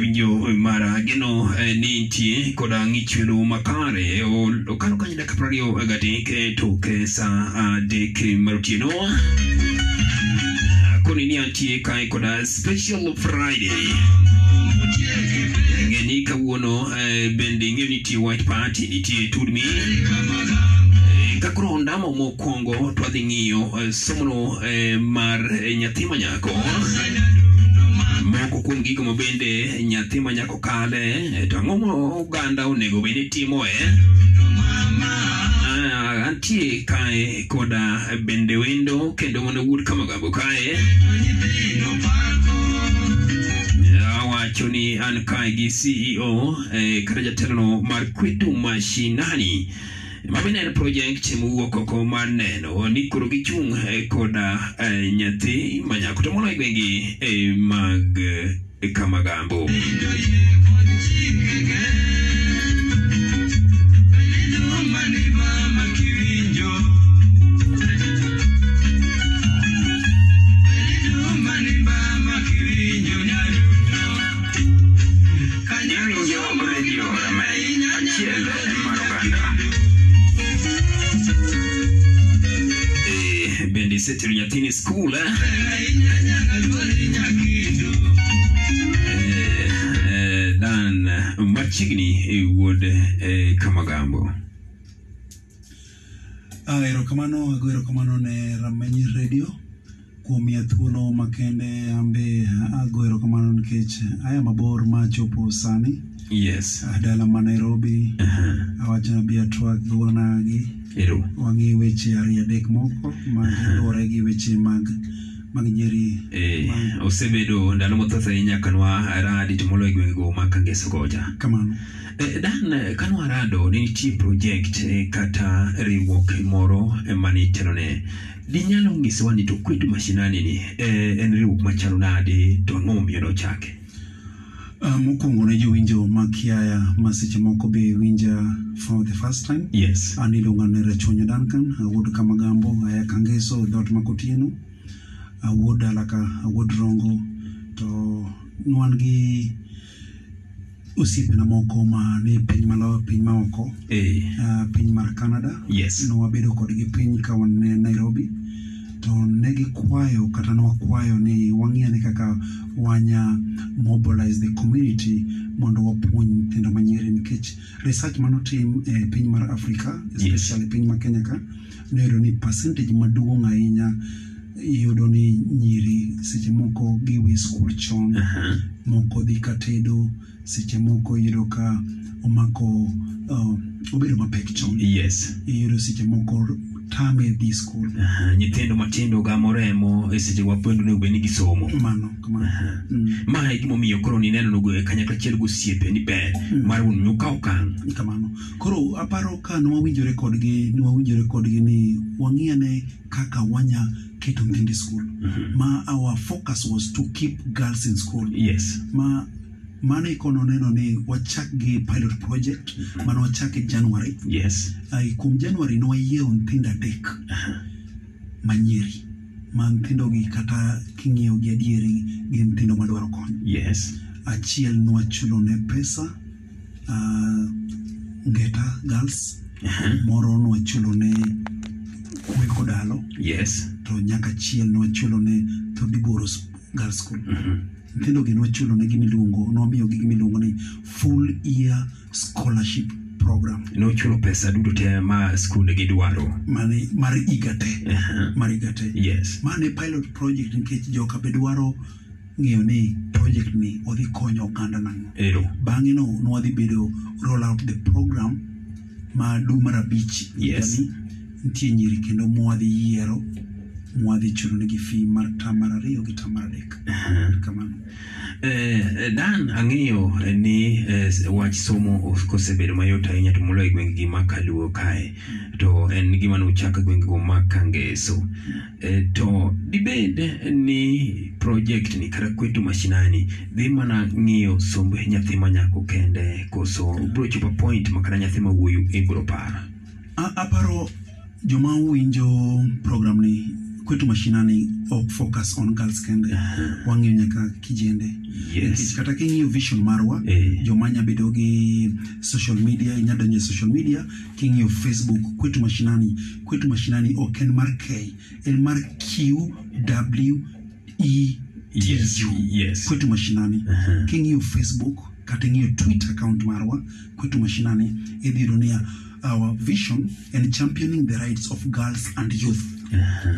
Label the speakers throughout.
Speaker 1: winjo Eh, mara geno eh, ni nitie koda ng'ich welo makare O- okalo kanye dakika prariyo gadek e tok eh, saa adek mar otieno Ah, koni ni antie kae koda special friday ng'e ni kawuono eh, bende ing'eyo nitie white party nitie tudmi kakoro ondamo mokwongo twadhi ng'iyo eh, somono eh, mar eh, nyathi ma nyako moko kuom gigo ma bende nyathi ma nyako kale eh, to ang'o ma oganda onego bed timo e Ah, antie kae koda bende wendo kendo mana wuod kamagambo kae awacho ni an kae gi CEO eh, kata jatelono mar kwetu mashinani ma bende en project mowuok oko mar neno ni koro gichung' eh, koda eh, nyathi manyako to moloyo e gwenge eh, mag eh, kamagambo Eh, bende isetero nyathini skul eh? Eh, dan machiegni e wuod eh, kamagambo
Speaker 2: Ah, erokamano ago erokamano ne rameny radio kuom miya thuolo makende ambe ago erokamano nikech aya mabor ma chopo sani
Speaker 1: yes
Speaker 2: Ah, dala ma nairobi
Speaker 1: Aha,
Speaker 2: awacho ni abi atwak gi wuonagi
Speaker 1: ero
Speaker 2: wang'i weche ariyo adek moko ma luwore gi weche mag mag nyeri
Speaker 1: Eh,
Speaker 2: Ma-
Speaker 1: osebedo ndalo mathoth ahinya kanwa radi to moloyo e gwengego ma kangeso kocha
Speaker 2: kamano
Speaker 1: Eh, Dan kanwarado ne nitie project eh, kata riwruok moro eh, mane itelone dinyalo ng'isowa ni to kwetu mashinani ni eh, en riwruok machalo nade to ang'o momiyo nochake
Speaker 2: Ah, mokwongo ne jowinjo ma kiaya ma seche moko be winja for the first time
Speaker 1: yes
Speaker 2: an iluonga ni rachunyo dankan awuod kamagambo aya kangeso dhot makotieno awuod alaka awuod rongo to nwan gi osiepena moko ma ni piny malo piny maoko
Speaker 1: eh,
Speaker 2: ah, piny mar canada
Speaker 1: yes
Speaker 2: nowabedo kodgi piny ka wan ne nairobi to ne gikwayo kata nowakwayo ni wang'iyo ni kaka wanya mobilize the community mondo wapuonj nyithindo manyiri nikech research manotim e piny mar africa especially piny ma kenya ka noyudo ni percentage maduong' ahinya iyudo ni nyiri seche moko giwe skul chon
Speaker 1: Aha,
Speaker 2: moko dhi ka tedo seche moko iyudo ka omako uh, obedo mapek chon
Speaker 1: yes Uh-huh.
Speaker 2: iyudo seche moko tame dhi skul
Speaker 1: Aha, Eh, nyithindo matindo gamo remo e seche wapuonjo onego bed ni gisomo
Speaker 2: mano kamano Mm,
Speaker 1: ma e gimomiyo koro nineno e kanyakla achiel gosiepe ni ber
Speaker 2: Mm.
Speaker 1: mar mondo mi ukaw okang'
Speaker 2: kamano koro aparo ka nwawinjore kodgi nwawinjore kodgi ni wang'iyane kaka wanya keto nyithindo e skul
Speaker 1: Mhm.
Speaker 2: ma our focus was to keep girls in school
Speaker 1: yes
Speaker 2: ma mano ikono neno ni wachak gi pilot project mane wachake january
Speaker 1: Mm-hmm. yes Uh-huh.
Speaker 2: Ai, kuom january nwayieo nyithindo adek manyiri ma nyithindogi kata king'iyo gi adieri gin nyithindo madwaro kony
Speaker 1: yes
Speaker 2: achiel nwachulo ne pesa ah, ngeta girls moro nwachulo ne kwe kodalo
Speaker 1: yes
Speaker 2: to nyaka achiel nwachulo ne thodiboro s- girls school
Speaker 1: Mhm.
Speaker 2: nyithindogi nwachulo ne gimiluongo nwamiyogi gimiluongo ni full year scholarship program
Speaker 1: nochulo pesa duto te ma skunde gidwaro
Speaker 2: mane mar higa te
Speaker 1: Aha.
Speaker 2: mar higa te
Speaker 1: yes
Speaker 2: mane pilot project nikech joka be dwaro ng'eyo ni project ni odhi konyo oganda nang'o
Speaker 1: ero
Speaker 2: bang'e no nwadhi bedo roll out the program ma dwe mar abich
Speaker 1: Yes.
Speaker 2: higani. nitie nyiri kendo mwadhi yiero mwadhi chulo negi fee mar tam mar ariyo gi tam mar adek kamano
Speaker 1: Eh, dan ang'eyo ni eh, wach somo os- kosebedo mayot ahinya to moloyo e gwengegi ma kaluo kae to en gima nochak e gwengego ma kangeso Eh, to dibed ni project ni kata kwetu mashinani dhi mana ng'iyo somb nyathi ma nyako kende koso bro chopo point ma kata nyathi ma e wuoyi ibro para
Speaker 2: A- aparo joma winjo program ni kwetu mashinani ok focus on girls kende wang'iyo nyaka kijende
Speaker 1: Ah. yes
Speaker 2: kata king'iyo vision marwa
Speaker 1: Eh.
Speaker 2: joma nya bedo gi social media nyadonjo e social media king'iyo facebook kwetu mashinani kwetu mashinani ok en mar k en mar q w e T,
Speaker 1: Yes,
Speaker 2: U.
Speaker 1: yes. Uh-huh.
Speaker 2: kwetu mashinani
Speaker 1: Aha.
Speaker 2: king'iyo facebook kata ing'iyo twitter account marwa kwetu mashinani idhi yudo niya our vision and championing the rights of girls and youth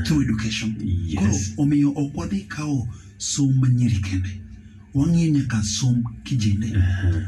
Speaker 2: through education
Speaker 1: Uh-huh. Yes.
Speaker 2: koro omiyo ok wadhi kawo som manyiri kende wang'iyo nyaka som kijende
Speaker 1: Uh-huh.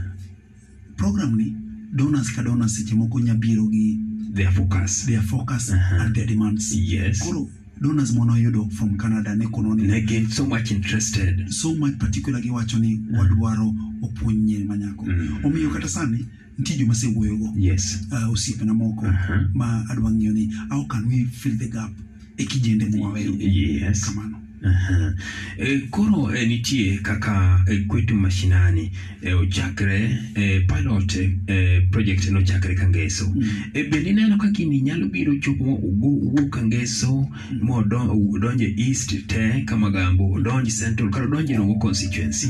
Speaker 2: program ni donors ka donors seche moko nyabiro gi
Speaker 1: their focus Uh-huh.
Speaker 2: their focus and their demands
Speaker 1: yes
Speaker 2: koro donors manoyudo from canada ne kono
Speaker 1: and
Speaker 2: ni
Speaker 1: i get so much interested
Speaker 2: so much particular giwacho ni wadwaro opuonj nyiri manyako
Speaker 1: Mm.
Speaker 2: omiyo kata sani nitie joma asewuoyogo
Speaker 1: yes Uh-huh.
Speaker 2: uh, osiepena moko
Speaker 1: Aha.
Speaker 2: ma adwa ng'iyo ni how can we fill the gap e kijende mwaweyogo
Speaker 1: yes
Speaker 2: kamano
Speaker 1: Aha. E, koro e, nitie kaka e, kwetu mashinani e, ochakre e, pilot e, project nochakre ka ngeso
Speaker 2: Mm.
Speaker 1: e, bende ineno ka gini nyalo biro chopo wuok ka ngeso
Speaker 2: Mm.
Speaker 1: modonje east te ka magambo odonj central kata odonje rongo constituency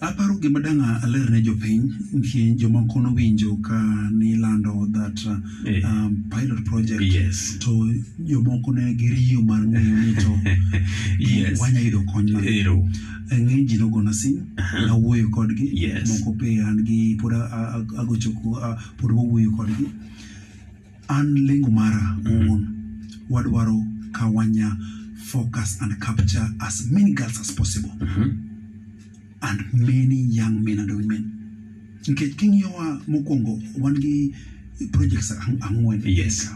Speaker 2: aparo gima dang' aler ne jopiny nikech jomoko nowinjo ka nilando that uh,
Speaker 1: Eh.
Speaker 2: um, pilot project
Speaker 1: yes
Speaker 2: to jomoko ne giriyo mar ng'eyo ni to
Speaker 1: Yes.
Speaker 2: wanya yudo kony mar
Speaker 1: ero
Speaker 2: ng'eny ji nogona sim nawuoyo kodgi
Speaker 1: Uh-huh. Yes.
Speaker 2: moko pe an gi pod a- a- a- agocho ko- a- pod wawuoyo kodgi an lengo mara
Speaker 1: Mm.
Speaker 2: owuon wadwaro ka wanya focus and capture as many girls as possible
Speaker 1: Mhm.
Speaker 2: and many young men and women nikech king'iyowa mokwongo wan gi projects ang- ang'wen
Speaker 1: Yes.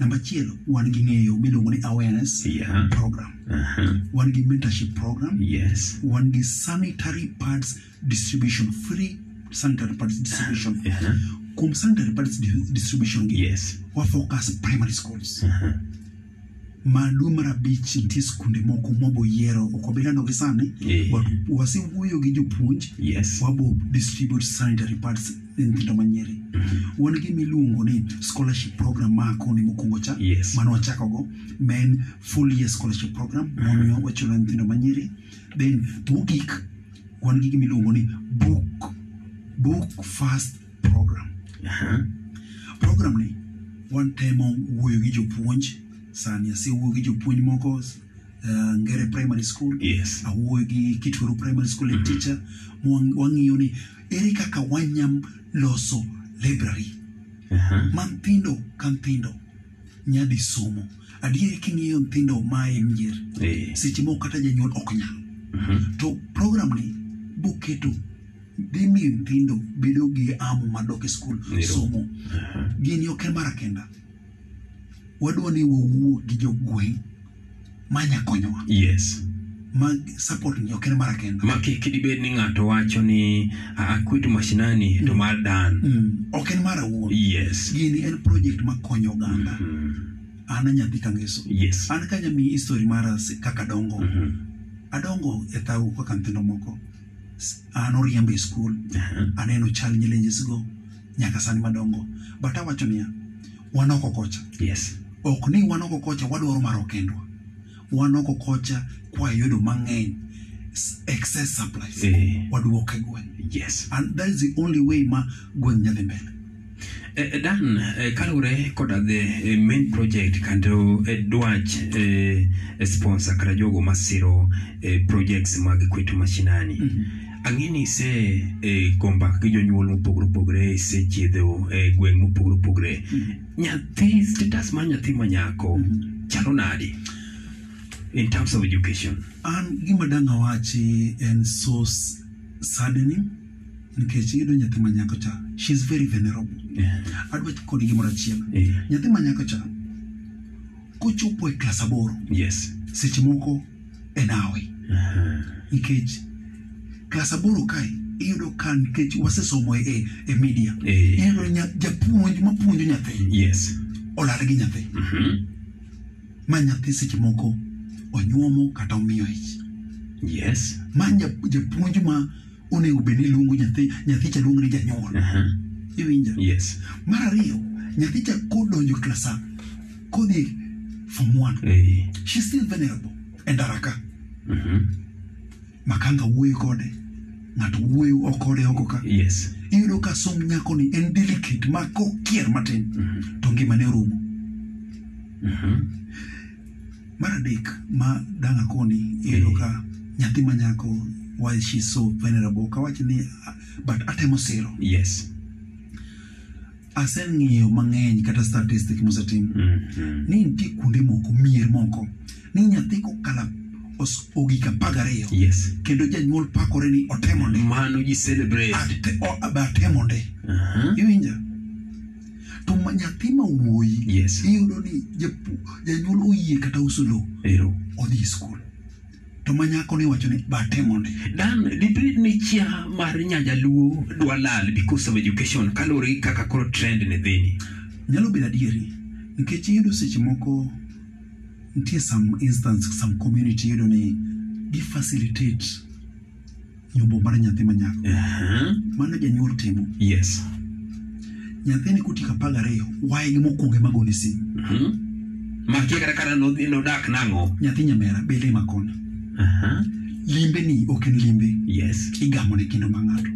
Speaker 2: namba achiel wan gi ng'eyo miluongo ni awareness
Speaker 1: yeah
Speaker 2: program
Speaker 1: Aha.
Speaker 2: wan gi mentorship program
Speaker 1: yes
Speaker 2: wan gi sanitary pads distribution free sanitary pads distribution
Speaker 1: Aha.
Speaker 2: kuom sanitary pads di- distribution gi
Speaker 1: Uh-huh. yes Uh-huh.
Speaker 2: wafocus primary schools
Speaker 1: Aha.
Speaker 2: ma dwe mar abich nitie skunde moko mwaboyiero ok wabedandogi sani
Speaker 1: Eh.
Speaker 2: but wasewuoyo gi jopuonj
Speaker 1: yes
Speaker 2: wabo distribute sanitary pads ne nyithindo manyiri
Speaker 1: Mhm.
Speaker 2: wan gi miluongo ni scholarship program ma koni mokwongo cha
Speaker 1: Yes.
Speaker 2: mane wachakogo ma en full year scholarship program
Speaker 1: Mhm.
Speaker 2: momiyo wachulo nyithindo manyiri then to mogik wan gi gimiluongo ni book book fast program
Speaker 1: Aha.
Speaker 2: program ni watemo wuoyo gi jopuonj sani asewuoyo gi jopuonj moko uh, ngere primary school
Speaker 1: yes Mm-hmm.
Speaker 2: awuoyo gi kitweru primary school head teacher mwang- wang'iyo ni ere kaka wanyam loso library
Speaker 1: Aha.
Speaker 2: ma nthindo ka nthindo nyadhi somo adieri king'iyo nthindo mae mier
Speaker 1: Eh.
Speaker 2: seche moko kata janyuol ok nyal
Speaker 1: Mhm.
Speaker 2: to program ni boketo dhi miyo nthindo bedo gi amo madok e skul
Speaker 1: Ero.
Speaker 2: somo
Speaker 1: Aha.
Speaker 2: gini ok en mar akenda wadwa ni wawuo gi jogweng' manyakonyowa
Speaker 1: yes
Speaker 2: ma support ni ok en mar akenda
Speaker 1: ma kik dibed ni ng'ato wacho ni akweto mashinani to mar dan
Speaker 2: Mm, ok en mara wuon
Speaker 1: yes
Speaker 2: gini en project makonyo oganda
Speaker 1: Mm,
Speaker 2: an anyathi ka ngeso
Speaker 1: yes
Speaker 2: an ka nyamii history mara se- kaka adongo
Speaker 1: Mhm.
Speaker 2: adongo e thawu kaka nyithindo moko S- an oriembo e skul
Speaker 1: Aha.
Speaker 2: aneno chal nyilenjesgo nyaka sani madongo but awacho niya wan oko kocha
Speaker 1: yes
Speaker 2: ok ni wan oko kocha wadwaro maro kendwa wan oko kocha kwayudo mang'eny S- excess supplies
Speaker 1: Eh.
Speaker 2: wadwok e gweng
Speaker 1: yes
Speaker 2: and that is the only way ma gweng nyadhi mbele
Speaker 1: Eh, eh, dan eh, kaluwore koda the eh, main project kendo eh, dwach eh, eh, sponsor kata jogo masiro eh, projects mag kweto mashinani ang'e ni ise eh, komba gi jonyuol mopogore opogore isechiedho e gweng' mopogore opogore nyathi status mar nyathi manyako chalo nadi in terms of education
Speaker 2: an gima dang' awachi en so s- saddening nikech iyudo nyathi ma nyako cha she's very venerable adwa kod gimoro achiel
Speaker 1: Eh,
Speaker 2: nyathi ma nyako cha kochopo e klas aboro
Speaker 1: yes Uh-huh.
Speaker 2: seche moko en awe nikech klas aboro kae iyudo ka nikech wasesomo e, e media
Speaker 1: Eh.
Speaker 2: iyudo nya- japuonj mapuonjo nyathi
Speaker 1: yes
Speaker 2: olal gi nyathi
Speaker 1: Mhm.
Speaker 2: ma nyathi seche moko onyuomo kata omiyo ich
Speaker 1: yes
Speaker 2: ma ja- japuonj ma onego bed ni luongo nyathi nyathi cha luongo ni janyuol
Speaker 1: Aha.
Speaker 2: iwinja
Speaker 1: Uh-huh. yes
Speaker 2: mar ariyo nyathi cha kodonjo klasa kodhi form one
Speaker 1: Eh,
Speaker 2: she's still E venerable endaraka
Speaker 1: mhm.
Speaker 2: makanga wuoyo kode ng'ato wuoyo okode oko ka
Speaker 1: Yes.
Speaker 2: iyudo ka som nyakoni en delicate ma kokier matin
Speaker 1: Mm-hmm.
Speaker 2: to ngimane orumo
Speaker 1: Mhm.
Speaker 2: mar adek ma dang' akoni iyudo
Speaker 1: Eh.
Speaker 2: ka nyathi ma nyako why she so venerable kawach ni ah, but atemo siro
Speaker 1: Yes.
Speaker 2: aseng'iyo mang'eny kata statistic mosetim
Speaker 1: Mhm.
Speaker 2: ni nitie kuonde moko mier moko ni nyathi kokala os- ogik apar gariyo
Speaker 1: Yes.
Speaker 2: kendo janyuol pakore ni otemo nde
Speaker 1: Mano ji celebrate.
Speaker 2: Ate- o- abe atemo nde
Speaker 1: Uh-huh.
Speaker 2: iwinja to ma- nyathi ma wuoyi
Speaker 1: Yes.
Speaker 2: iyudo ni japu- janyuol oyie kata Oh, uso lowo
Speaker 1: Ero.
Speaker 2: odhi skul to ma nyako ni wacho ni ba atemo nde
Speaker 1: Dan dibed ni chia mar nyajaluo dwa lal because of education kaluwore gi kaka koro trend ne dhini.
Speaker 2: nyalo bedo adieri nikech iyudo seche moko nitie some instance some community iyudo ni gi facilitate nyombo mar nyathi ma nyako
Speaker 1: Uh-huh.
Speaker 2: mano janyuol timo
Speaker 1: Yes.
Speaker 2: nyathini kotieko apar gariyo waye gi mokwonge magone simu
Speaker 1: Uh-huh. Makia kata kata nodhi nodak nang'o.
Speaker 2: nyathi nyamera bede makoni
Speaker 1: Uh-huh.
Speaker 2: limbe ni ok en limbe
Speaker 1: Yes.
Speaker 2: igamone kendo ma ng'ato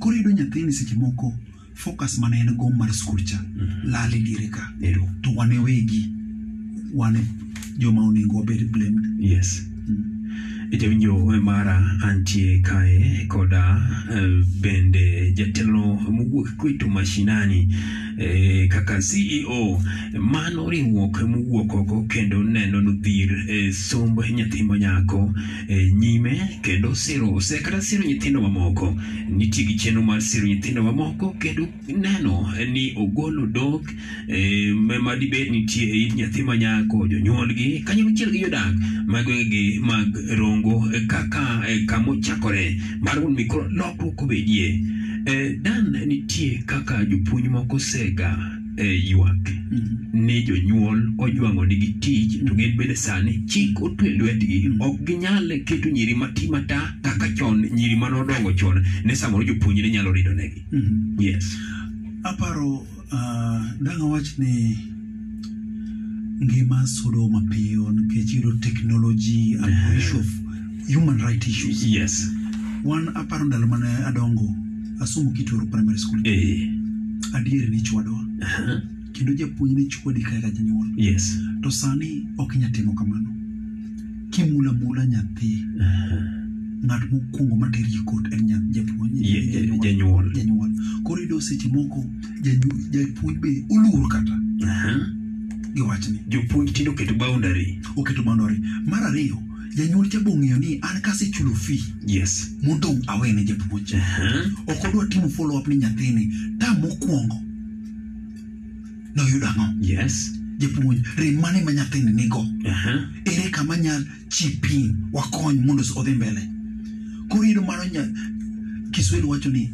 Speaker 2: koro iyudo nyathini seche moko focus mane en go mar skul cha lal e diere ka
Speaker 1: Uh-huh. Ero.
Speaker 2: to wane wegi wane joma onego wabed blamed
Speaker 1: Yes. Jawinjo mara antie kae koda eh, bende jatelo mowuok kwetu mashinani eh, kaka CEO mano riwruok mowuok oko kendo neno nodhir eh, somb nyathi manyako eh, nyime kendo siro se kata siro nyithindo mamoko nitie gi chenro mar siro nyithindo mamoko kendo neno ni ogolo dok eh, ma dibed nitie e it nyathi manyako jonyuolgi kanyachiel gi jodak mag gwengegi mag rongo eh, kaka eh, kama ochakore mar mondo mi koro lokruok obedie Eh, dan nitie kaka jopuonj moko sega eh, ywak ni jonyuol ojwang'o nigi tich to gin bende sani chik otwe lwetgi ok ginyal keto nyiri mati mata kaka chon nyiri manodongo chon ne samoro jopuonj ne nyalo ridonegi
Speaker 2: Mhm.
Speaker 1: yes
Speaker 2: aparo uh, dang' awach ni ngima sudo mapiyo nikech iyudo technology and
Speaker 1: Eh.
Speaker 2: issue of human right issues
Speaker 1: yes
Speaker 2: wan aparo ndalo mane adongo asomo kitoro primary school
Speaker 1: eh,
Speaker 2: adieri ni chwadwa
Speaker 1: aha,
Speaker 2: kendo japuonj ne chwadi kaka janyuol
Speaker 1: yes
Speaker 2: to sani ok inya timo kamano kimula mula nyathi
Speaker 1: aha,
Speaker 2: ng'at mokwongo materi e kot en nya- japuonj
Speaker 1: ye- eh,
Speaker 2: janyuol.
Speaker 1: janyuol
Speaker 2: janyuol koro iyudo seche moko janyu- japuonj be oluor kata
Speaker 1: aha.
Speaker 2: gi wachni
Speaker 1: jopuonj tinde oketo boundary
Speaker 2: oketo bandore mar ariyo janyuol cha bong'eyo ni an kasechulo fee
Speaker 1: yes
Speaker 2: modong' awene japuonj
Speaker 1: aha,
Speaker 2: ok odwa timo follow up ni nyathini ta mokwongo noyudo ang'o
Speaker 1: yes Uh-huh.
Speaker 2: japuonj rem mane ma nyathini nigo
Speaker 1: aha,
Speaker 2: ere kama nyal chi piny wakony mondo odhi mbele koro iyudo mano nya kiswahili wacho ni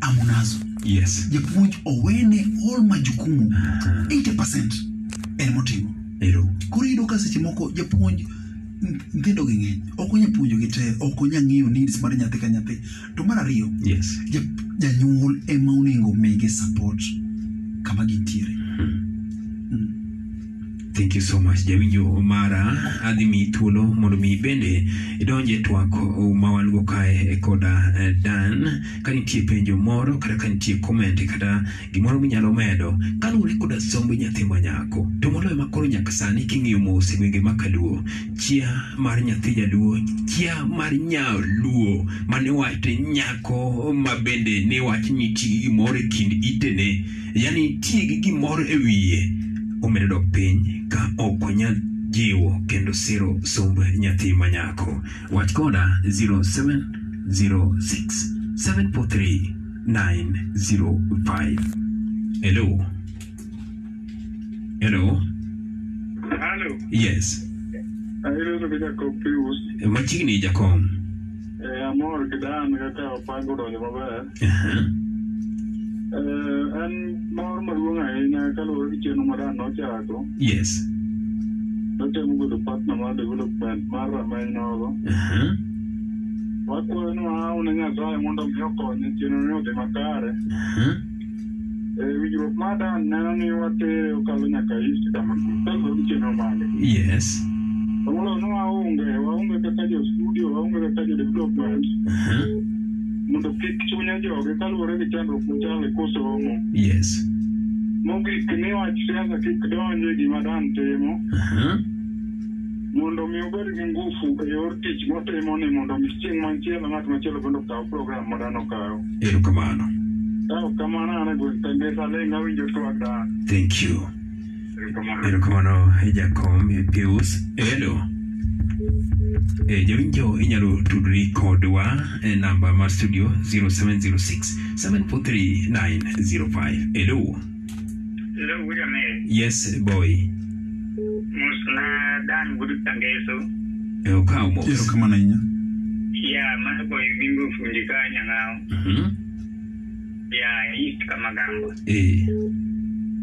Speaker 2: amunazo
Speaker 1: yes
Speaker 2: japuonj owene all majukumu
Speaker 1: aha,
Speaker 2: 80% en motimo
Speaker 1: ero
Speaker 2: koro iyudo ka seche moko japuonj n- nyithindogi ng'eny ok onya puonjogi te ok onya ng'iyo needs mar nyathi ka nyathi to mar ariyo
Speaker 1: yes
Speaker 2: jap- janyuol ema onego mege support kama gintiere
Speaker 1: Hmm. Thank you so much jawinjo mara adhi miyi thuolo mondo mi bende idonj e twak ma wan go kae koda eh, Dan ka nitie penjo moro kata ka nitie comment kata gimoro minyalo medo kaluwore koda somb nyathi ma nyako to moloyo ma koro nyaka sani king'iyo mos e gwenge ma kaluo chia mar nyathi jaluo chia mar nyaluo mane wate nyako ma bende ne wach nitie gi gimoro e kind itene yani nitie gi gimoro e wiye omedo dok piny ka ok onyal jiwo kendo siro somb nyathi ma nyako wach koda 0706 743 905 hello hello
Speaker 3: Halo,
Speaker 1: yes
Speaker 3: iluongo ni Jacob Pius.
Speaker 1: machiegni jakom
Speaker 3: Eh, amor gi Dan kaka opango donjo maber.
Speaker 1: Aha,
Speaker 3: Eh, en mor maduong' ahinya kaluwore gi chenro ma Dan nochako.
Speaker 1: yes
Speaker 3: Notemo bedo partner mar development mar rameny nogo.
Speaker 1: Aha,
Speaker 3: Wakwayo ni wahaw ne Nyasaye mondo mi okony e chenro ni odhi makare.
Speaker 1: aha,
Speaker 3: Eh, Winjruok mar Dan neno ni watere okalo nyaka East Tamaku kaluwore gi chenro mage.
Speaker 1: Yes.
Speaker 3: To moloyo ne waonge, waonge kaka jo studio, waonge kaka jo development
Speaker 1: Uh-huh.
Speaker 3: mondo kik chunya joge kaluwore gi chandruok machale kosomo.
Speaker 1: Yes.
Speaker 3: Mogik ni wach siasa kik donje gima Dan timo
Speaker 1: Uh-huh.
Speaker 3: mondo mi obed gi ngufu e yor tich motimo ni mondo mi chieng' machielo ng'at machielo bende okaw program ma Dan okawo.
Speaker 1: Erokamano.
Speaker 3: Ka ok kamano an e gweng' Tembesa Leng' awinjo twak Dan.
Speaker 1: Thank you.
Speaker 3: Ero kamano.
Speaker 1: Erokamano e jakom e Pius. Hello. E jawinjo inyalo tudri kodwa e namba mar studio 0706 743 905. Hello.
Speaker 4: Hello, William. eh,
Speaker 1: Yes, boy.
Speaker 4: Musna Dan Guru Tangeso.
Speaker 1: E okaw mos.
Speaker 2: erokamano ahinya
Speaker 4: Ya, mano ko mimbo fundi ka nyangao.
Speaker 1: Mhm.
Speaker 4: Ya, East Kamagambo.
Speaker 1: Eh.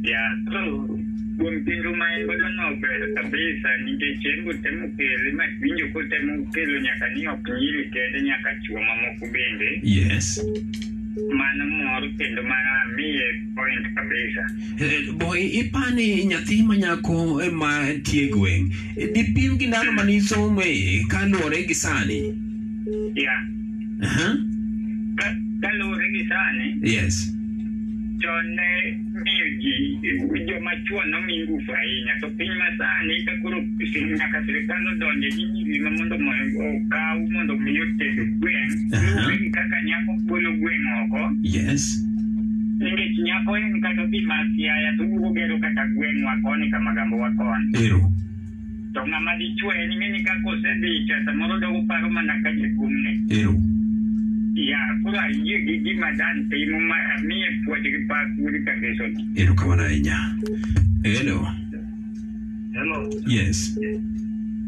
Speaker 4: Ya, so kuom chenro ma en godo no ber kabisa nikech en botemo kele ma winjo kotemo kelo nyaka ni ok nyiri kende nyaka chuo mamoko bende
Speaker 1: Yes.
Speaker 4: mano mor kendo mano amiye point kabisa
Speaker 1: Eh, boy ipani nyathi ma nyako eh, ma tie gweng' eh, dipim gi ndalo manisome kaluwore eh, gi sani
Speaker 4: ya
Speaker 1: Aha,
Speaker 4: ka- kaluwore gi sani eh,
Speaker 1: yes
Speaker 4: chon ne miyo ji joma chwo eh, nomi ngufu ahinya to piny masani ka koro si- nyaka sirikal odonje gi nyiri ma mondo mo- okaw mondo mi oted gweng'
Speaker 1: Aha.
Speaker 4: luwre gi kaka nyako golo gweng' oko
Speaker 1: yes
Speaker 4: nikech nyako en kata dhi mar siaya to wuok ogero kata gweng'wa koni ka magambowa koni
Speaker 1: ero
Speaker 4: to ng'ama dichwo en ing'eni kaka osedhi cha samoro dogo paro mana ka jakumne
Speaker 1: ero
Speaker 4: ya koro ayie gi gima dan timo ma amiye puoch gi pak wuri kabisoni
Speaker 1: ero kamano ahinya hello
Speaker 4: Hello.
Speaker 1: yes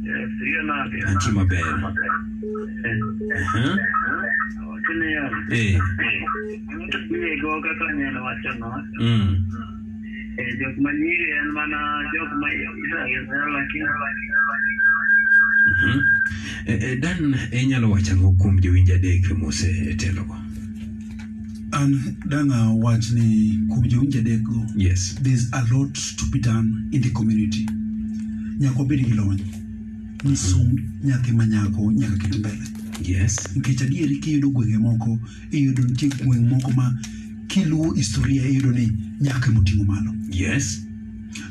Speaker 4: Yes, yun na. Uh-huh.
Speaker 1: antie maber Aha,
Speaker 4: Kini yan.
Speaker 1: Uh-huh. eh
Speaker 4: Inego kaka nyan wachono.
Speaker 1: mm,
Speaker 4: Eh, jok manyiri en mana jok ma Israel lakini
Speaker 1: mhm. Eh, eh, dan inyalo wachango kuom jowinjo adek mosetelogo
Speaker 2: an dang' awach ni kuom jowinjo adekgo
Speaker 1: yes
Speaker 2: there's a lot to be done in the community nyaka wabed gi lony ni som nyathi ma nyako nyaka ket mbele
Speaker 1: yes
Speaker 2: nikech adieri kiyudo gwenge moko iyudo nitie gweng' moko ma kiluwo historia iyudo ni nyaka emoting'o malo
Speaker 1: yes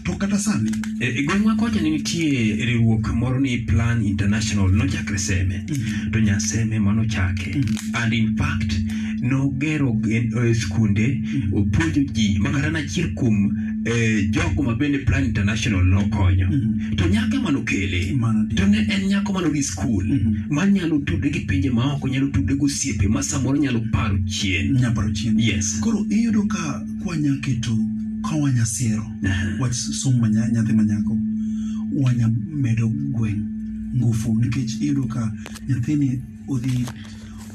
Speaker 2: to kata sani
Speaker 1: E e gweng'wa kocha ne nitie riwruok moro ni Plan International nochakre Seme
Speaker 2: Mm-hmm.
Speaker 1: to Nyaseme manochake and in fact nogero gen- eh, skunde
Speaker 2: Mm-hmm.
Speaker 1: opuonjo ji makata na achiel kuom eh, jogo ma bende Plan International nokonyo
Speaker 2: Mhm.
Speaker 1: to nyaka manokele
Speaker 2: Mano adier.
Speaker 1: to ne en nyako manodhi skul
Speaker 2: Mhm.
Speaker 1: manyalo tudre gi pinje maoko nyalo tudre gi osiepe ma samoro nyalo paro chien
Speaker 2: nyaparo chien
Speaker 1: yes
Speaker 2: koro iyudo ka kwanya keto ka wanya siro wach somo ma nya- nyathi manyako wanya medo gweng' ngufu nikech iyudo ka nyathini odhi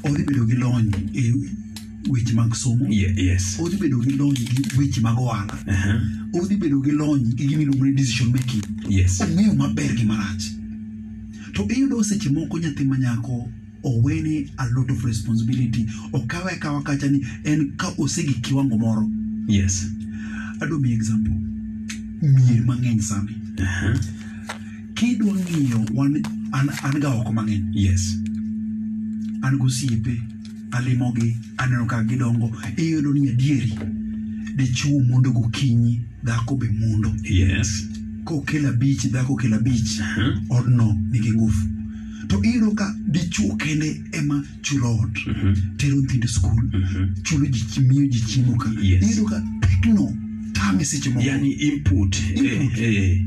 Speaker 2: odhi bedo gi lony e weche mag somo
Speaker 1: Ye- yes
Speaker 2: odhi bedo gi lony gi weche mag ohala
Speaker 1: Aha.
Speaker 2: odhi bedo gi lony gi gimiluongo ni decision making
Speaker 1: yes
Speaker 2: ong'eyo maber gi marach to iyudo seche moko nyathi ma nyako owene a lot of responsibility okawe akawa kacha ni en ka osegi kiwango moro
Speaker 1: yes
Speaker 2: adwa miyi example mier mang'eny sani
Speaker 1: Aha.
Speaker 2: kidwa ng'iyo wan an, an ga oko mang'eny
Speaker 1: yes
Speaker 2: an gosiepe alimogi aneno kaka gidongo iyudo ni adieri dichuo mondo gokinyi dhako be mondo
Speaker 1: yes
Speaker 2: kokelo abich dhako okelo abich
Speaker 1: Aha.
Speaker 2: odno nigi ngufu to iyudo ka dichuo kende ema chulo ot
Speaker 1: Mhm.
Speaker 2: tero nyithindo skul chulo ji chi- miyo ji chiemo ka
Speaker 1: Yes.
Speaker 2: iyudo ka tekno tame seche moko
Speaker 1: yani input
Speaker 2: Input.
Speaker 1: eh, eh,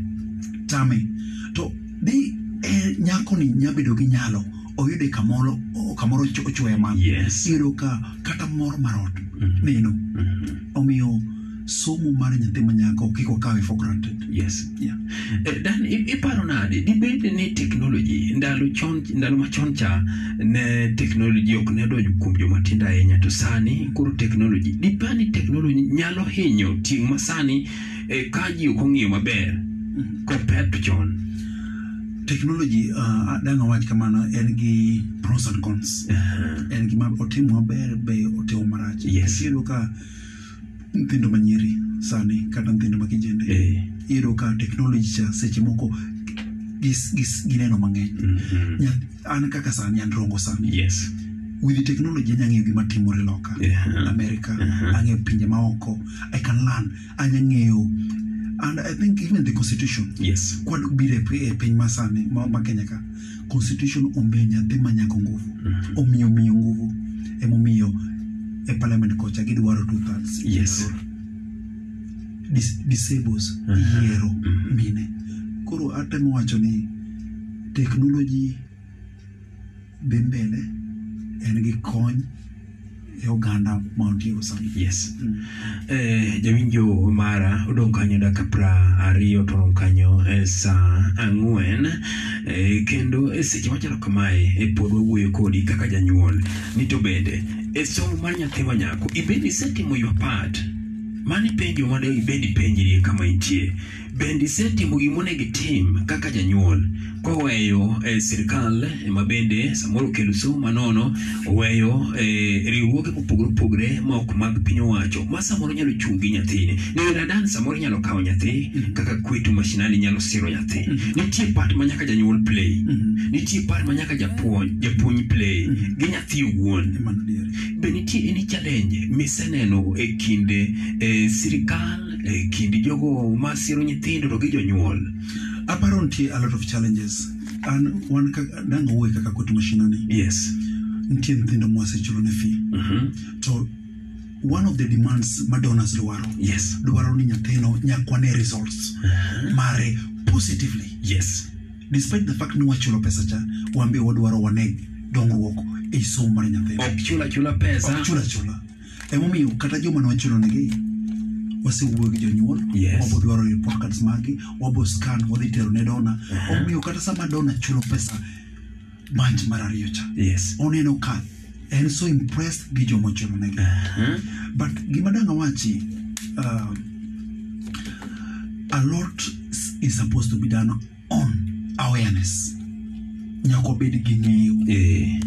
Speaker 2: tame to di eh, nyakoni nyabedo gi nyalo oyude kamoro o- kamoro ocho- ochweya man
Speaker 1: yes Mhm.
Speaker 2: iyudo ka kata mor marot neno omiyo somo mar nyathi manyako kik okawe for granted
Speaker 1: yes
Speaker 2: Yeah.
Speaker 1: Eh, dan i- iparo nade dibed ni teknoloji ndalo chon ndalo machon cha ne teknoloji ok ne donjo kuom jomatindo ahinya to sani koro teknoloji dipani teknoloji nyalo hinyo ting' masani eh, ka ji ok ong'iyo maber compared to chon
Speaker 2: technology uh, dang' awach kamano en gi pros and cons
Speaker 1: Aha.
Speaker 2: en gima otimo maber be otimo marach
Speaker 1: Uh-huh. Yes.
Speaker 2: iyudo ka nyithindo manyiri sani kata nyithindo ma kijende
Speaker 1: eh,
Speaker 2: iyudo ka teknoloji cha seche moko gis- gis- gineno mang'eny
Speaker 1: mm, mm.
Speaker 2: Nya- an kaka sani an rongo sani
Speaker 1: yes
Speaker 2: with technology anya ng'eyo gima timore e loka
Speaker 1: Yeah.
Speaker 2: america
Speaker 1: Uh-huh.
Speaker 2: ang'eyo pinje maoko i can learn anya ng'eyo and i think even the constitution
Speaker 1: yes
Speaker 2: kwabiro e piny masani ma, ma kenya ka constitution omiyo nyathi ma nyako nguvu
Speaker 1: Mhm.
Speaker 2: omiyo miyo nguvu emomiyo e parliament kocha gidwaro two thirds
Speaker 1: Yes.
Speaker 2: Dis, disables
Speaker 1: Mhm.
Speaker 2: yiero
Speaker 1: Mhm.
Speaker 2: mine koro atemo wacho ni teknoloji dhi mbele en gi kony e oganda ma ontiego sani
Speaker 1: yes
Speaker 2: Mm.
Speaker 1: eh, jawinjo mara odong' kanyo e dakika pra ariyo to rom kanyo e saa ang'wen eh, kendo e seche machalo kamae e pod wawuoyo kodi kaka janyuol ni to bende e somo mar nyathi ma nyako ibed isetimo your part mani penjo mane ibed ipenjri kama intie bende isetimo gimonego itim kaka janyuol koweyo e sirikal ma bende samoro okelo somo manono oweyo e riwruoge mopogore opogore ma ok mag piny owacho ma samoro nyalo chungi nyathini neradan samoro inyalo kawo nyathi
Speaker 2: Mm-hmm.
Speaker 1: kaka kwetu mashinani nyalo siro nyathi nitie part ma nyaka janyuol play
Speaker 2: Mhm.
Speaker 1: nitie part ma nyaka japuonj japuonj play gi nyathi owuon
Speaker 2: mano Mm-hmm. diere
Speaker 1: be nitie any challenge miseneno e kind eh, sirikal e kind jogo masiro nyithindo to gi jonyuol
Speaker 2: aparo nitie a lot of challenges an wan kaka dang' owuoye kaka kwetu mashinani
Speaker 1: yes
Speaker 2: nitie nyithindo mwasechulo ne fee
Speaker 1: Mhm.
Speaker 2: to one of the demands ma donors dwaro
Speaker 1: yes Uh-huh.
Speaker 2: dwaro ni nyathino nyakwane results mare positively
Speaker 1: yes
Speaker 2: despite the fact ni wachulo pesa cha wambe wadwaro waneg dongruok e somo mar nyathino
Speaker 1: ok chula chula pesa
Speaker 2: chula chula emomiyo kata joma ne wachulonegi wasewuoyo gi jonyuol
Speaker 1: Yes.
Speaker 2: wabo dwaro report cards magi wabo scan wadhi tero ne dona omiyo kata sama dona chulo pesa banch mar ariyo cha
Speaker 1: yes
Speaker 2: oneno ka en so impressed gi joma ochulonegi
Speaker 1: Aha.
Speaker 2: but gima dang' awachi uh, a lot s- is supposed to be done on awareness nyaka wabed gi ng'eyo
Speaker 1: eh,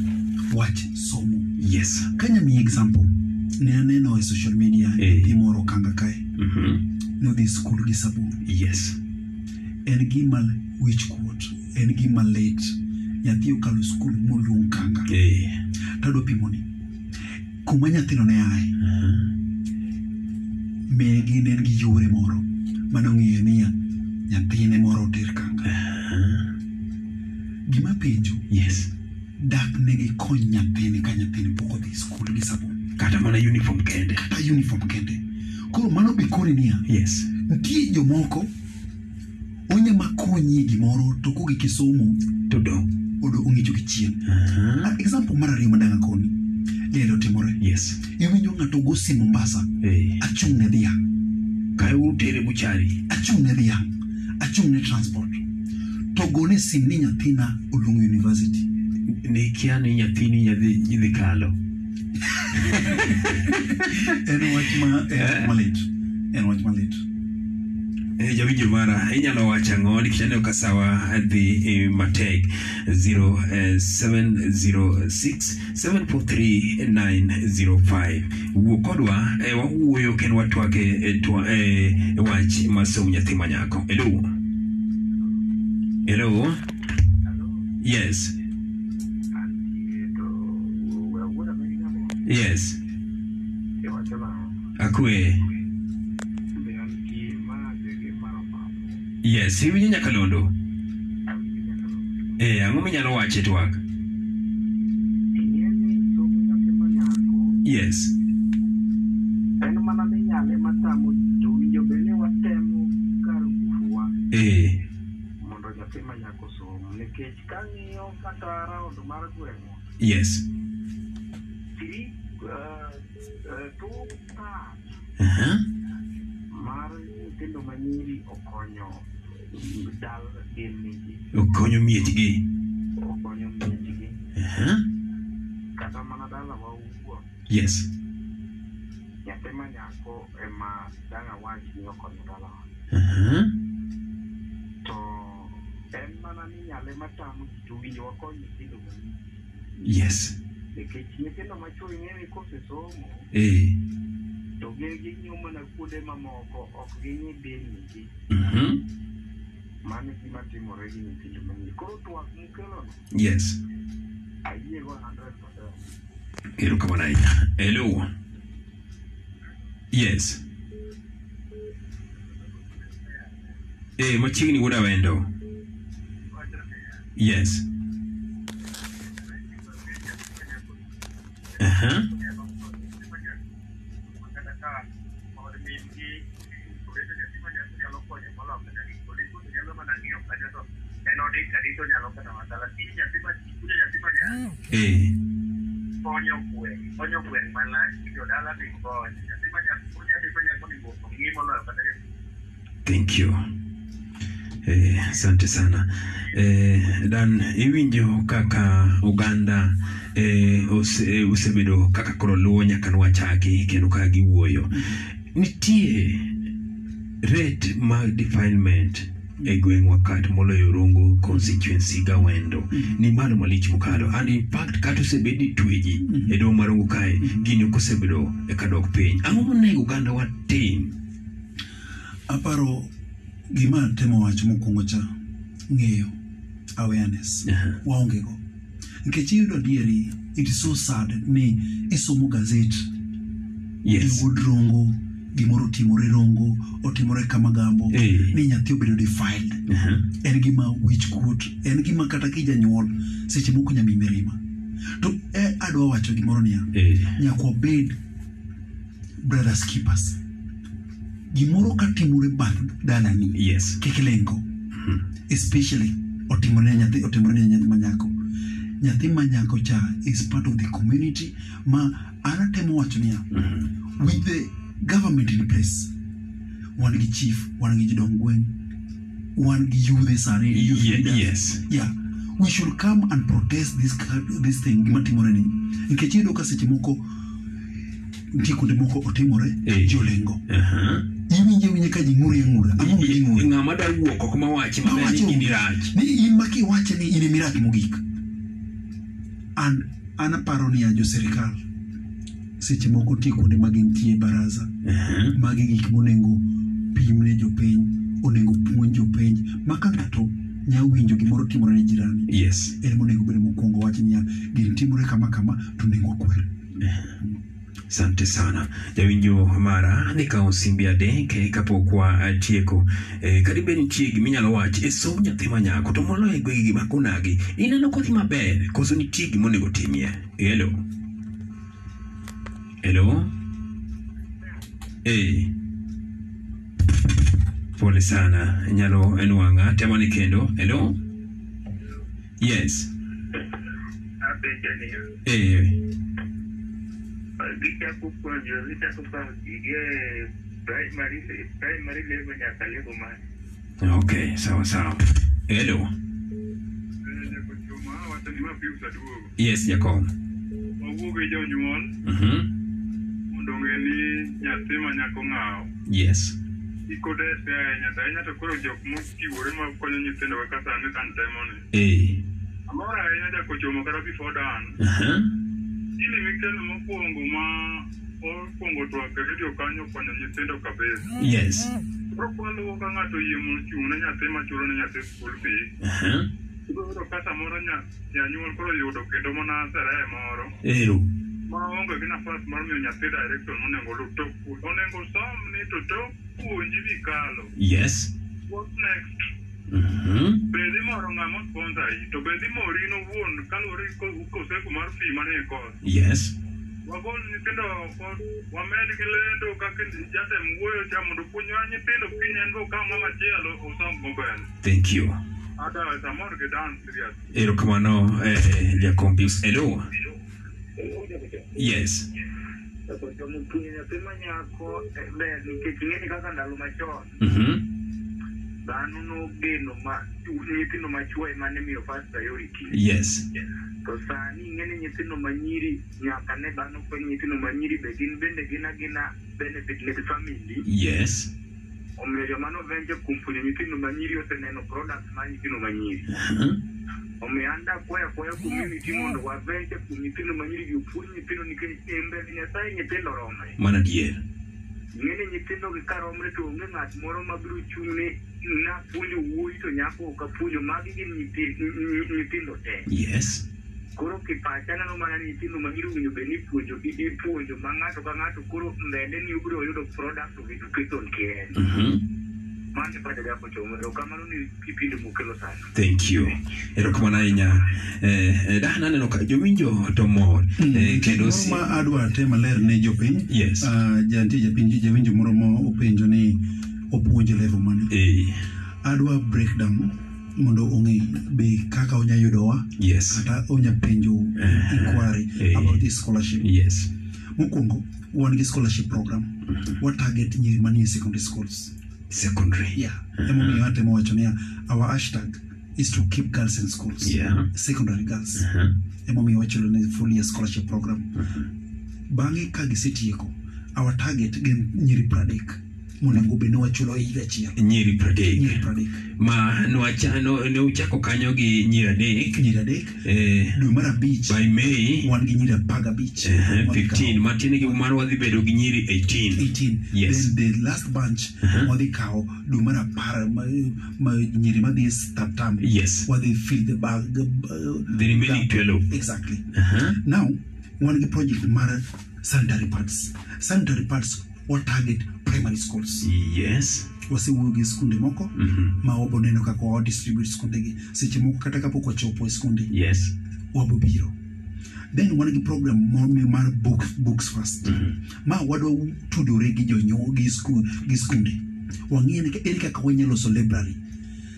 Speaker 2: wach somo
Speaker 1: yes
Speaker 2: kanyamiyi example ne aneno e social media
Speaker 1: Eh.
Speaker 2: nyathi moro kanga kae
Speaker 1: Mhm.
Speaker 2: nodhi skul gi sabun
Speaker 1: yes
Speaker 2: en gima wich kuot en gima lit nyathi okalo skul moluong kanga
Speaker 1: eh,
Speaker 2: tadwa pimoni kuma nyathino ne aye
Speaker 1: aha.
Speaker 2: megi ne en gi yore moro manong'eyo niya nyathine moro oter kanga
Speaker 1: Aha.
Speaker 2: gima penjo
Speaker 1: Eh. yes
Speaker 2: dak ne gikony nyathini ka nyathini pok odhi skul gi sabun
Speaker 1: kata mana uniform kende
Speaker 2: kata uniform kende koro mano be koni niya
Speaker 1: yes
Speaker 2: nitie jomoko onye makonyi e gimoro to kogik e somo
Speaker 1: to dong
Speaker 2: odo ong'icho gi chien
Speaker 1: Aha.
Speaker 2: Ah, example mar ariyo madang' akoni lendo otimore
Speaker 1: yes
Speaker 2: iwinjo ng'ato go simu mombasa
Speaker 1: eh,
Speaker 2: achung' ne dhiang'
Speaker 1: kae utere buchari
Speaker 2: achung' ne dhiang' achung' ne transport to gone sim ni nyathina oluong university
Speaker 1: nikia ni nyathini nyadhi nyidhi kalo
Speaker 2: en wach ma en wach malit en wach malit
Speaker 1: Eh, jawinjo mara inyalo wacho ang'o nikech aneno ka sawa dhi eh, matek 0706743905 wuo kodwa eh, wawuoyo kendo watwake e twa- e- e wach mar somo nyathi ma nyako helo helo yes yes
Speaker 4: Iya,
Speaker 1: akwe yes iwinjo nyakalondo eh ang'o minyalo wache twak yes
Speaker 4: en mana minyale matamo to winjo bene watemo kar ufuwa
Speaker 1: eh
Speaker 4: mondo nyathi ma nyako som nikech kang'iyo kata raund mar gweng'wa
Speaker 1: yes
Speaker 4: three uh, uh, two parts
Speaker 1: Aha.
Speaker 4: mar nyithindo manyiri okonyo dal gimigi
Speaker 1: okonyo miechgi
Speaker 4: okonyo miechgi
Speaker 1: Aha.
Speaker 4: kata mana dala wawuon
Speaker 1: yes
Speaker 4: nyathi ma nyako ema dang' awach ni okonyo dalawa
Speaker 1: Aha.
Speaker 4: to en mana ni nyale matamo ji to winjo wakony nyithindo manyiri
Speaker 1: yes
Speaker 4: nikech nyithindo machuo ing'e ni kosesomo
Speaker 1: eh
Speaker 4: to gin
Speaker 3: ging'iyo mana kuonde mamoko ok ging'i delnigi
Speaker 1: Mhm.
Speaker 3: mano e gima timore gi nyithindo manyiri koro twak mukelono
Speaker 1: Yes.
Speaker 3: ayiego 100 percent
Speaker 1: Erokamano ahinya. Hello. Yes. Eh, machiegni wuoda wendo. Yes. Aha. Eh.
Speaker 4: konyo gweng' konyo gweng' malach jodala dhi kony nyathi ma jakuo nyathi ma nyako onego ong'i moloyo kata jakuo
Speaker 1: Thank you. Eh, asante sana. Eh, Dan, iwinjo kaka Uganda eh, ose, osebedo kaka koro luwo nyaka nwachaki kendo kaka giwuoyo. Nitie rate mag defilement e gweng'wa kata moloyo Rongo constituency gawendo ni malo malich mokalo and in fact kata osebed ni tweji e doho mar Rongo kae gini ok osebedo e kadok piny ang'o monego Uganda watim
Speaker 2: aparo gima temo wacho mokwongo cha ng'eyo awareness
Speaker 1: Aha.
Speaker 2: waongego nikech iyudo adieri it is so sad ni isomo gazet
Speaker 1: yes
Speaker 2: iwuod rongo gimoro otimore rongo otimore kama gambo
Speaker 1: Eh.
Speaker 2: ni nyathi obedo defiled
Speaker 1: Aha.
Speaker 2: en gima wich kuot en gima kata ki janyuol seche moko nyami mirima to e adwa wacho gimoro niya
Speaker 1: Eh,
Speaker 2: nyaka wabed brothers keepers gimoro katimore bath dalani
Speaker 1: yes.
Speaker 2: kik lengo especially otimore ne nyathi otimore ne nyathi manyako nyathi manyako cha is part of the community ma an atemo wacho niya
Speaker 1: Mm-hmm.
Speaker 2: with the government in place wan gi chief wan gi jodong gweng wan gi yudhe sare youth
Speaker 1: Ye-
Speaker 2: leaders.
Speaker 1: yes.
Speaker 2: yeah we should come and protest this, cur- this thing gima timore ni nikech iyudo ka seche moko nitie kuonde moko otimore
Speaker 1: Eh. Uh-huh.
Speaker 2: jolengo
Speaker 1: Aha.
Speaker 2: iwinje winje ka ji ng'uri ang'ura ang'o ma jing'uri
Speaker 1: Ng'ama dwa wuok ok ma wach maber ni
Speaker 2: Mawacho-
Speaker 1: gini rach.
Speaker 2: ni in ma kiwache ni in e mirach mogik an an aparo niya jo sirikal seche moko nitie kuonde ma gintie e baraza
Speaker 1: Aha.
Speaker 2: magi gik monego pim ne jopiny onego puonj jopiny ma ka ng'ato nya winjo gimoro timore ne jirani
Speaker 1: Yes.
Speaker 2: en monego bed mokwongo wach niya gini timore kama kama to onego wakwer
Speaker 1: Sante sana. Jawinjo mara ni kawo simbi adek eh, kapok watieko. Eh, kadi bed nitie giminyalo wach e somo nyathi ma nyako to moloyo e gwengegi ma kunagi. Ineno kodhi maber koso nitie gimonego timie. Hello. Hello. Eh. Pole sana. Inyalo en wang'a. Temo ni kendo. Hello. Yes.
Speaker 4: apenjo niya
Speaker 1: Eh.
Speaker 4: gichako puonjo gichako paro gige primary primary level nyaka level mar
Speaker 1: Okay. Sawa sawa. Hello.
Speaker 3: jakochoma wacho ni ma pius aduogo
Speaker 1: Yes, jakom.
Speaker 3: wawuog e jonyuol
Speaker 1: Mhm.
Speaker 3: mondo ong'e ni nyathi ma nyako ng'aw
Speaker 1: Yes.
Speaker 3: kik odese ahinya to ahinya to koro jok mochiwore ma konyo nyithindo kaka sani kan temo ni
Speaker 1: Eh.
Speaker 3: amoro ahinya jakochomo kata before dan
Speaker 1: Aha.
Speaker 3: gini mikelo mokwongo ma okwongo twak e redio kanyo konyo nyithindo kabisa
Speaker 1: Yes.
Speaker 3: koro kwaluwo ka ng'ato oyie mondo ochung' ne nyathi ma chulo ne nyathi skul fee
Speaker 1: Aha.
Speaker 3: ibiro ka samoro nya- janyuol koro yudo kendo mana seree moro
Speaker 1: Ero.
Speaker 3: maonge gi nafas mar miyo nyathi direction monego lu to pu- onego som ni to tok puonji mikalo
Speaker 1: Yes.
Speaker 3: what next
Speaker 1: Mhm.
Speaker 3: bedhi moro ng'ama sponsor i to bedhi mori nowuon kaluwore gi ko- kosefu mar fee manie kod
Speaker 1: Yes.
Speaker 3: wagol nyithindo oko wamed gi lendo kaka jatem wuoyo cha mondo puonjwa nyithindo kiny en bo kaw ng'ama chielo osom maber
Speaker 1: Thank you.
Speaker 3: ada samor gi dan serious
Speaker 1: Ero kamano eh jakom Pius. Hello. Yes.
Speaker 4: jakochomo puonjo nyathi ma nyako eh, ber nikech ing'eni kaka ndalo machon
Speaker 1: Mhm.
Speaker 4: dhano nogeno ma nyithindo machuo ema ne miyo first priority
Speaker 1: Yes.
Speaker 4: to sani ing'eni nyithindo manyiri nyaka ne dhano fweny nyithindo manyiri be gin bende gin agina benefit mek family
Speaker 1: Yes.
Speaker 4: omiyo joma novenje kuom puonjo nyithindo manyiri oseneno product mar nyithindo manyiri
Speaker 1: Aha.
Speaker 4: omiyo an dakwaya kwaya community mondo wavenje kuom nyithindo manyiri jopuonj nyithindo nikech e mbele nyasaye nyithindo romre
Speaker 1: Mana dier.
Speaker 4: ng'eni nyithindogi karomre to onge ng'at moro mabiro chung'ne napuonjo wuoyi to nyako ok apuonjo magi gin nyithi- nyi- nyithindo te
Speaker 1: Yes.
Speaker 4: koro kipacha aneno mana ni nyithindo ma irowinjo bed ni ipuonjo ipuonjo ma ng'ato ka ng'ato koro mbele ni ubiro yudo product of education kien
Speaker 1: Mm-hmm.
Speaker 4: mano e pacha jako chomo kamano ni kipindi mokelo sana
Speaker 1: Thank you. Erokamano ahinya. Eh, eh, Dan aneno ka jowinjo to mor. Eh, kendo
Speaker 2: Mm. Moro
Speaker 1: si-
Speaker 2: ma adwa te maler ne jopiny
Speaker 1: Yes.
Speaker 2: Ah, jantie japiny jawinjo moro ma openjo ni opuonje level mane
Speaker 1: Eh,
Speaker 2: adwa breakdown mondo ong'e be kaka onya yudowa
Speaker 1: yes.
Speaker 2: kata onya penjo inquiry
Speaker 1: Eh.
Speaker 2: about this scholarship
Speaker 1: Yes. Mm-hmm.
Speaker 2: mokwongo wan gi scholarship program wa target nyiri manie secondary schools
Speaker 1: Secondary.
Speaker 2: yeah emomiyo atemo wacho niya our hashtag is to keep girls in schools
Speaker 1: Yeah.
Speaker 2: secondary girls
Speaker 1: Uh-huh.
Speaker 2: emomiyo wachulo ne full year scholarship program bang'e ka gisetieko our target gin nyiri pradek monego bed ni wachulo e higa achiel
Speaker 1: Nyiri
Speaker 2: nyiri
Speaker 1: pradek.
Speaker 2: pradek
Speaker 1: Ma nwachano ne uchako kanyo gi nyiri adek.
Speaker 2: nyiri adek
Speaker 1: Eh,
Speaker 2: dwe mar abich
Speaker 1: by May
Speaker 2: wan gi nyiri apar gabich
Speaker 1: eh,
Speaker 2: Wan gi
Speaker 1: 15 matiende gi mano wadhi bedo gi nyiri 18.
Speaker 2: 18
Speaker 1: Yes. Uh-huh.
Speaker 2: then the last bunch wadhi kawo dwe mar apar ma, ma nyiri madhi statam
Speaker 1: Yes.
Speaker 2: wadhi fill the bag uh,
Speaker 1: The remaining 12.
Speaker 2: exactly
Speaker 1: Uh-huh.
Speaker 2: now wan gi project mar sanitary pads sanitary pads wa target primary schools
Speaker 1: Yes.
Speaker 2: wasewuoyo gi skunde moko
Speaker 1: Mhm.
Speaker 2: ma waboneno kaka wadistribute skundegi seche moko kata kapok wachopo e skunde
Speaker 1: Yes.
Speaker 2: wabobiro then wan gi program moro mi- mar book, books first
Speaker 1: Mm-hmm.
Speaker 2: ma wadwa tudore gi jonyuol gi, sku, gi skunde wang'e ni ka- ere kaka wanya loso library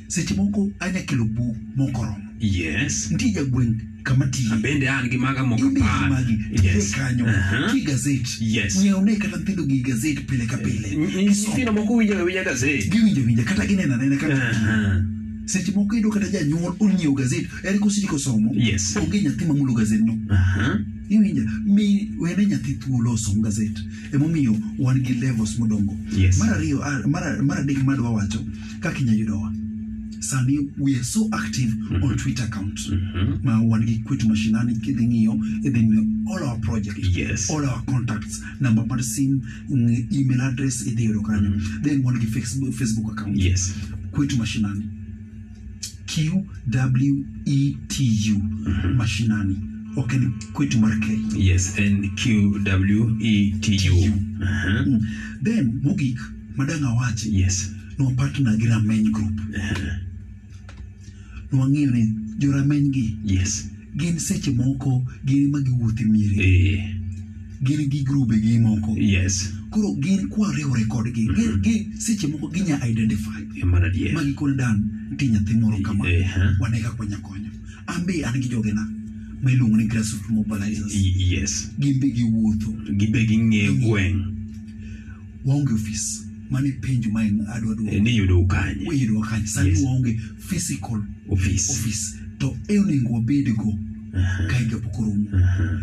Speaker 2: seche moko anya kelo buk mokoromo
Speaker 1: Yes.
Speaker 2: nitie jagweng' kama tiye
Speaker 1: Bende an gi maga moko
Speaker 2: Idhi
Speaker 1: apar.
Speaker 2: magi tiye
Speaker 1: Yes.
Speaker 2: kanyo
Speaker 1: Uh-huh.
Speaker 2: ki gazet
Speaker 1: Yes.
Speaker 2: ng'ieone kata nyithindo gi gazet pile ka pile
Speaker 1: nyithindo moko winjo awinja gazet Uh-huh.
Speaker 2: giwinjo winja kata gineno anena kaka
Speaker 1: Aha.
Speaker 2: seche moko iyudo kata janyuol onyiewo gazet ere kositiko somo
Speaker 1: Yes.
Speaker 2: onge nyathi mamulo gazetno
Speaker 1: Aha.
Speaker 2: iwinja mi wene nyathi thuolo osom gazet emomiyo wan gi levels modongo
Speaker 1: Yes.
Speaker 2: mar ariyo ah, mar mar adek madwa wacho kaka inya yudowa sani we are so active
Speaker 1: Mm-hmm.
Speaker 2: on twitter account
Speaker 1: Mhm.
Speaker 2: ma wan gi kwetu mashinani kidhi ng'iyo idhi ng'iyo all our project
Speaker 1: Yes.
Speaker 2: all our contacts namba mar sim ng- email address idhi yudo kanyo then wan gi facebook, facebook account
Speaker 1: Mm-hmm. Yes.
Speaker 2: kwetu mashinani qwetu E mashinani ok en kwetu mar kenya
Speaker 1: Mhm. Yes. N Q W E T U. Aha.
Speaker 2: Mm. then mogik madang awachi
Speaker 1: Yes. Uh-huh.
Speaker 2: nwapartner gi rameny group nwang'eyo ni jorameny gi
Speaker 1: Yes.
Speaker 2: gin seche moko gin ma giwuothe miere
Speaker 1: Eh.
Speaker 2: gin gi grube gi moko
Speaker 1: Yes. Mm-hmm.
Speaker 2: koro gin kwariwore kodgi gi- gi seche moko ginya identify
Speaker 1: Man adier.
Speaker 2: ma gikone dan nitie nyathi moro kama
Speaker 1: Eh, ha.
Speaker 2: wane kaka wanya konyo an be an gi jogena ma iluongo ni grassroots mobilizers
Speaker 1: Y- E, Yes.
Speaker 2: gin be giwuotho
Speaker 1: Gibe ging'e gweng'
Speaker 2: waonge ofis mane penjo ma en adwa
Speaker 1: eh,
Speaker 2: duoko
Speaker 1: ni yudo ukanye
Speaker 2: wiyudo kaka sani
Speaker 1: Yes.
Speaker 2: waonge physical
Speaker 1: office.
Speaker 2: office to e onego wabedgo
Speaker 1: Uh-huh.
Speaker 2: ka higa pok orumo
Speaker 1: Aha.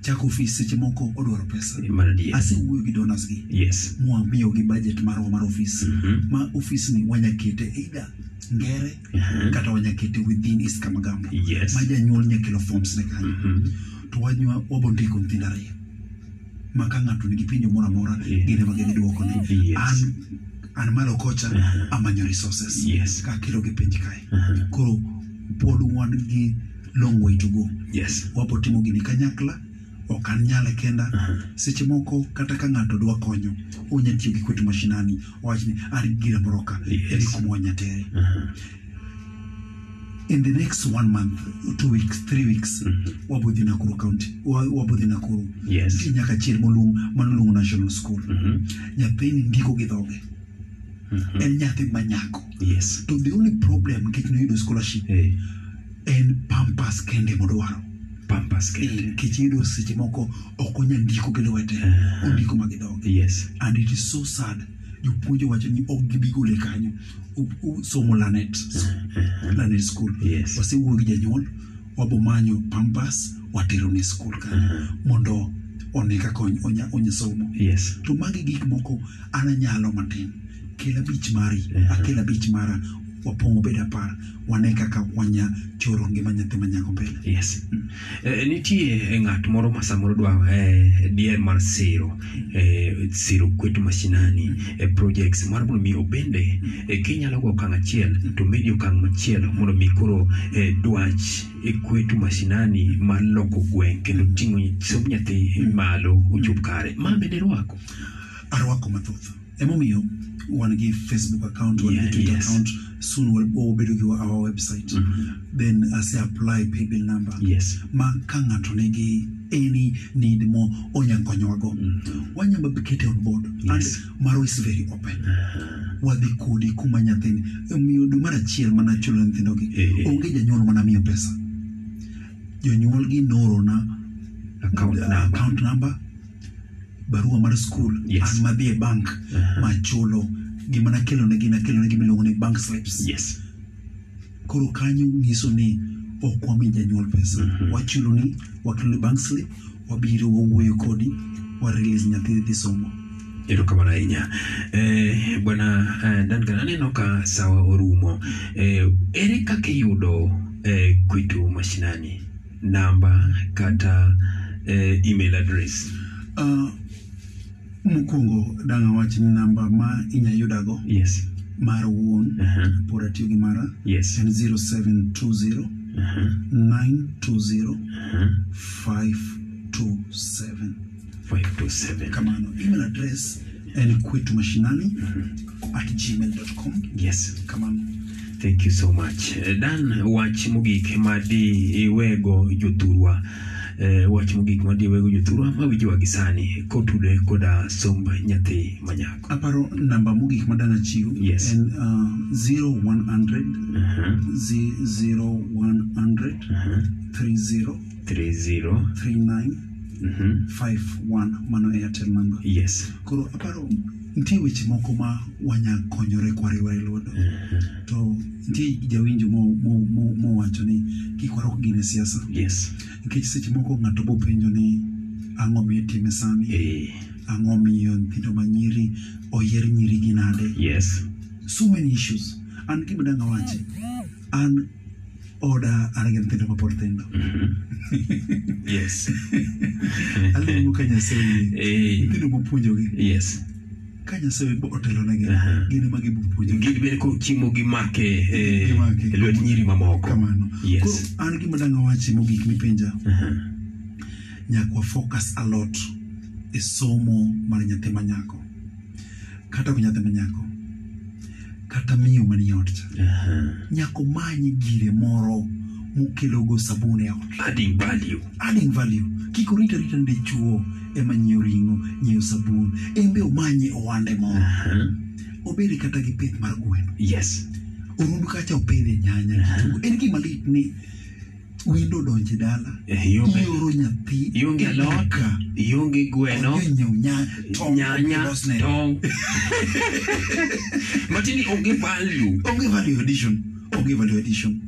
Speaker 2: chako office seche moko odwaro pesa
Speaker 1: Man adier.
Speaker 2: asewuoyo gi donors gi
Speaker 1: Yes.
Speaker 2: mwamiyogi budget marwa mar office
Speaker 1: Mhm.
Speaker 2: ma office ni wanyakete either ngere kata wanyakete within East Kamagamba
Speaker 1: Mm-hmm. Yes.
Speaker 2: ma janyuol nyakelo forms ne kanyo
Speaker 1: Mhm.
Speaker 2: to wanywa wabondiko nyithindo ariyo ma ka ng'ato nigi penjo moro amora
Speaker 1: Yeah.
Speaker 2: gin ema gidwoko ne
Speaker 1: Yes. Uh-huh.
Speaker 2: an an malo kocha amanyo resources
Speaker 1: Yes. Uh-huh.
Speaker 2: ka kelo gi piny kae
Speaker 1: Aha.
Speaker 2: koro pod wan gi long way to go
Speaker 1: Yes.
Speaker 2: wapo timo gini kanyakla ok an nyale kenda
Speaker 1: Mm-hmm.
Speaker 2: seche moko kata ka ng'ato dwa konyo onya tiyo gi kwetu mashinani owach ni an gira moro ka
Speaker 1: Yes. Mm-hmm.
Speaker 2: en kuma wanyatere
Speaker 1: Aha.
Speaker 2: in the next one month two weeks three weeks wabodhi nakuru county wa- wabodhi nakuru
Speaker 1: Mm-hmm. Yes.
Speaker 2: nitie nyaka achiel moluong manoluongo national school
Speaker 1: Mhm.
Speaker 2: nyathini ndiko gi dhoge en nyathi manyako
Speaker 1: Mm-hmm. Yes.
Speaker 2: to the only problem nikech noyudo scholarship
Speaker 1: Eh.
Speaker 2: en pampas kende modwaro
Speaker 1: Pampas kende.
Speaker 2: nikech iyudo seche moko ok onya ndiko gi lwete ondiko ma gi dhoge
Speaker 1: Yes.
Speaker 2: and it is so sad jopuonj wacho ni ok gibi gole kanyo U- u- somo lanet lanet school
Speaker 1: Yes.
Speaker 2: wasewuoyo gi janyuol wabomanyo pampas watero ne skul kanyo mondo one kaka onya- onya onya somo
Speaker 1: Yes.
Speaker 2: to magi gik moko an anyalo matin kel abich mari akel abich mara wapong obed apar wane kaka wanya choro ngima nyathi manyago mbele
Speaker 1: Yes. Eh, nitie eh, ng'at moro ma samoro dwa eh, dier mar siro eh, siro kwetu mashinani eh, projects mar mondo mi obende eh, kinyalo go okang' achiel to medi okang' machielo mondo mi koro eh, dwach e kwetu mashinani mar loko gweng' kendo ting'o nyi- somb nyathi malo ochop kare ma bende rwako
Speaker 2: arwako mathoth emomiyo wan gi facebook account wan gi
Speaker 1: Yeah,
Speaker 2: twitter
Speaker 1: yes.
Speaker 2: account soon wabedo gi our website then ase apply paybill number
Speaker 1: Mm-hmm. yes
Speaker 2: ma ka ng'ato nigi any need mo onya konyowago wanyalo kete on board
Speaker 1: Mm-hmm. Yes. Uh-huh.
Speaker 2: and maro is very open wadhi kodi kuma nyathini omiyo dwe mar achiel mana chulo nyithindogi
Speaker 1: Eh, eh.
Speaker 2: onge janyuol mana miyo pesa jonyuolgi noorona
Speaker 1: account
Speaker 2: uh,
Speaker 1: number
Speaker 2: account number barua mar skul
Speaker 1: Yes. Uh-huh.
Speaker 2: an madhi e bank machulo gima nakelonegi nakelonegi miluongo ni bank slips
Speaker 1: yes
Speaker 2: koro kanyo nyiso ni ok wami janyuol pesa
Speaker 1: Mm-hmm.
Speaker 2: wachuloni wakeloni bank slip wabiro wawuoyo kodi warelease nyathi dhi somo
Speaker 1: erokamano ahinya eh, bwana eh, dangan aneno ka sawa orumo eh, ere kaka iyudo eh, kwetu mashinani namba kata eh, email address
Speaker 2: Uh, mokwongo dang' awach ni namba ma inya yudago
Speaker 1: yes
Speaker 2: mar wuon
Speaker 1: Aha.
Speaker 2: pod atiyo gi mara
Speaker 1: yes Uh-huh.
Speaker 2: en 0720
Speaker 1: Aha.
Speaker 2: 920
Speaker 1: Aha.
Speaker 2: 527
Speaker 1: Five two seven.
Speaker 2: kamano email address en kwetu mashinani at gmail.com
Speaker 1: Uh-huh. yes
Speaker 2: kamano
Speaker 1: Thank you so much. Eh, Dan, wach mogik ma di iwego jothurwa eh, wach mogik ma di iwego jothurwa mawinjowa gi sani kotude koda somb nyathi manyako.
Speaker 2: aparo namba mogik madang achiw
Speaker 1: Yes. Uh-huh.
Speaker 2: en uh, 0100
Speaker 1: Aha,
Speaker 2: zi- 0100
Speaker 1: aha.
Speaker 2: 30
Speaker 1: Uh-huh. Three zero.
Speaker 2: 39
Speaker 1: Mhm.
Speaker 2: 51 mano e airtel namba
Speaker 1: Yes.
Speaker 2: koro aparo nitie weche moko ma wanya konyore kwariwore lwedo
Speaker 1: Uh-huh.
Speaker 2: to nitie jawinjo mowacho mo, mo, mowacho ni kik warwak gine e siasa
Speaker 1: Yes.
Speaker 2: nikech seche moko ng'ato bopenjo ni ang'o miyo itime sani
Speaker 1: Eh,
Speaker 2: ang'o miyo nyithindo manyiri oyier nyiri gi nade
Speaker 1: yes.
Speaker 2: so many issues an gima dang'
Speaker 5: Mm.
Speaker 2: awachi an oda an gi nyithindo mapod thindo
Speaker 1: Mm-hmm. Yes.
Speaker 2: aluongo ka nyasaye
Speaker 1: Eh,
Speaker 2: nyithindo mopuonjogi
Speaker 1: yes.
Speaker 2: ka nyasaye bo otelonegi
Speaker 1: Aha.
Speaker 2: gin ema gibopuonjogi
Speaker 1: Gin bende kochimo gi make eh,
Speaker 2: Gimake.
Speaker 1: e lwet nyiri mamoko.
Speaker 2: kamano
Speaker 1: Yes.
Speaker 2: koro an gima dang' awachi mogik mipenja
Speaker 1: Aha.
Speaker 2: nyakwa focus a lot e somo mar nyathi manyako kata go nyathi manyako kata miyo manie ot cha
Speaker 1: Aha.
Speaker 2: nyako many gire moro mokelogo sabun e ot
Speaker 1: Adding value.
Speaker 2: adding value kik orit arita ni dichuo ema nyiewo ring'o nyiewo sabun en be omanye ohande moro
Speaker 1: Aha.
Speaker 2: obed kata gi pith mar gweno
Speaker 1: Yes.
Speaker 2: orundu kacha opidhe nyanya kitungu en gima lit ni windo odonje dala
Speaker 1: Eh, yo be-
Speaker 2: ioro nyathi
Speaker 1: ionge
Speaker 2: e
Speaker 1: alot,
Speaker 2: duka.
Speaker 1: ionge gweno
Speaker 2: Onyiewo nya- tong'
Speaker 1: nyanya
Speaker 2: olosne.
Speaker 1: tong matini onge value
Speaker 2: onge value addition onge value addition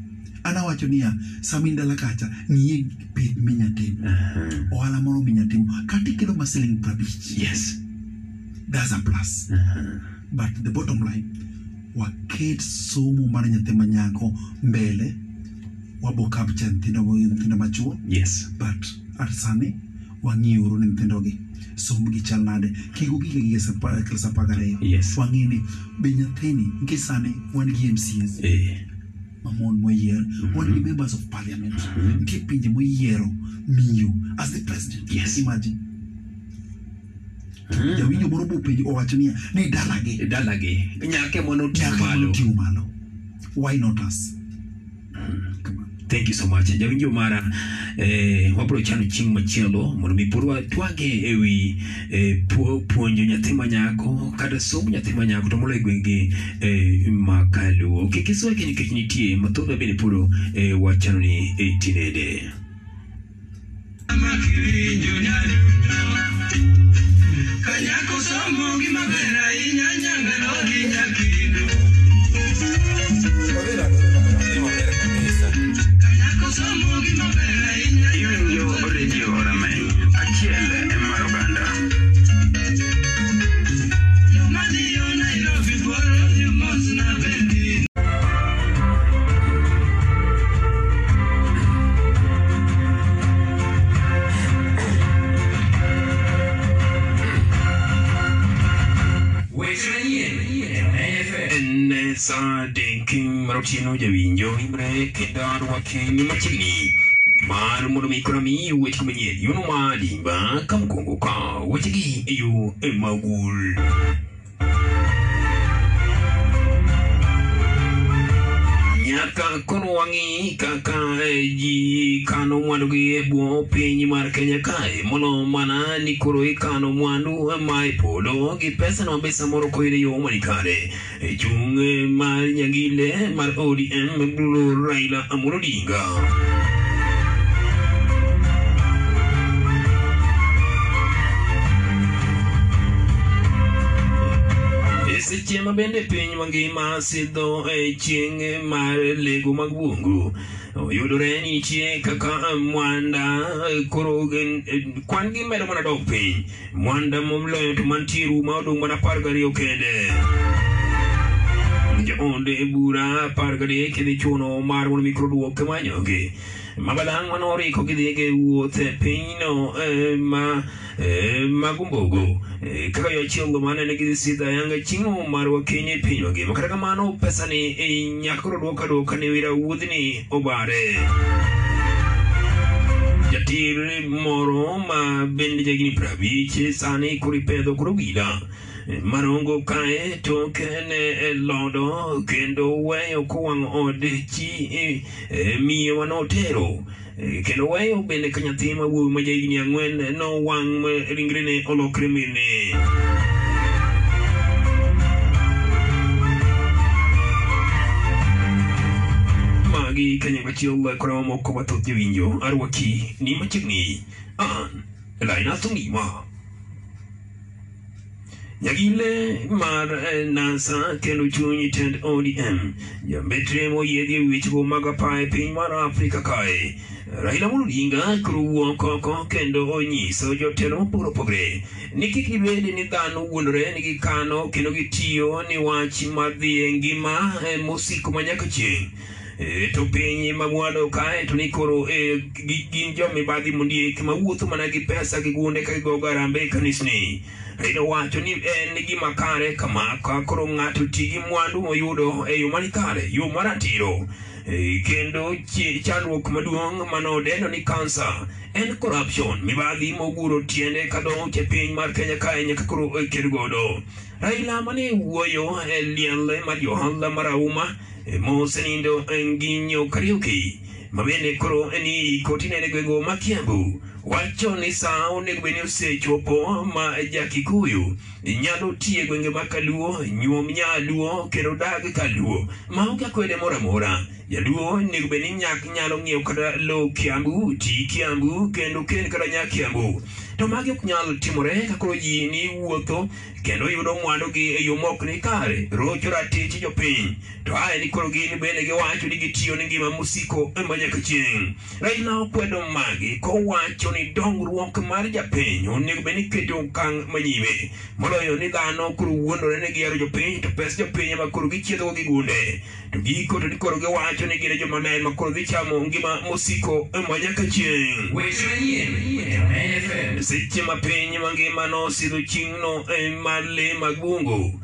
Speaker 2: an awacho niya sami ndala kacha ng'iye pith minya timo
Speaker 1: Aha.
Speaker 2: ohala moro minya timo kata ikelo ma siling prabich
Speaker 1: yes Uh-huh.
Speaker 2: thats a plus but the bottom line waket somo mar nyathi manyako mbele wabo kapcha nyithindo nyithindo machuo
Speaker 1: yes
Speaker 2: but at sani wang'iyo oro ne nyithindogi sombgi chal nade kik ugige gi klas apaga ariyo
Speaker 1: Yes.
Speaker 2: wang'e ni be nyathini nikech sani wan gi mcs
Speaker 1: eh, Mm-hmm.
Speaker 2: mamon moyier wan gi members of parliament nitie pinje moyiero miyo as the president
Speaker 1: Yes.
Speaker 2: imagine
Speaker 1: Mhm.
Speaker 2: jawinjo moro bopenjo owacho niya ni dalagi
Speaker 1: dalagi nyake mono oting'o
Speaker 2: nyaka
Speaker 1: malo
Speaker 2: oting'o malo why not us Kamano.
Speaker 1: thank you so much jawinjo mara eh, wabro chano chieng' machielo mondo mi pod watwage e wi eh, puo- puonjo nyathi manyako kata somo nyathi manyako to moloyo e gwenge eh, ma kaluo kik isweke nikech nitie mathoth mabende pod eh, wachano ni eh, tinede
Speaker 6: Kanyako somo gima ber ahinya nyangano gi nyakido. Kanyako somo gima ber ahinya
Speaker 4: Iwinjo redio rameny achiel e mar oganda.
Speaker 6: yo madhiyo Nairobi boro dhi mos na bendi. Wech manyien AFM.
Speaker 1: En eh, saa adek mar otieno jawinjo imre kendo arwake ni machiegni mar mondo mi koro miyi weche manyien yono ma dimba ka mokwongo ka wechegi e yo e magul nyaka koro wang'i kaka eh, ji kano mwandugi e bwo piny mar Kenya kae molo mana ni koro ikano mwandu ma e polo gi pesano be samoro koyudo e yo manikare e chung' eh, mar nyangile mar ODM Blulo Raila Amolo Odinga. E seche ma bende piny mangima sidho e chieng' mar lego mag bungu oyudore ni nitie kaka mwanda eh, koro gen- eh, kwan-gi medo mana dok piny mwanda moloyo to mantie Rumu ma odong' mana apar gariyo kende jood e bura apar gadek dhi chuno mar mondo mi koro duoke manyogi ma balang' mano oriko gidhi gi wuoth e pinyno eh, ma eh, magumbogo Eh, kaka yo achiel go mane nigi sidho ayanga chieng'o marwa kenya e pinywagi ma kata kamano pesani eh, nyaka koro duok aduoka ne wira wuodhni obare jatir moro ma bende jagini prabich sani koro ipedho koro wila marongo kae tok en e lodo kendo weyo kowang' od chi eh, eh, miyewa notero Eh, kendo weyo bende ka nyathi ma wuowi ma jahigni ang'wen nowang' ma ringrene olokre mine magi kanyachiel kora mamoko mathoth jowinjo arwaki ni machiegni an elaina thungima nyagile mar eh, nasa kendo chuny tend odm jambetre moyiedhi e wichgo mag apaya e piny mar afrika kae raila Amolo odinga koro wuok oko kendo onyiso jotelo mopogore opogore ni kik gibedi ni dhano wuondore ni gikano kendo gitiyo ni wach mar dhi e ngima eh, mosiko ma nyaka chieng' Eh, to piny mamwalo kae to ni koro eh, gi- gin jomibadhi mondiek mawuotho e mana gi pesa gi gunde ka gigo garambe e kanisni Raila owacho ni en gima kare kama ka koro ng'ato ti gi mwandu moyudo e yo manikare yo maratiro Eh, kendo chi- chandruok maduong' manodendo ni kansa en corruption mibadhi moguro tiende kadongo e piny mar kenya kae nyaka koro oked godo raila mane wuoyo e liel mar johala marauma mosenindo nginyo kariuki ma bende koro ni kotinene gwego ma kiambu wacho ni saa onego bed ni osechopo ma jakikuyu nyalo tiye gwenge ma kaluo nyuom nyaluo kendo dag kaluo maonge akwede moro amora jaluo onego bed ni nyak nyalo ng'iewo kata lo kiambu ti kiambu kendo ken kata nya kiambu to magi ok nyal timore ka koro ji ni wuotho kendo yudo mwandugi e yo mok ni kare rocho ratich jopiny to ae ni koro gin bende giwacho ni gitiyo ni ngima mosiko ema nyaka chieng' raila okwedo magi kowacho ni dongruok mar japiny onego bed ni keto okang' manyime moloyo ni dhano koro wuondore ni gihero jopiny to pes jopiny ema koro gichiedhogo gi gunde to giko to ni koro giwacho ni gin jomaler ma koro dhi chamo ngima mosiko ema nyaka chieng'
Speaker 6: Wech manyien AFM.
Speaker 1: seche ma piny mangima nosidho chieng'no eh, mar le mag bungu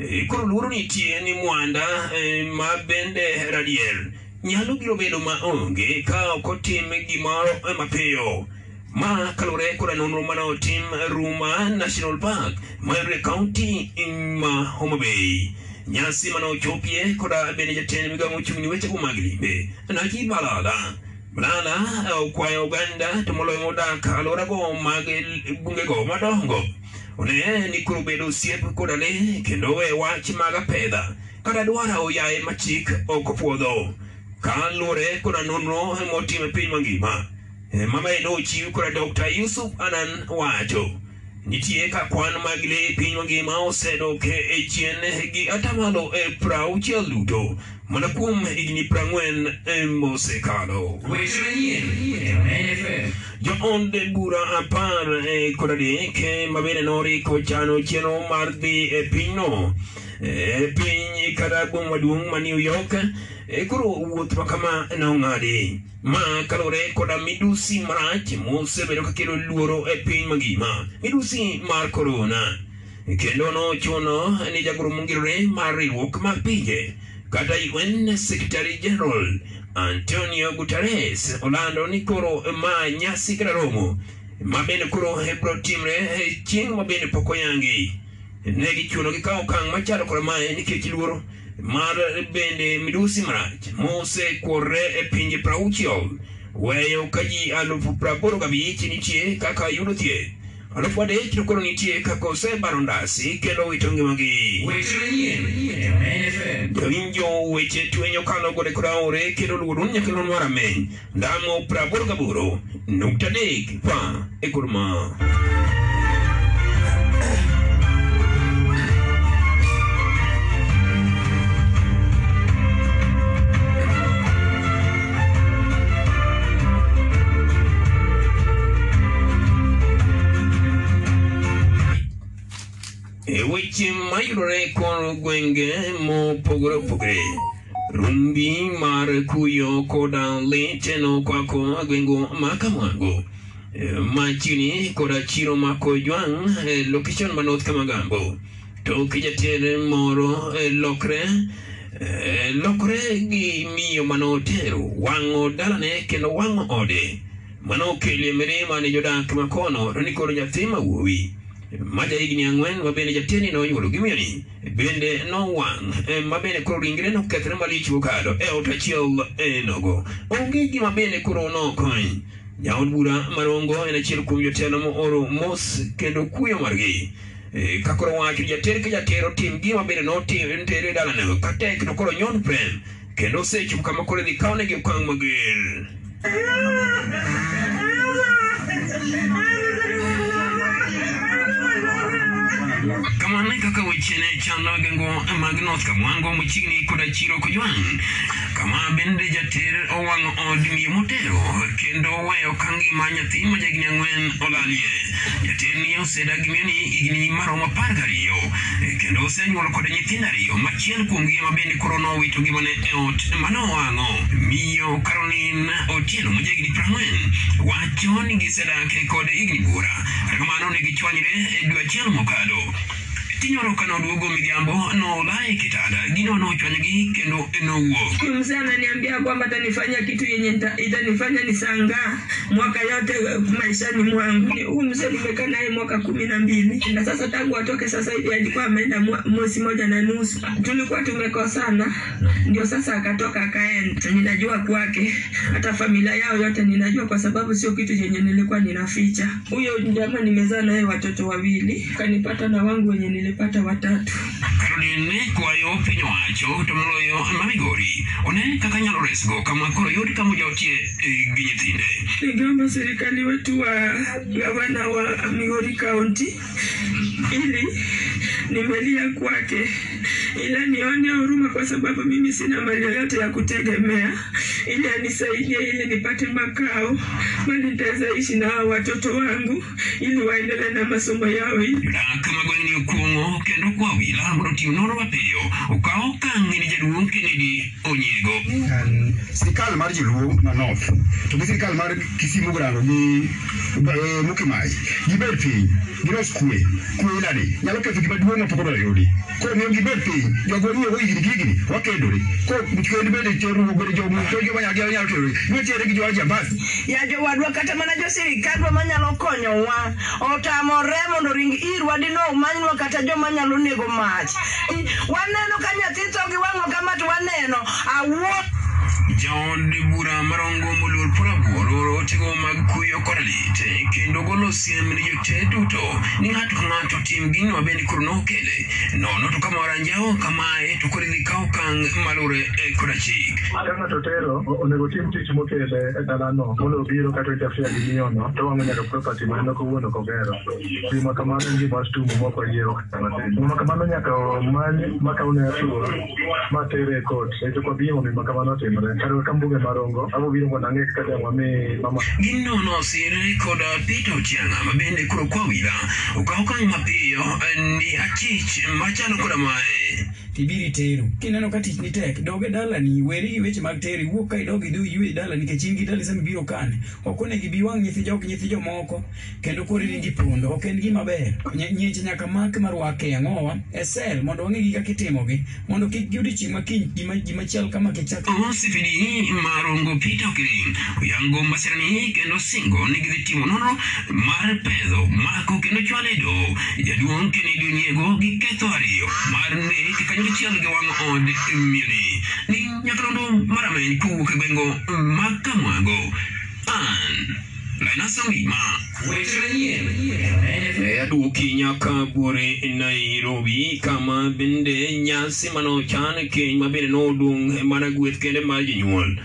Speaker 1: Eh, koro luoro nitie ni mwanda eh, ma bende radier nyalo biro bedo maonge ka ok otim gimoro eh, mapiyo ma kalure koda nonro mane otim ruma national park mayudore e kaunti ma homabay nyasi mane ochopie koda bende jatend migao mochung'ni wechego mag limbe naji balala Balala eh, okwayo oganda to moloyo modak alworago mag bungego madongo. One ni koro bedo osiep koda le kendo we wach mag apedha kata dwara oyaye ma chik ok opuodho kaluwore koda nonro motim e piny mangima. Eh, Mama endo ochiw koda Dr. Yusuf Anan wacho. Nitie ka kwan mag le e piny mangima osedok e chien gi atamalo e prauchiel duto mana kuom higni prang'wen eh, mosekalo.
Speaker 6: Wech manyien AFM.
Speaker 1: jood bura apar e kod adek eh, ma bende noriko chano chenro mar dhi e pinyno e piny kata boma maduong' ma New York e koro wuoth ma kama nong'adi ma kalore koda midusi marach mosebedo ka kelo luoro e piny mangima midusi mar korona kendo nochuno ni jagoro mongirore mar riwruok mag pinje kata UN Secretary General Antonio Guterres olando ni koro ma nyasi kata romo ma bende koro biro timre e chieng' ma bende pok oyangi ne gichuno gikaw okang' machalo kod mae nikech luoro mar bende midusi marach mosekuorre e pinje prauchiel weyo ka ji alufu praboro gabich nitie kaka yudo thieth alufu adek to koro nitie kaka osebaro ndasi kendo wito ngimagi
Speaker 6: Weche manyien e MNFM.
Speaker 1: jowinjo weche twenyo kano gode kod aore kendo luoro ni nyaka non mar ameny ndamo praboro gaboro nukta adek pa e kor ma e weche mayudore kor gwenge mopogore opogore rumbi mar kuyo koda liteno kwako gwengo ma kamago E, machiegni koda chiro ma kojwang' e location ma north kamagambo tok jater moro e, lokre e, lokre gi miyo manotero wang'o dalane kendo wang'o ode manokele mirima ne jodak ma kono to ni koro nyathi ma wuowi ma jahigni ang'wen ma bende jateni nonyuolo gi miyoni bende nowang' eh, ma bende koro ringre nokethre malich mokalo e ot achiel e nogo onge gima bende koro nokony jaod bura marongo en achiel kuom jotelo mooro mos kendo kuyo margi Eh, ka koro wach ni jater ka jater otim gima bende e notere dalanego katek to koro nyon prem kendo osechopo kama koro idhi kawnegi okang' mager kamano e kaka weche ne chando e gwengego mag north kamwango machiegni koda chiro kojwang' kama bende jater owang'o od miyo motero kendo oweyo ka ngima nyathi ma jahigni ang'wen olalie jaterni osedagi miyoni higni maromo apar gariyo eh, kendo osenyuolo kode nyithindo ariyo machiel kuomgi ma bende koro nowito ngimane e ot mane owang'o miyo caroline otieno ma jahigni prang'wen wacho ni gisedake kode higni buora kata kamano ne gichwanyre e dwe achiel mokalo tinyoro ka noduogo midhiambo nolae kitanda gino nochwanygi kendo nowuok
Speaker 7: mzee ananiambia kwamba atanifanya kitu yenye nita- itanifanya nisangaa mwaka yote eh, maishani mwangu. Ni- Huyu mzee nimekaa naye mwaka kumi na mbili na sasa, tangu atoke sasa hivi alikuwa ameenda mwa- mwezi moja na nusu, tulikuwa tumekosana, ndio sasa akatoka akaenda. Ninajua kwake, hata familia yao yote ninajua, kwa sababu sio kitu chenye nilikuwa ninaficha. Huyo jamaa nimezaa naye watoto wawili, kanipata na wangu wenye nilipata watatu.
Speaker 1: Caroline ne kwayo piny owacho to moloyo ma Migori one kaka nyalo resgo kama koro yud kama otie eh, gi nyithinde.
Speaker 7: Nigamba serikali wetu wa gavana wa Migori County ili nimelia kwake, ila nione huruma kwa sababu mimi sina mali yoyote ya kutegemea, ili anisaidie ili nipate makao, bali nitaweza ishi na hao watoto wangu ili waendelee na masomo yao ili
Speaker 1: Jodak ma gweng'ni okuong'o kendo kwa wila mondo otim nonro mapiyo okaw okang' ni jaduong' Kennedy Onyiego.
Speaker 8: an sirikal mar joluo ma north to gi sirikal mar kisimu gorango gi eh, mukimai gibed piny gilos kwe kwe ilani nyalo ketho gima duong' mapok odwaro yudi koro miyo gibed piny jogo ruogo higni gi higni wakedore koro kend bende choruogo bende joma nyagi nyalo terore nochere gi jo jambasi
Speaker 9: ya jowadwa kata mana Kan jo sirikandwa manyalo konyowa otamore mondo ring irwa dino umanywa kata joma nyalo nego mach waneno ka nyathi tho gi wang'o kama to waneno awuo
Speaker 1: Jaod bura marongo moluor Prabuor oro otego mag kuyo kod lit eh, kendo golo siem ne jote duto ni ng'ato ka ng'ato tim gino ma bende koro nokele nono to kama waranjawo kamae to koro idhi kaw okang' malure eh, koda chik.
Speaker 10: ka ng'ato tero o- onego otim tich mokele e dalano mondo obiro kata interfere gi miyono to wang'o nyaka property maneno kowuono kogero gima kamano en gima stumo mok oyiero kata matin gima kamano nyaka omany makawne atuo ma tere e kot to kwabiro mi makamano otimre kata ka mbuge marongo abo biro mondo ang'e kaka dang' wami mama
Speaker 1: Gino nosire kod Peter Otianga ma bende koro kwa wila okaw okang' mapiyo eh, ni achich machalo koda mae.
Speaker 11: tibiro itero kineno ka tich ni tek dog e dalani weri gi weche mag tero iwuok ka idog idhi iywe e dala nikech in gi dala sama ibiro kane ok onego ibi wang' nyithi jok nyithi jomoko kendo koro in gi pondo ok en gima ber Nye- nyiech nyaka mak marwake e ang'owa e sel mondo wang'e gi kaka itimogi mondo kik giyudi chieng' ma kiny gima gimachiel kama kichak
Speaker 1: Owasipini Marungu Peter Green oyango masirani kendo osingo ni gidhi timo nonro mar pedho mako kendo chwale doho jaduong' Kennedy Onyiego gi ketho ariyo mar nek kanyachiel gi wang' od Muni ni nyakalondo marameny kowuok e gwengo ma Kamwago an Linus Ongima weche manyien Duki nyaka bure Nairobi kama bende nyasi manochan keny ma bende nodong' mana gweth kende mar jonyuol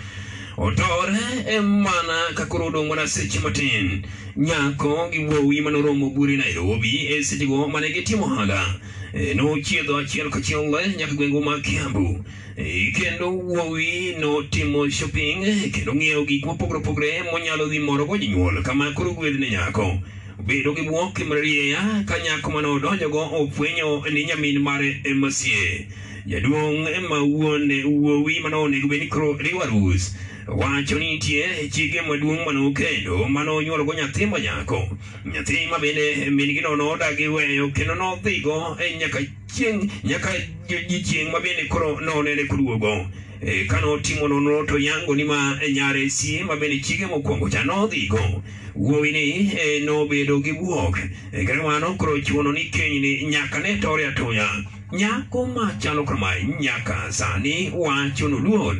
Speaker 1: otore e mana ka koro odong' mana seche matin nyako gi wuowi manoromo bure Nairobi e sechego mane gitimo ohala E, nochiedho achiel kachiel nyaka gwengu ma Kiambu E, kendo wuowi notimo shopping e, kendo ng'iewo gik mopogore opogore monyalo dhi morogo jonyuol kama koro gweth ne nyako bedo gi bwok marieya ka nyako mane odonjogo ofwenyo ni nyamin mare e masie jaduong' ema wuon e wuowi mane onego bed ni koro riwo arus wacho ni nitie e chike maduong' mane okendo mane onyuolgo nyathi ma nyako nyathi ma bende min gino nodagi weyo kendo nodhigo e nyaka chieng' nyaka odiochieng' ma bende koro nonene koduogo e, kanotimo nonro to yango ni ma e nyare sie ma bende chige mokwongo cha nodhigo wuowini e, nobedo gi bwok e, kata kamano koro chuno ni kenyni nyaka ne tore atoya nyako machalo kamae nyaka sani wacho noluor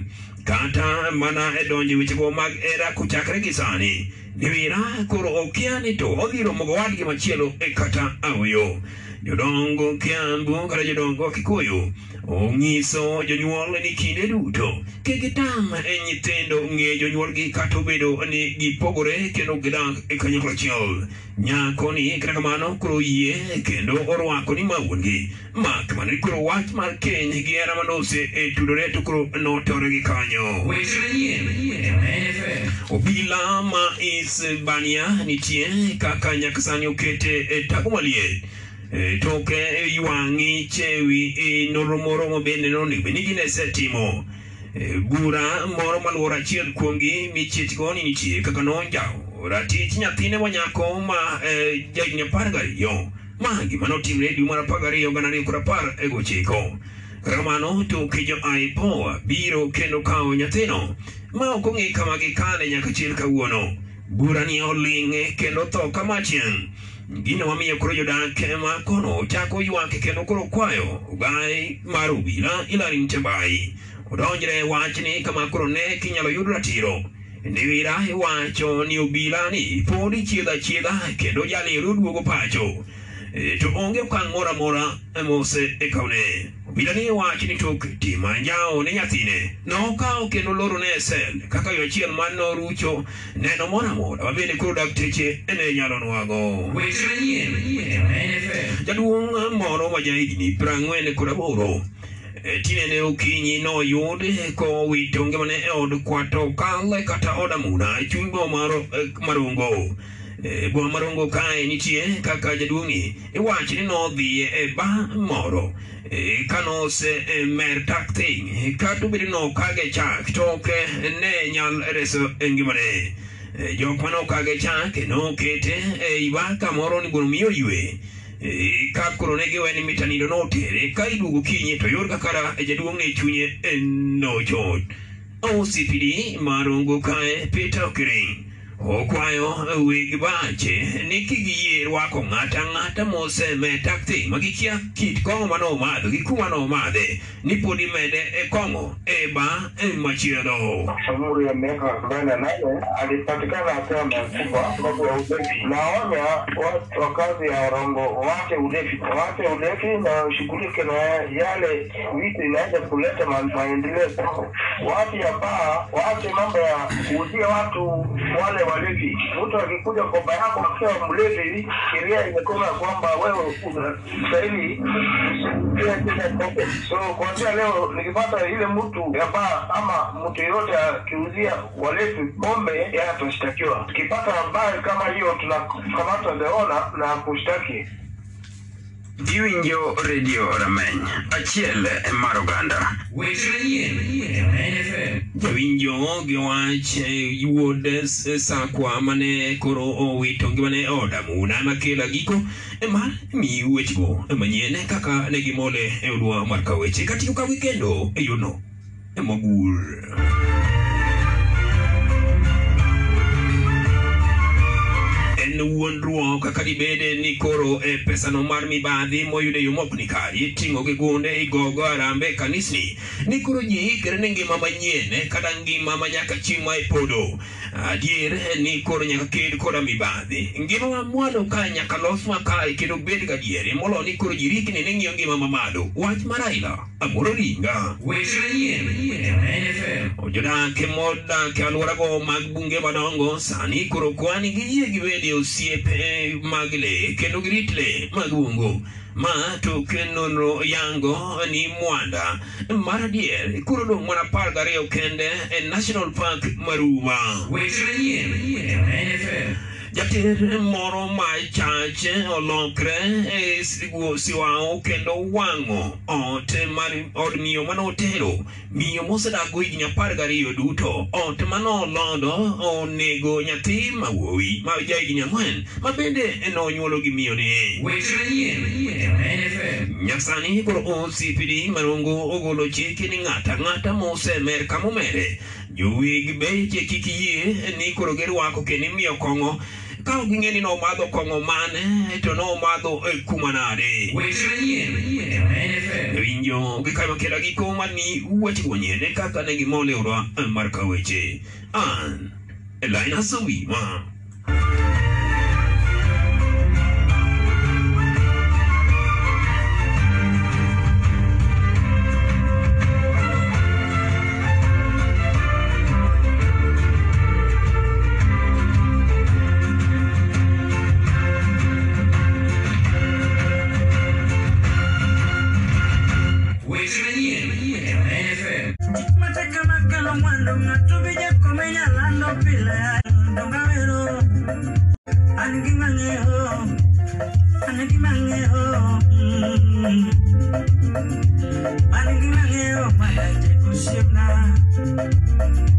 Speaker 1: kata mana e donjo e wechego mag era kochakre gi sani niwira koro okia ni to odhi romo gowadgi machielo e kata aoyo jodongo kiambu kata jodongo kikuyu onyiso jonyuol ni kinde duto kik gitang' e nyithindo ng'e jonyuolgi kata obedo ni gipogore kendo gidak e kanyakla achiel nyako ni kata kamano koro oyie kendo orwako ni ma wuongi mak mana ni koro wach mar keny gi hera manose e tudore to koro notore gi kanyo weche manyien obila ma isbania nitie kaka nyaka sani okete e tago maliet E, toke e, ywang'i chewi e, nonro moro ma bende nonego bed ni gin esetimo E, bura moro maluoro achiel kuomgi michiechgo ni nitie kaka nonjawo ratich nyathine ma nyako ma e, jahigni apar gariyo ma gima notimre e dwe mar apar gariyo gana ariyo kod apar e gochiko kata kamano toke jo ipoa biro kendo kawo nyathino ma ok ong'e kama gikane nyaka chil kawuono burani oling'e kendo tho kama chieng' gino mamiyo koro jodak ema kono chako ywak kendo koro kwayo ogai mar obila Hilary Mutebai odonjre e wachni kama koro ne kinyalo yud ratiro Niwira iwacho ni obila ni pod ichiedho achiedha kendo jalero duogo pacho E, to onge okang' moro amora e mose ikawne obila ni iwacho ni tok tim anjawo ne nyathine nokawo kendo lorone e sel kaka yo achiel mar norucho neno moro amora mabende koro dakteche ene nyalo nwago weche manyien jaduong' moro ma jahigni pirang'wen kod aboro E, tinene okinyi noyud kowito ngimane e od kwato kale kata od amuna e chuny boma mar eh, marungo E, boma marungo kae nitie kaka jaduong'ni iwacho ni nodhiye e ba moro e, kanose e, mer tak thing kata obedo ni nokage chak to ok ne nyal reso e ngimane E, jok manokage chak nokete e iba kamoro ni mondo mi oywe E, ka koro ne giwe ni mitanido notere ka iduogo kinye to yor kakara jaduong' ne chunye e, nochot OCPD marungo kae Peter Okiring okwayo weg bache ni kigiyie rwako ng'ata ng'ata moseme takthi ma gikia kit kong'o mane omadho gi kuma ne omadhe ni pod imede e kong'o e ba e machielo
Speaker 10: Jamhuri ya miaka arobaini na nane alipatikana akiwa amekufa sababu ya ulevi. Naonya watu wakazi ya Rombo waache ulevi, waache ulevi na washughulike na yale vitu inaweza kuleta ma- maendeleo kwao. Waache ya baa, waache mambo ya kuuzia watu wale walevi. Mtu akikuja kwa baa yako akiwa mlevi, sheria imesema kwamba wewe unastahili kila kila kope. So kuanzia leo nikipata ile mtu ya baa ama mtu yoyote akiuzia walevi pombe, yeye atashtakiwa. Tukipata habari kama hiyo, tunakamata the owner na kushtaki.
Speaker 1: Iwinjo redio Rameny, achiel mar oganda. Weche manyien e Rameny FM. Jawinjo gi wach eh, wuod eh, Sakwa mane koro owito ngimane e od amuna makelo giko e ema mi wechego E manyien kaka ne gimole e odwa mar kawo weche katiyo ka wikendo e yono e mogul. en wuondruok kaka dibede ni koro e pesano mar mibadhi moyudo e yo mokni kare iting'o gi gunde igogo arambe e kanisni ni koro ji ikre ne ngima manyien eh, kata ngima ma nyaka chieng' ma ipodo adier eh, ni koro nyaka ked koda mibadhi ngima ma mwalo ka nyaka los makae kendo bed gadiere molo ni koro ji rikni ni ng'iyo ngima mamalo wach mar Raila amoro ringa weche manyien FM. Jodak modak e alworago mag bunge madongo sani koro kwani giyie gibed e osiep eh, mag le kendo girit le mag bungu ma tok nonro yango ni mwanda mar adier koro dong' mana apar gariyo kende e national park maruma weche manyien FM. jater moro ma chache olokre e sigu- siwao kendo wang'o ot mar od miyo manotero miyo mosedago higni apar gariyo duto ot manolondo onego nyathi ma wuowi ma ja higni ang'wen ma bende nonywolo gi miyoni weche manyien nyasani koro OCPD marungu ogolo chik ni ng'ata ng'ata mosemer kamomere jowig beche kik e yie ni koro girwako kendo imiyo kong'o ka ok ging'e ni nomadho kong'o mane to nomadho e kuma nade weche manyien winjo gi kama kela giko mani weche manyien e kaka ne gimole urwa mar ka weche an Elina Sawima weche manyien FM
Speaker 5: Mata kama kelo mwando ng'ato be jakomenya lando pile donga wero an gima ng'eyo an gima ng'eyo mm. an gima ng'eyo mana jeko siepna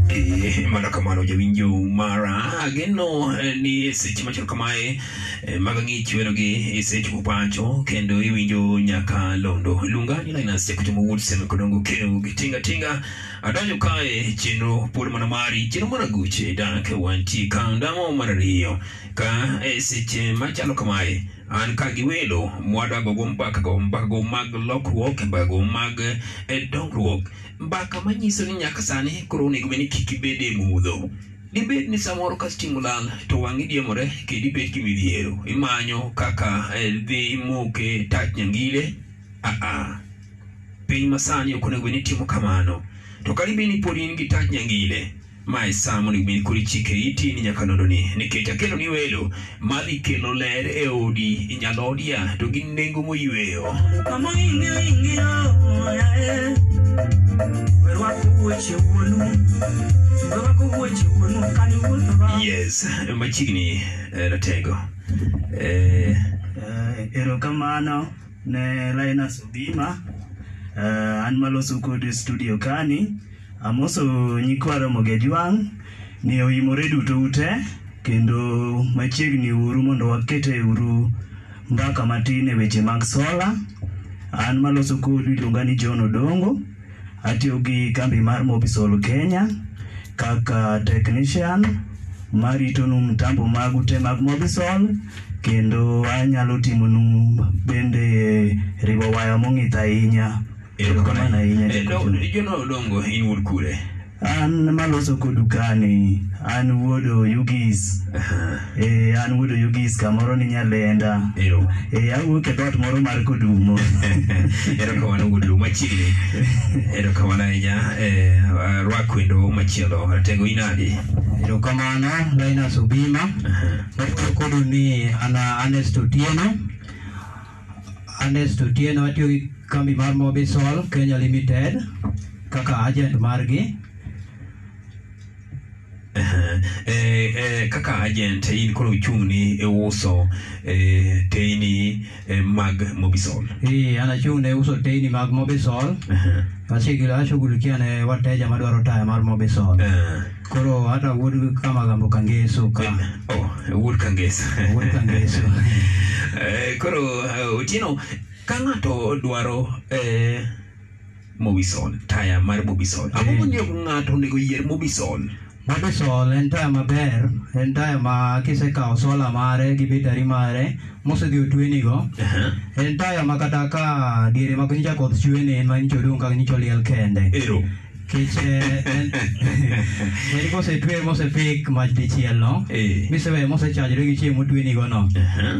Speaker 1: Eh, mana kamano jawinjo mara ageno eh, ni e seche machalo kamae eh, mag ng'ich welogi e sechego pacho kendo iwinjo nyaka londo lunga ni lainas jakotimo wuodsem kodongo keo gi tinga tinga adonjo kae e chenro pod mana mari chenro mana guche dak e wantie kaondamo mar ariyo ka e seche machalo kamae an ka gi welo mwadagogo mbakago mbakago mag lokruok mbakago mag eh, dongruok mbaka manyiso ni nyaka sani koro onego bed ni kik ibed e mudho dibed ni samoro ka stima olal to wang'i diemore kendo ibed kimidhiero imanyo kaka eh, dhi moke tach nyangile aa piny masani ok onego bed ni timo kamano to karibe ni pod in gi tach nyangile mae sa monego bed ni koro ichike iti ni nyakanondoni nikech akelo ni welo madhi kelo ler e odi e nyalodia to gi nengo moyweyo
Speaker 5: kama ing'eyo ing'eyo yae werwako wuoche wuonu werwako wuoche wuonu kani wuotho
Speaker 1: yes machiegni eh, ratego eh,
Speaker 12: erokamano ne Linus Obima Eh, an maloso kod studio kani amoso nyikwa Ramogi Ajwang' ni oimore duto ute kendo machiegni uru mondo wakete uru mbaka matin e weche mag sola an maloso kodu iluonga ni John Odongo atiyo gi kambi mar Mobisol Kenya kaka technician maritonu mtambo mag ute mag Mobisol kendo anyalo timonu bende riwo waya mong'ith ahinya erokamano ahinya Jakochung.
Speaker 1: jono e odongo in wuod kure
Speaker 12: an maloso kodu kani an wuodo yugis eh, an wuodo yugis kamoro ni nyalenda eh, awuok e dhot moro mar kodumo
Speaker 1: erokamano wuod lu machiegni erokamano ahinya eh, rwak wendo machielo ratego inadi
Speaker 13: erokamano Linus Obima watiyo kodu ni an Ernest Otieno Ernest Otieno watiyo gi kambi mar Mobisol Kenya Limited kaka agent margi
Speaker 1: eh, eh, kaka agent in koro uchung' ni e uso eh, teini eh, mag mobisol
Speaker 13: Hii anachung' ne uso teyni mag Mobisol. Asigil ashughulikia ne wateja madwaro taya mar Mobisol. Koro hata wuod kama gambo kangeso ka.
Speaker 1: Oh, wuod kangeso
Speaker 13: Wuod kangeso.
Speaker 1: Eh, koro eh, otieno ka ng'ato dwaro eh, mobisol taya mar mobisol eh, ang'o momiyo ng'ato onego yier mobisol
Speaker 13: Mobisol en taya maber, en taya ma kisekawo sola mare gi betari mare mosedhi otwenigo. En taya ma kata ka diere ma nyicha koth chwe ne en ma nyicha odong' ka nyicha oliel kende.
Speaker 1: Ero.
Speaker 13: Kech eh, en, en kosetwe mosepik mach dichiel no, miseweyo mosechajore gi chiemo motwenigo no.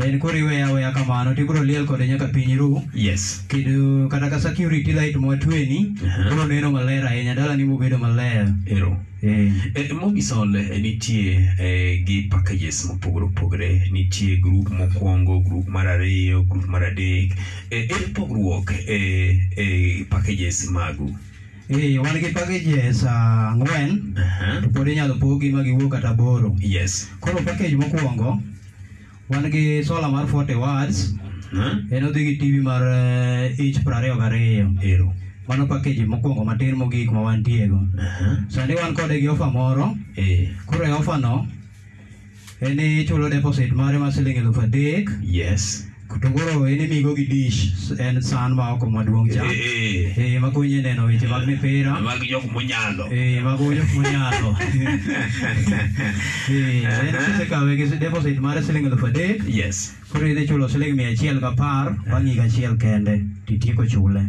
Speaker 13: En koro iweyo aweya kamano tibiro liel kode nyaka piny ru.
Speaker 1: yes
Speaker 13: Kendo kata ka security light mwatweni, biro neno maler ahinya, dalani bobedo maler.
Speaker 1: Ero. Eh, Mobisol eh, nitie eh, gi packages mopogore opogore nitie grup mokwongo grup mar ariyo grup mar adek eh, en pogruok e eh, packages magu
Speaker 13: Ee, wan gi packages ah, ang'wen to pod inyalo pogi ma giwuok kata boro.
Speaker 1: Yes.
Speaker 13: Koro package mokwongo wan gi solar mar 40 watts. En odhi gi TV mar eh, inch 22.
Speaker 1: Ero.
Speaker 13: Mano package mokwongo matin mogik ma wantiego. Sani wan kode gi offer moro.
Speaker 1: Eh.
Speaker 13: Koro e offer no en ichulo deposit mare mar siling elufu adek.
Speaker 1: Yes.
Speaker 13: To koro en imigo gi dish en san ma oko maduong' cha.
Speaker 1: Eh,
Speaker 13: Eh, makonyi e neno weche mag mipira.
Speaker 1: mag jok monyalo
Speaker 13: Eh, mago jok monyalo. Eh, en kisekawe gi deposit mare siling elufu adek.
Speaker 1: Yes.
Speaker 13: Koro idhi chulo siling mia achiel gapar bang' higa achiel kende titieko chule.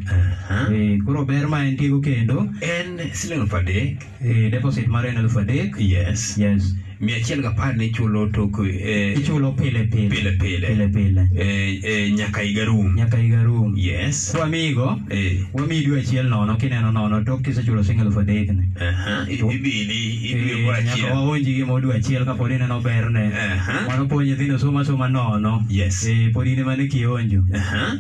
Speaker 13: Eh, koro ber ma en tieko kendo.
Speaker 1: En siling elufu adek
Speaker 13: Eh, deposit mare en elufu adek.
Speaker 1: Yes.
Speaker 13: Yes.
Speaker 1: mia achiel gapar nichulo tok eh,
Speaker 13: Ichulo pile pile.
Speaker 1: pile pile
Speaker 13: Pile pile.
Speaker 1: Eh, eh, nyaka higa rum
Speaker 13: Nyaka higa rum.
Speaker 1: Yes.
Speaker 13: Kwamigo,
Speaker 1: eh,
Speaker 13: wamiyi dwe achiel nono kineno nono tok kisechulo siling elufu adek ni.
Speaker 1: aha, ibili
Speaker 13: Eh,
Speaker 1: ibili moro
Speaker 13: nyaka
Speaker 1: achiel
Speaker 13: waonji gi modwe achiel kapod ineno berne
Speaker 1: Aha.
Speaker 13: mano pod nyithindo somo asoma nono
Speaker 1: Yes.
Speaker 13: Eh, pod in emane kionjo
Speaker 1: Aha.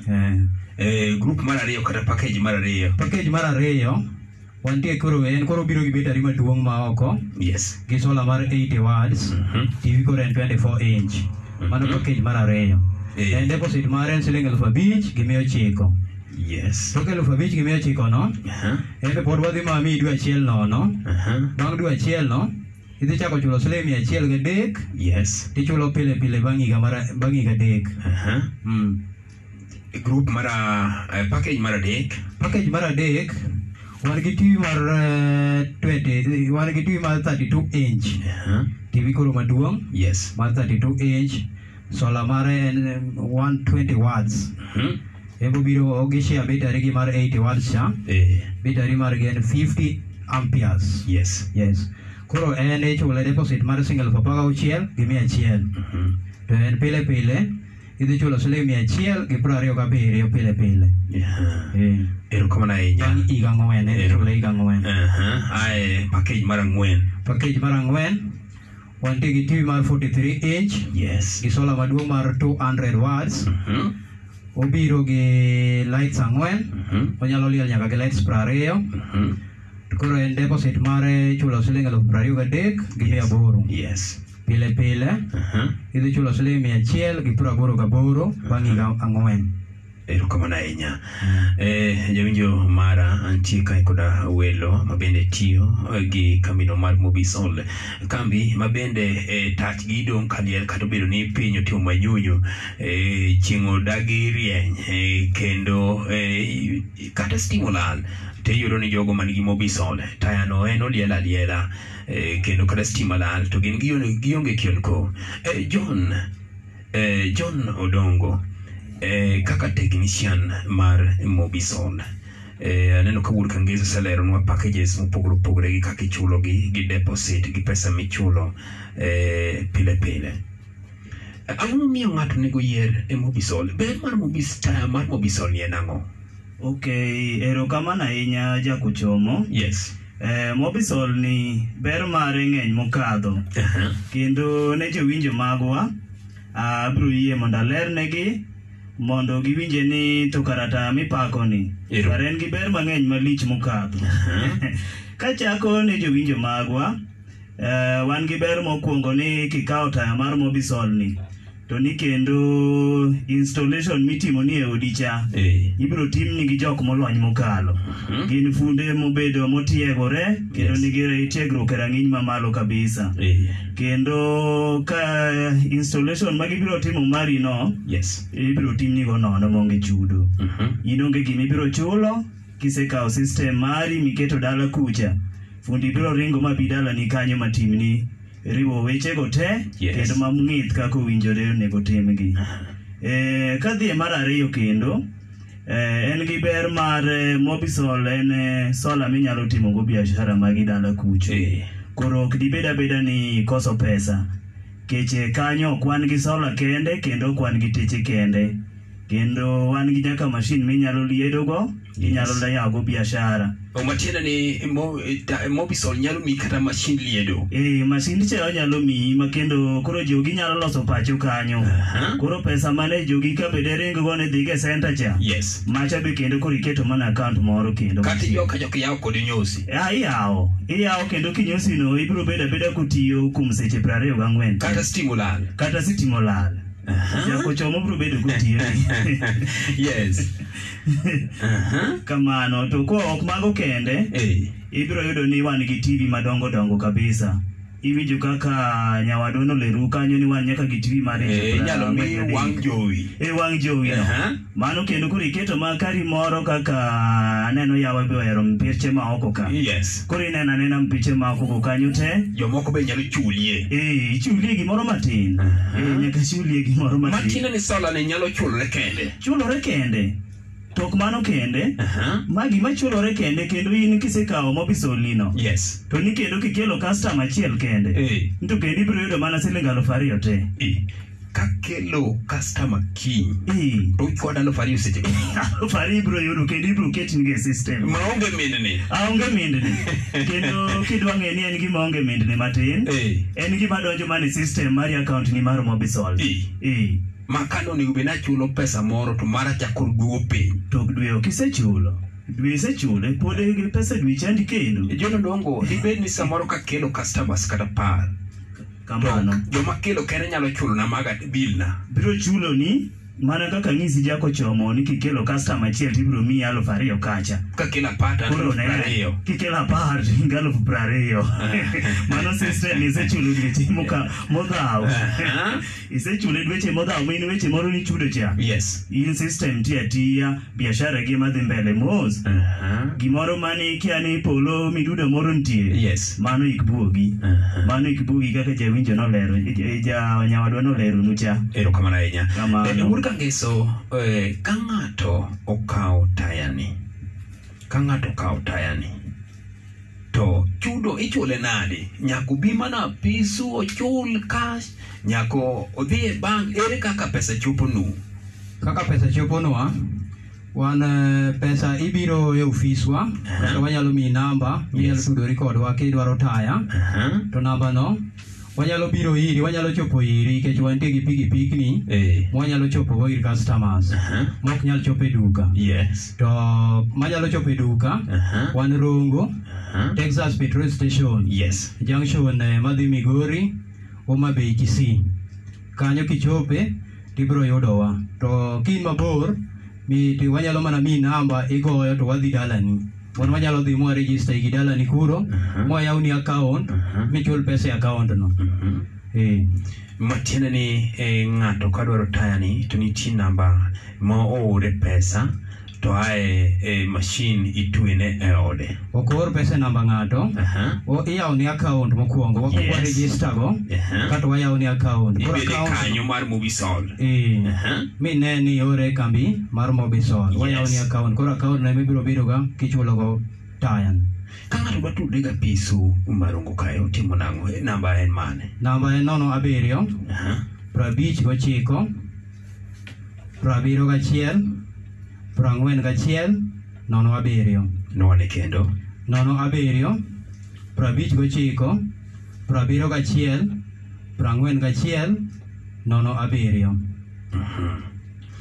Speaker 1: Eh, grup mar ariyo kata package mar ariyo
Speaker 13: package mar ariyo wantie koro en koro obiro gi betari maduong' ma oko
Speaker 1: yes Mhm.
Speaker 13: gi sola mar 80 watts tv koro en 24 inch mano package mar ariyo
Speaker 1: Eh.
Speaker 13: en deposit mare en siling elufu abich gi mia ochiko
Speaker 1: yes Uh-huh.
Speaker 13: tok elufu abich gi mia ochiko no en be pod wadhi mami dwe achiel nono bang' dwe achiel no idhi chako chulo siling mia achiel gadek
Speaker 1: yes
Speaker 13: tichulo pile pile bang' higa mar bang' higa adek
Speaker 1: aha
Speaker 13: Mm.
Speaker 1: group mar a- eh, package mar adek
Speaker 13: package mar adek wan gi tv mar eh, 20 wan gi tv mar 32 inch tv koro maduong'
Speaker 1: Uh-huh. yes
Speaker 13: mar 32 inch sola mare en eh, 120 watts
Speaker 1: Mm-hmm.
Speaker 13: ebo biro ogishia betari gi mar 80 watts cha
Speaker 1: eh,
Speaker 13: betari margi en 50 amperes
Speaker 1: yes
Speaker 13: yes koro en ichule deposit mar single papa auchiel gi mia achiel
Speaker 1: Mm-hmm.
Speaker 13: to en pile pile idhi chulo siling mia achiel gi piero ariyo gabiriyo pile pile
Speaker 1: Ya.
Speaker 13: Eh.
Speaker 1: erokamano ahinya
Speaker 13: bang' higa ang'wen en ichule higa ang'wen
Speaker 1: Aha, Uh-huh. ae package mar ang'wen
Speaker 13: package mar ang'wen wantie gi tv mar 43 inch
Speaker 1: yes Mm-hmm.
Speaker 13: gi sola maduong' mar 200 watts obiro gi lights ang'wen onyalo liel nyaka gi lights piero ariyo koro en deposit mare ichulo siling elufu piero ariyo gadek gi mia aboro
Speaker 1: yes
Speaker 13: pile pile idhi chulo siling mia achiel gi piero aboro gaboro bang' higa ang'wen
Speaker 1: erokamano ahinya eh, jawinjo mara antie kae koda welo mabende tiyo eh, gi kambino mar mobisol kambi mabende eh, tachgi dong' kaliel kata obedo ni piny otimo manyunyu eh, chieng' odagi rieny eh, kendo eh, kata stima olal to iyudo ni jogo manigi mobisol tayano en oliel aliela eh, kendo kata stima lal to gin gion- gionge kionko eh, john eh, john odongo eh, kaka technician mar Mobison. Eh, aneno ka wuod Kangeso oseleronwa packages mopogore opogore gi kaka ichulogi gi deposit gi pesa michulo eh, pile pile. Eh, Ang'o momiyo ng'ato onego yier e Mobisol? Ber mar Mobis taya mar Mobisol ni en ang'o?
Speaker 12: Ok, erokamano ahinya jakuchomo.
Speaker 1: Yes.
Speaker 12: Eh, Mobisol ni ber mare ng'eny mokadho. Kendo ne jowinjo magwa, ah, abro yie mondo alernegi mondo giwinje ni to karata mipakoni
Speaker 1: Ero.
Speaker 12: kare en gi ber mang'eny malich mokadho. Kachako ne jowinjo magwa, Eh, wan gi ber mokwongo ni kikawo taya mar mobisol ni to ni kendo installation mitimo ni e odi cha ibiro timni gi jok molony mokalo gin funde mobedo motiegore kendo
Speaker 14: Mhm. Yes.
Speaker 12: nigi tiegruok e rang'iny mamalo kabisa kendo ka installation ma gibiro timo mari no
Speaker 14: yes
Speaker 12: ibiro timnigo nono monge chudo in onge gima ibiro chulo kisekawo system mari miketo dala kucha fundi biro ringo mabi dalani kanyo matimni riwo wechego te
Speaker 14: Yes.
Speaker 12: kendo mamng'ith kaka owinjore onego timgi Eh, kadhi e mar ariyo kendo eh, en gi ber mar eh, mobisol en eh, sola minyalo timogo biashara magi dala kucho koro ok dibed abeda ni koso pesa keche kanyo ok wan gi sola kende kendo ok wan gi teche kende kendo wan gi nyaka mashin minyalo liedogo inyalo
Speaker 14: Yes.
Speaker 12: yawogo biashara
Speaker 14: matiende ni e mo- ta- mobisol nyalo mi kata mashin liedo
Speaker 12: ee masind Eh, cha onyalo miyi ma kendo koro jogi nyalo loso pacho kanyo koro pesa mane jogi ka bede ring go ne dhiga e center cha
Speaker 14: yes
Speaker 12: macha be kendo koro iketo mana account moro kendo
Speaker 14: kata joka joka yawo kod nyosi
Speaker 12: Ah, iyawo iyawo kendo kinyosino ibiro bedo abeda kotiyo kuom seche prariyo gang'wen
Speaker 14: kata stima olal
Speaker 12: kata sitima olal
Speaker 14: Uh-huh.
Speaker 12: jakochomo biro bedo kotiyo
Speaker 14: yes Uh-huh.
Speaker 12: kamano to ko ok mago kende
Speaker 14: Eh.
Speaker 12: ibiro yudo ni wan gi tv madongo dongo kabisa iwinjo kaka nyawadwa noleru kanyo ni wan nyaka gi tv mar
Speaker 14: Eh, inyalo mi wang' jowi
Speaker 12: e wang' jowi no
Speaker 14: Aha.
Speaker 12: mano kendo koro iketo makari moro kaka aneno yawa be ohero mpiche ma oko ka
Speaker 14: yes
Speaker 12: koro ineno anena mpiche ma oko go kanyo te
Speaker 14: jomoko be nyalo chulie
Speaker 12: ee ichulie gimoro matin ee nyaka chulie gimoro matin
Speaker 14: matiende ni sola ne nyalo chulore kende
Speaker 12: chulore kende tok mano kende
Speaker 14: Uh-huh.
Speaker 12: ma gima chulore kende kendo in kisekawo mobisolino
Speaker 14: yes Eh.
Speaker 12: to ni kendo kikelo kastama achiel kende to kendo ibiro yudo mana siling alufu ariyo te
Speaker 14: kakelo kastama
Speaker 12: kiny
Speaker 14: to uchwada alufu ariyo seche go
Speaker 12: alufu Eh. ariyo ibiro yudo kendo ibiro ketnigo e system
Speaker 14: maonge mindni
Speaker 12: aonge mindni kendo kidwa ng'e ni en gima onge mindni matin en gima donjo mana e system mari account ni mar mobisol
Speaker 14: ma kane onego bed nachulo pesa moro to mara chakor duo piny
Speaker 12: tok dwe ok isechulo dwe isechule pod e pesa dwe chandi kendo
Speaker 14: E jono dongo dibed ni samoro kakelo customers kata par
Speaker 12: kamano
Speaker 14: joma kelo kende nyalo chulona maga bilna
Speaker 12: biro chulo ni mana kaka ng'isi jako chomo ni kikelo kastama achiel tibiro miyi alufu ariyo kacha
Speaker 14: kakelo apar to an
Speaker 12: Koro
Speaker 14: alufu
Speaker 12: ne,
Speaker 14: prariyo
Speaker 12: kikelo apar to in gi alufu prariyo mano system isechulo dweche moka- modhaw
Speaker 14: Uh-huh.
Speaker 12: isechulo dweche modhaw ma in weche moro nichudo cha
Speaker 14: yes
Speaker 12: in system ti atiya biashara gi madhi mbele mos
Speaker 14: Uh-huh.
Speaker 12: gimoro mane ikia ni polo midudo moro nitie
Speaker 14: yes Uh-huh.
Speaker 12: mano ikbuogi mano ikbuogi kaka jawinjo nolero ja- ja nyawadwa noleronu cha
Speaker 14: erokamano ahinya
Speaker 12: Kamano.
Speaker 14: Eh, wuod kangeso eh, ka ng'ato okawo tayani ka ng'ato okawo tayani to chudo ichule nade nyaka obi mana pisu ochul cash nyaka odhi e bank ere kaka pesa choponu
Speaker 13: kaka pesa choponwa wan eh, pesa ibiro e ofiswa kata wanyalo miyi namba minyalo tudori kodwa kidwaro taya to nambano wanyalo biro iri wanyalo chopo iri nikech wantie gi pikipikni
Speaker 14: Eh.
Speaker 13: mwanyalo chopogo ir customers mok nyal chopo e duka
Speaker 14: yes
Speaker 13: to manyalo chopo e duka wan rongo texas petrol station
Speaker 14: yes
Speaker 13: junction eh, madhi migori omabei kisii kanyo kichope tibiro yudowa to kin mabor mi ti wanyalo mana mi namba igoyo to wadhi dalani wan wanyalo dhi mwa rejista igi dalani kuro
Speaker 14: Uh-huh.
Speaker 13: mwayawni account michul pesa e account no
Speaker 14: Uh-huh.
Speaker 13: Eh.
Speaker 14: matiende ni eh, ng'ato kadwaro tayani to nitie namba ma oore pesa to ae e mashin itwene e ode
Speaker 13: ok oor pesa e namba ng'ato
Speaker 14: Aha.
Speaker 13: o iyawo ni account mokwongo
Speaker 14: Uh-huh. Yes.
Speaker 13: wakwakwa register go
Speaker 14: Aha.
Speaker 13: kata wayawo ni account Koro
Speaker 14: ibede
Speaker 13: account-
Speaker 14: kanyo mar mobisol
Speaker 13: Eh,
Speaker 14: Uh-huh.
Speaker 13: mine ni iore e kambi mar mobisol wayawo ni account koro account no emibiro bedoga kichulogo tayan
Speaker 14: ka ng'ato dwa tudre gi apisu marongo kae otimo nang'o Eh, namba en mane
Speaker 13: namba en nono abiriyo prabich gochiko prabiro gachiel prang'wen gachiel nono abiriyo
Speaker 14: nowane kendo
Speaker 13: nono abiriyo prabich gochiko prabiro gachiel prang'wen gachiel nono abiriyo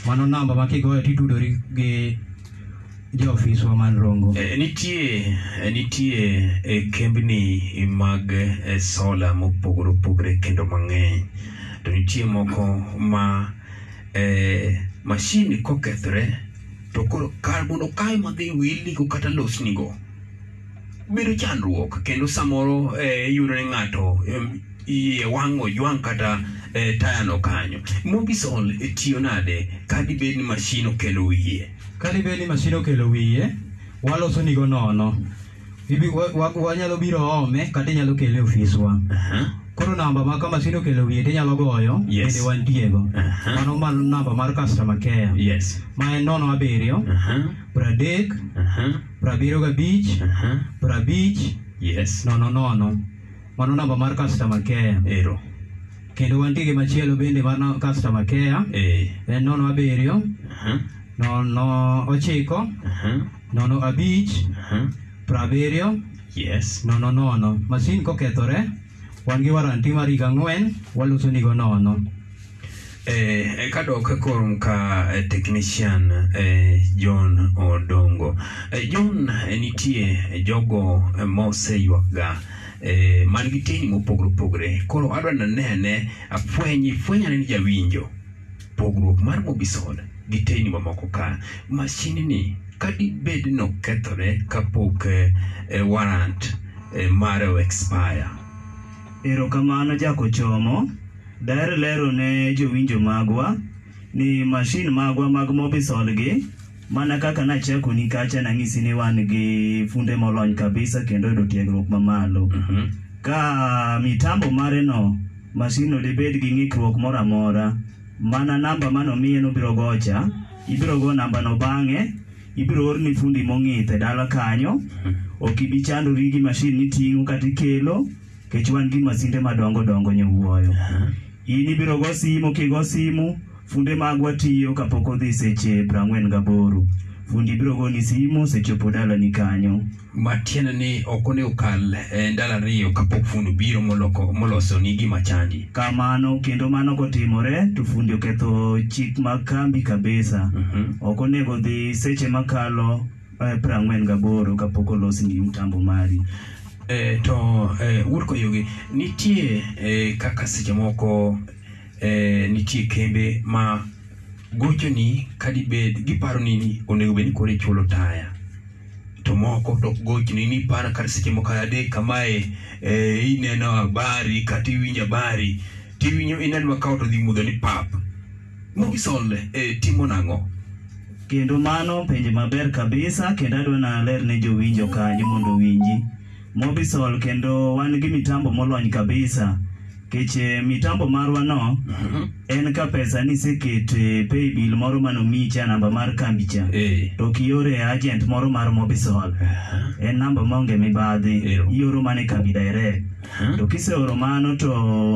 Speaker 13: mano namba ma kigoyo titudori gi jo ofiswa man Rongo.
Speaker 1: Eh, nitie eh, nitie eh, kembni mag eh, sola mopogore opogore kendo mang'eny to nitie moko ma eh, mashin kokethore to koro kar mondo kae madhi wilnigo kata losnigo bedo chandruok kendo samoro eh, iyudo ni ng'ato em, iye wang' ojwang' kata eh, tayano kanyo mobisol eh, tiyo nade kadibed ni mashin okelo wiye
Speaker 13: Ka dibed ni masin okelo wiye, waloso nigo nono. Ibi, wa, wa, wanyalo biro ome kata inyalo kele e ofiswa. Koro namba ma ka masin okelo wiye tinyalo goyo,
Speaker 1: Yes.
Speaker 13: bende wantiego. Mano mar namba mar customer care.
Speaker 1: Yes.
Speaker 13: Ma en nono abiriyo, pradek, prabiriyo gabich, prabich,
Speaker 1: yes.
Speaker 13: nono nono. Mano namba mar customer care.
Speaker 1: Ero.
Speaker 13: Kendo wantie gi machielo bende mar no- customer care.
Speaker 1: Eh.
Speaker 13: En nono abiriyo, nono ochiko, nono abich, prabiriyo
Speaker 1: yes
Speaker 13: nono nono masin kokethore wan gi waranti mar higa ang'wen waloso nigo nono
Speaker 1: Eh, eh, kadok korum ka eh, technician eh, John Odongo. Eh, John eh, nitie jogo eh, moseywakga eh, man gi teyni mopogore opogore koro adwa nanene afwenyi fwenyane ni jawinjo pogruok mar mobisol gi teyni mamoko ka mashinni kadibed nokethore kapok eh, eh, warrant eh, mare o expire
Speaker 12: Erokamano jakochomo. Daher lero ne jowinjo magwa ni mashin magwa mag Mobisol gi mana kaka nachako ni kacha nang'isi ni wan gi funde molony kabisa kendo oyudo tiegruok mamalo. Ka mitambo mare no mashin no dibed gi ng'ikruok moro amora mana namba manomiye nobiro gocha ibiro go nambano bang'e ibiro orni fundi mong'ith e dala kanyo ok ibi chandori gi mashin miting'o kata ikelo kech wan gi masinde madongo dongo nyowuoyo in ibiro go simu kigo simu funde magwa tiyo kapok odhi seche 48 fundi biro goni simu sechopo dalani kanyo
Speaker 1: matiende ni ok onego kal eh, ndalo ariyo kapok fundo biro moloko moloso ni gima chandi
Speaker 12: kamano kendo mano kotimore to fundi oketho chik mag kambi kabisa
Speaker 1: Mhm.
Speaker 12: ok onego dhi seche makalo eh, 48 kapok olosni mtambo mari
Speaker 1: eh, to eh, urko yugi nitie eh, kaka seche moko eh, nitie kembe ma gochoni kadibed giparo nini onego bed ni koro ichulo taya to moko to ok gochni ni para kar seche moko adek kamae eh, ineno habari kata iwinjo habari tiwinjo ineno makawo to dhi mudho ni pap mobisol eh, timo nang'o
Speaker 12: kendo mano penjo maber kabisa kendo adwa naler ne jowinjo kanyo mondo owinji mobisol kendo wan gi mitambo molony kabisa kech eh, mitambo marwa no
Speaker 1: Mhm.
Speaker 12: en ka pesa niseketo e paybill moro manomiyi cha namba mar kambi cha
Speaker 1: Eh.
Speaker 12: to kiore e agent moro mar mobisol en Eh, namba maonge mibadhi ioro mana e kambi direct to kiseoro mano to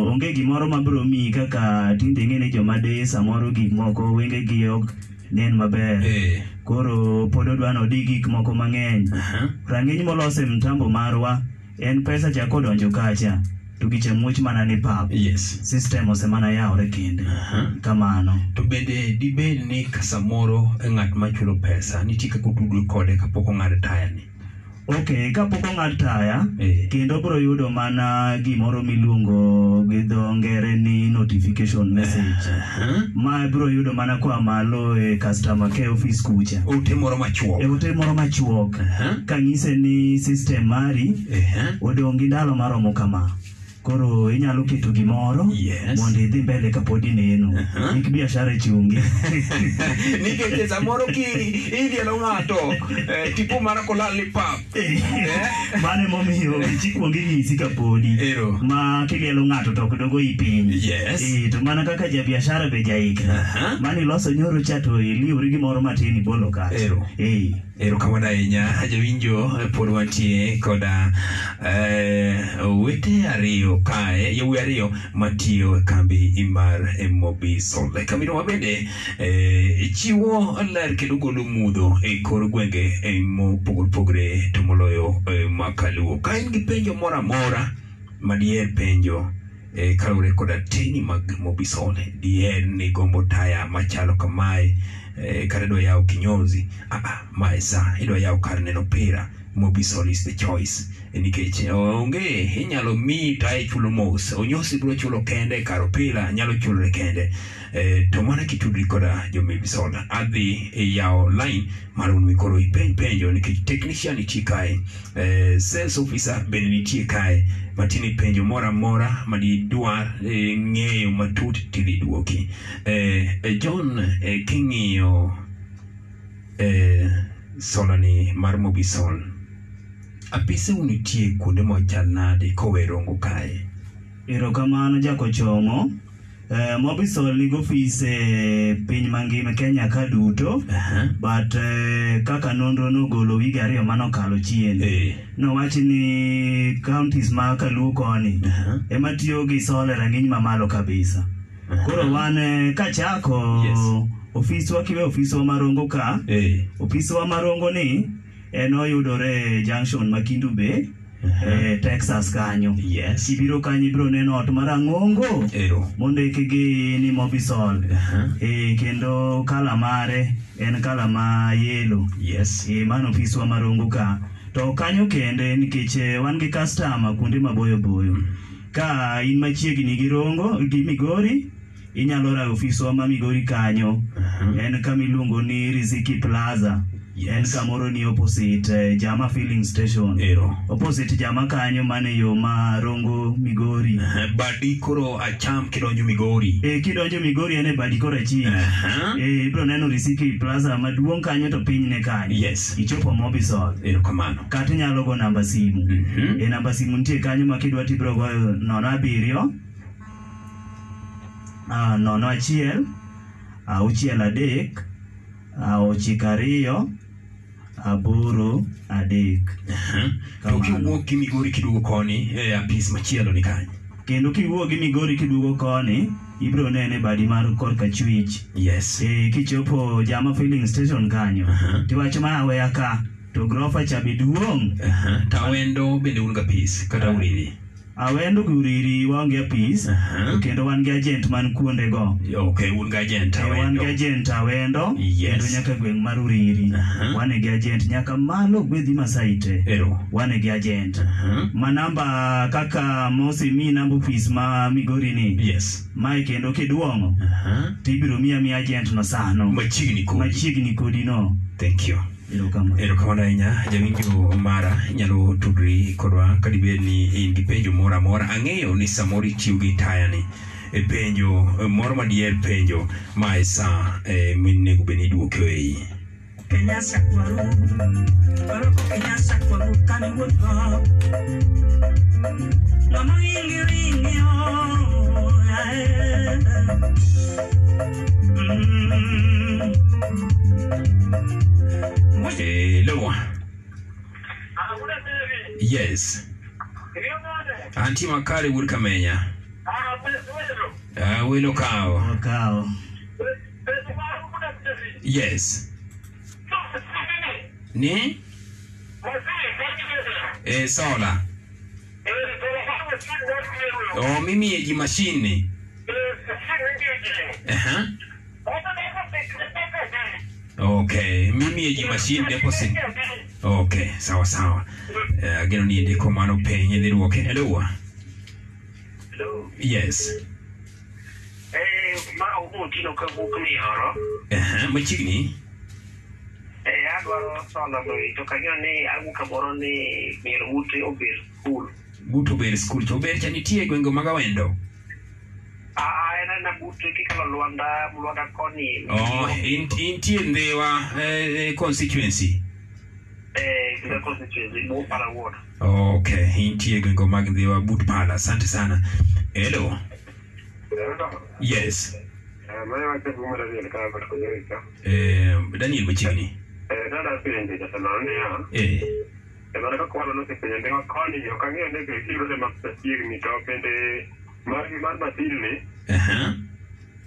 Speaker 12: onge gimoro mabiro miyi kaka tinde ing'e ni joma de samoro gik moko wengegi ok nen maber
Speaker 1: Eh.
Speaker 12: koro pod odwano di gik moko mang'eny rang'iny molos e mtambo marwa en pesa cha kodonjo kacha to gicha muoch mana ni pap system ose mana yawore kende kamano
Speaker 1: to bende dibed ni ka samoro e ng'at machulo pesa nitie kaka otudore kode kapok ong'ad taya ni
Speaker 12: ok kapok ong'ad taya
Speaker 1: E.
Speaker 12: kendo bro yudo mana gimoro miluongo gi dho ngere ni notification message ma bro yudo mana kwa malo e customer care office kucha
Speaker 1: ote moro machuok
Speaker 12: e ote moro machuok kang'ise ni system mari odong' gi ndalo maromo kama koro inyalo keto gimoro mondo idhi mbele kapod ineno kik biashara chungi
Speaker 14: nikech samoro ki ilielo ng'ato eh, tipo mara kolal ni pap
Speaker 12: Eh,
Speaker 14: Eh?
Speaker 12: mano emomiyo ichikwong inyisi kapodi ma kilielo ng'ato to ok dogo i piny
Speaker 14: Yes.
Speaker 12: Eh, to mana kaka jabiashara be jaikra mane iloso nyoro cha to iliwri gimoro matin ibolo kacha Eh.
Speaker 1: erokamano ahinya jawinjo eh, pod wantie koda eh, owete ariyo kae yawuoyi ariyo matiyo e kambi mar eh, mobisol E kambino ma bende eh, chiwo ler kendo golo mudho e kor gwenge eh, mopogore opogore to moloyo eh, makaluo ka in gi penjo moro amora madier penjo eh, kaluwore koda teyni mag mobisone diher ni gombo taya machalo kamae eh, kata idwa yawo kinyozi ah, ah, mae sa idwa yawo kar neno pira mobisol is the choice Eh, nikech onge eh, inyalo miyi tae e chulo mos onyosi biro chulo kende kar opira nyalo chulore kende eh, to mana kitudri koda jo mobisol adhi e yawo line mar mondo mi koro ipenj penjo nikech technician nitie kae eh, sales officer bende nitie kae matini penjo moro amora madidwar eh, ng'eyo matut tidhi dwoki eh, eh, john eh, king'iyo eh, solani mar mobisol apise unitie kuonde mochal nade kowe rongo kae
Speaker 12: Erokamano jakochomo. Uh, Mobisol nigi ofis e piny mangima Kenya ka duto but uh, kaka nonro nogolo wige ariyo manokalo chien nowachi ni counties ma kaluo koni ema tiyo gi sola e rang'iny mamalo kabisa koro wan eh, kachako ofiswa kiwe ofiswa marongo ka ofiswa marongo ni en oyudore e junction ma Kindu Bay eh, Texas kanyo
Speaker 1: Mhm. yes.
Speaker 12: ibiro kanyo ibiro neno ot marang'ongo mondiki gi ni Mobisol
Speaker 1: Uh-huh.
Speaker 12: eh, kendo kala mare en kala ma yelo
Speaker 1: yes.
Speaker 12: eh, mano ofiswa marongo ka to kanyo kende nikech eh, wan gi customer kuonde maboyo boyo
Speaker 1: Mm.
Speaker 12: ka in machiegni gi rongo gi migori inyalo rawo ofiswa ma migori kanyo
Speaker 1: Mhm.
Speaker 12: en kama iluongo ni riziki plaza en kamoro ni opposite eh, jama filling station opposite jama kanyo mane yo ma rongo migori
Speaker 1: Eh, badi koro acham kidonjo migori Uh-huh.
Speaker 12: e kidonjo migori en e badi koro achich e ibro neno risiki plaza maduong' kanyo to piny ne kanyo
Speaker 1: yes.
Speaker 12: ichopo mobisol
Speaker 1: erokamano
Speaker 12: kata inyalo go namba simu
Speaker 1: Mhm.
Speaker 12: e namba simu nitie kanyo ma kidwa tibiro goyo nono abiriyo ah, nono achiel auchiel adek ah, ochiko ariyo aboro adek
Speaker 1: to kiwuok gi migori kiduogo koni e apis machielo ni kanyo
Speaker 12: kendo kiwuok gi migori kiduogo koni ibiro nene badi mar korka chwich
Speaker 1: yes.
Speaker 12: e, kichopo jama filling station kanyo tiwacho ma aweya ka to grofa cha be duong' Ah.
Speaker 1: tawendo bende un gapis kata uriri
Speaker 12: awendo gi uriri waonge apis to kendo wan gi agent man kuondego
Speaker 1: ok un gajent
Speaker 12: Eh, wan gi agent awendo kendo nyaka gweng' mar uriri wane gi agent nyaka malo gwedhi masai te wane gi agent ma namba kaka mosemi namba ofis ma migori ni
Speaker 1: yes.
Speaker 12: mae kendo kiduong'o tibiro miya miya agent no sano
Speaker 1: machiegni kodi
Speaker 12: machiegni kodi no
Speaker 1: thank you erokamano ahinya jawinjo mara nyalo tudri kodwa kadibed ni in gi penjo moro amora ang'eyo ni samoro ichiw gi tayani e penjo eh, moro madier penjo ma e sa eh, minego bed ni idwoke e iyi
Speaker 5: Kenyatta kwaru, waroko Kenyatta kwaru kani wuotho. Loma ringi ringi o, ae.
Speaker 1: Mm. hello yes anti makare wuod kamenya Ah, welo kawo
Speaker 12: kawo
Speaker 1: yes ni e sola Oh, o mimiye ji mashin ni Aha. ok mimiye ji mashin deposit ok sawa sawa Eh, ageno ni ndiko mano piny idhi dwoke hello yes
Speaker 15: ma owuotino kawuok mioro
Speaker 1: Aha, machiegni
Speaker 15: eh, adwaro sola loi to kanyo ni awuok kamoro ni mier ute ober skul
Speaker 1: but ober skul to ober cha nitie gwenge mag awendo
Speaker 4: Ah,
Speaker 15: aa en ana but kikalo lwanda lwanda koni
Speaker 1: oh, in- intie ndhiwa eh, eh, constituency
Speaker 15: eh, the constituency Bo Pala ward
Speaker 1: ok intie gwengo mag ndhiwa but pala asante sana hello yes
Speaker 16: mayawacho gi mar ariel ka Albert Kujoika.
Speaker 1: eh, daniel machiegni
Speaker 16: Eh, dada penjo jatelo niya,
Speaker 1: eh,
Speaker 16: e mana kaka waloso penjo ndewa koni, ok ang'eyo ni be giyudo ma machiegni, to bende margi mar matin ni,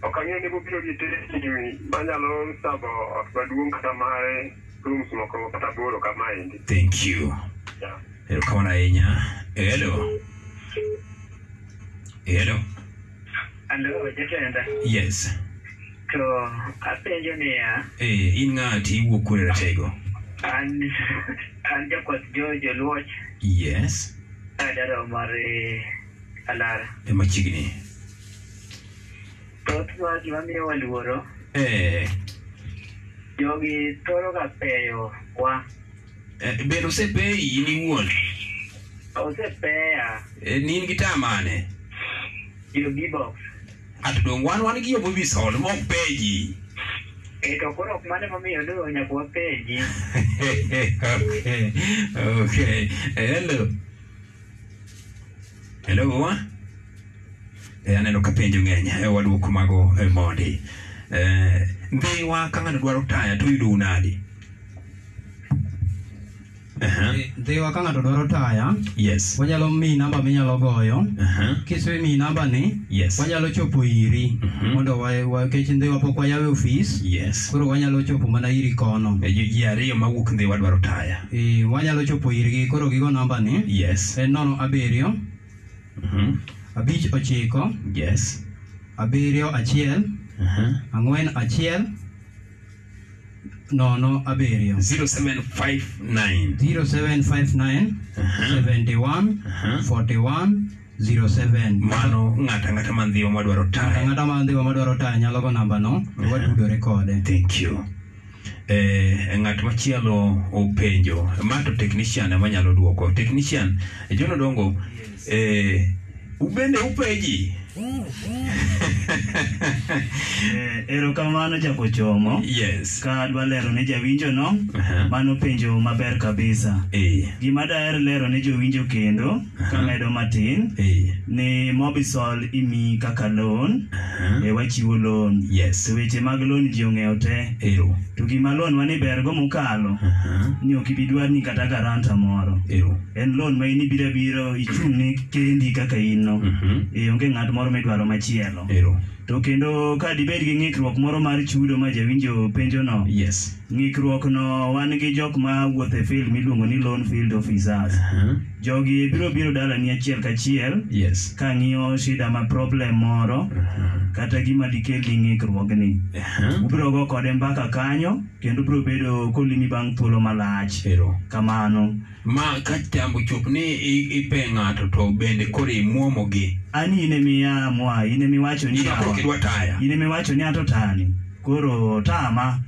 Speaker 16: ok ang'eyo ni bobiro gi tesni manyalo sabo ot maduong' kata mae rooms moko kata aboro kamaendi.
Speaker 1: thank you erokamano ahinya hello Eh, Hello.
Speaker 4: Alo, jatenda.
Speaker 1: Yes.
Speaker 4: To apenjo niya,
Speaker 1: Eh, in ng'a to iwuok kuonde ratego?
Speaker 4: ah, an an pues, jakwath jo joluoch
Speaker 1: Yes.
Speaker 4: adaro mar eh, alara.
Speaker 1: E machiegni.
Speaker 4: Thothwa gima miyowa luoro,
Speaker 1: Eh,
Speaker 4: jogi thoroga peyo wa.
Speaker 1: eh, bende osepeyi in iwuon?
Speaker 4: Osepeya
Speaker 1: Eh, ni in gi taa mane?
Speaker 4: jogi box.
Speaker 1: Ato dong' wan wan gi Yobobis Hall mok peji.
Speaker 4: E to koro ok mane momiyo luro nyaka wapenji.
Speaker 1: okay. Okay. Hello. Hello. Eh, aneno ka penjo ng'eny. Eh, waduoko mago eh, mondi. Eh, ndhiwa ka ng'ato dwaro taya to uyudo unadi?
Speaker 13: Eh, Dhiwa ka ng'ato dwaro taya,
Speaker 1: Uh-huh. yes.
Speaker 13: wanyalo mi namba minyalo goyo.
Speaker 1: Uh-huh.
Speaker 13: Kisemi namba ni,
Speaker 1: Yes. Uh-huh.
Speaker 13: wanyalo chopo iri mondo wa, wa kech ndhiwa pok wayawe ofis.
Speaker 1: Yes.
Speaker 13: Koro wanyalo chopo mana iri kono.
Speaker 1: E ji ji ariyo mawuok ndhiwa dwaro taya.
Speaker 13: Eh, wanyalo chopo irgi koro gigo namba ni.
Speaker 1: Yes.
Speaker 13: En nono abiriyo,
Speaker 1: Mhm.
Speaker 13: abich ochiko.
Speaker 1: Yes.
Speaker 13: Abiriyo achiel,
Speaker 1: Uh-huh.
Speaker 13: ang'wen achiel, nono abiriyo.
Speaker 1: 0759.
Speaker 13: 0759
Speaker 1: Uh-huh.
Speaker 13: 71 41 07
Speaker 1: Mano ng'ata ang'ata man ndhiwa madwaro taya.
Speaker 13: ng'ata ma ndhiwa madwaro taya nyalo go nambano watudore kode
Speaker 1: Uh-huh. thank you Eh, ng'at machielo openjo ma to technician ema nyalo duoko technician jono dongo eh, ubende upeji
Speaker 12: Eh, erokamano jakochomo
Speaker 1: yes
Speaker 12: ka adwa lero ne jawinjo no mano penjo maber kabisa
Speaker 1: eh.
Speaker 12: gima daher lero ne jowinjo kendo kamedo matin
Speaker 1: eh.
Speaker 12: ni mobisol imi kaka loan e wachiwo loan
Speaker 1: yes.
Speaker 12: to weche mag loan ji ong'eyo te
Speaker 1: Ero.
Speaker 12: to gima loan mane bergo mokalo ni ok ibidwar ni kata garanta moro
Speaker 1: Ero.
Speaker 12: en loan ma in ibiro abiro ichung' ne kendi kaka in no e onge ng'at moro midwaro machielo
Speaker 1: Mhm. Ero.
Speaker 12: to kendo ka dibed gi ng'ikruok moro mar chudo ma jawinjo penjono
Speaker 1: yes.
Speaker 12: ng'ikruokno wan gi jok ma wuotho e field miluongo ni loan field officers jogi biro biro dalani achiel kachiel
Speaker 1: Mhm. yes. Mhm.
Speaker 12: ka ng'iyo shida ma problem moro kata gima dikelni ng'ikruogni ubiro go kode mbaka kanyo kendo ubiro bedo kolimi bang' thuolo malach kamano
Speaker 1: ma ka tambo chop ni i- ipe ng'ato to bende koro imuomogi
Speaker 12: ani in emiyamwa in emiwacho ni
Speaker 1: Ina koro
Speaker 12: yawa.
Speaker 1: kidwa taya
Speaker 12: in emiwacho ni ato tani koro otama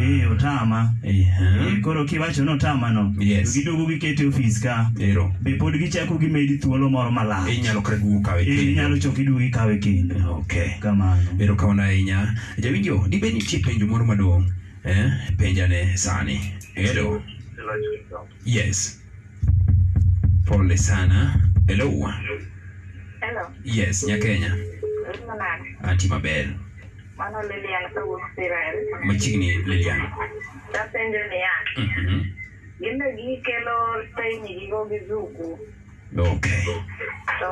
Speaker 12: ee otama Eh, koro kiwacho notamano
Speaker 1: Yes.
Speaker 12: to giduogo gikete e ofis ka
Speaker 1: Ero.
Speaker 12: be pod gichako gimedi thuolo moro malach
Speaker 1: inyalo kata duogo kawe
Speaker 12: Eh,
Speaker 1: kendo.
Speaker 12: inyalo chok iduogo ikawe kendo
Speaker 1: ok
Speaker 12: kamano
Speaker 1: erokamano ahinya jawinjo dibed nitie penjo moro maduong' eh? penjane sani hello yes pole sana hello
Speaker 17: Hello,
Speaker 1: yes nyakenya
Speaker 17: iluongo nade?
Speaker 1: anti maber
Speaker 17: Mano Lilian kawuok Sirel.
Speaker 1: machiegni lilian
Speaker 17: Tapenjo niya,
Speaker 1: Mhm.
Speaker 17: gin be gikelo teyni gigo gi zuku,
Speaker 1: ok
Speaker 17: to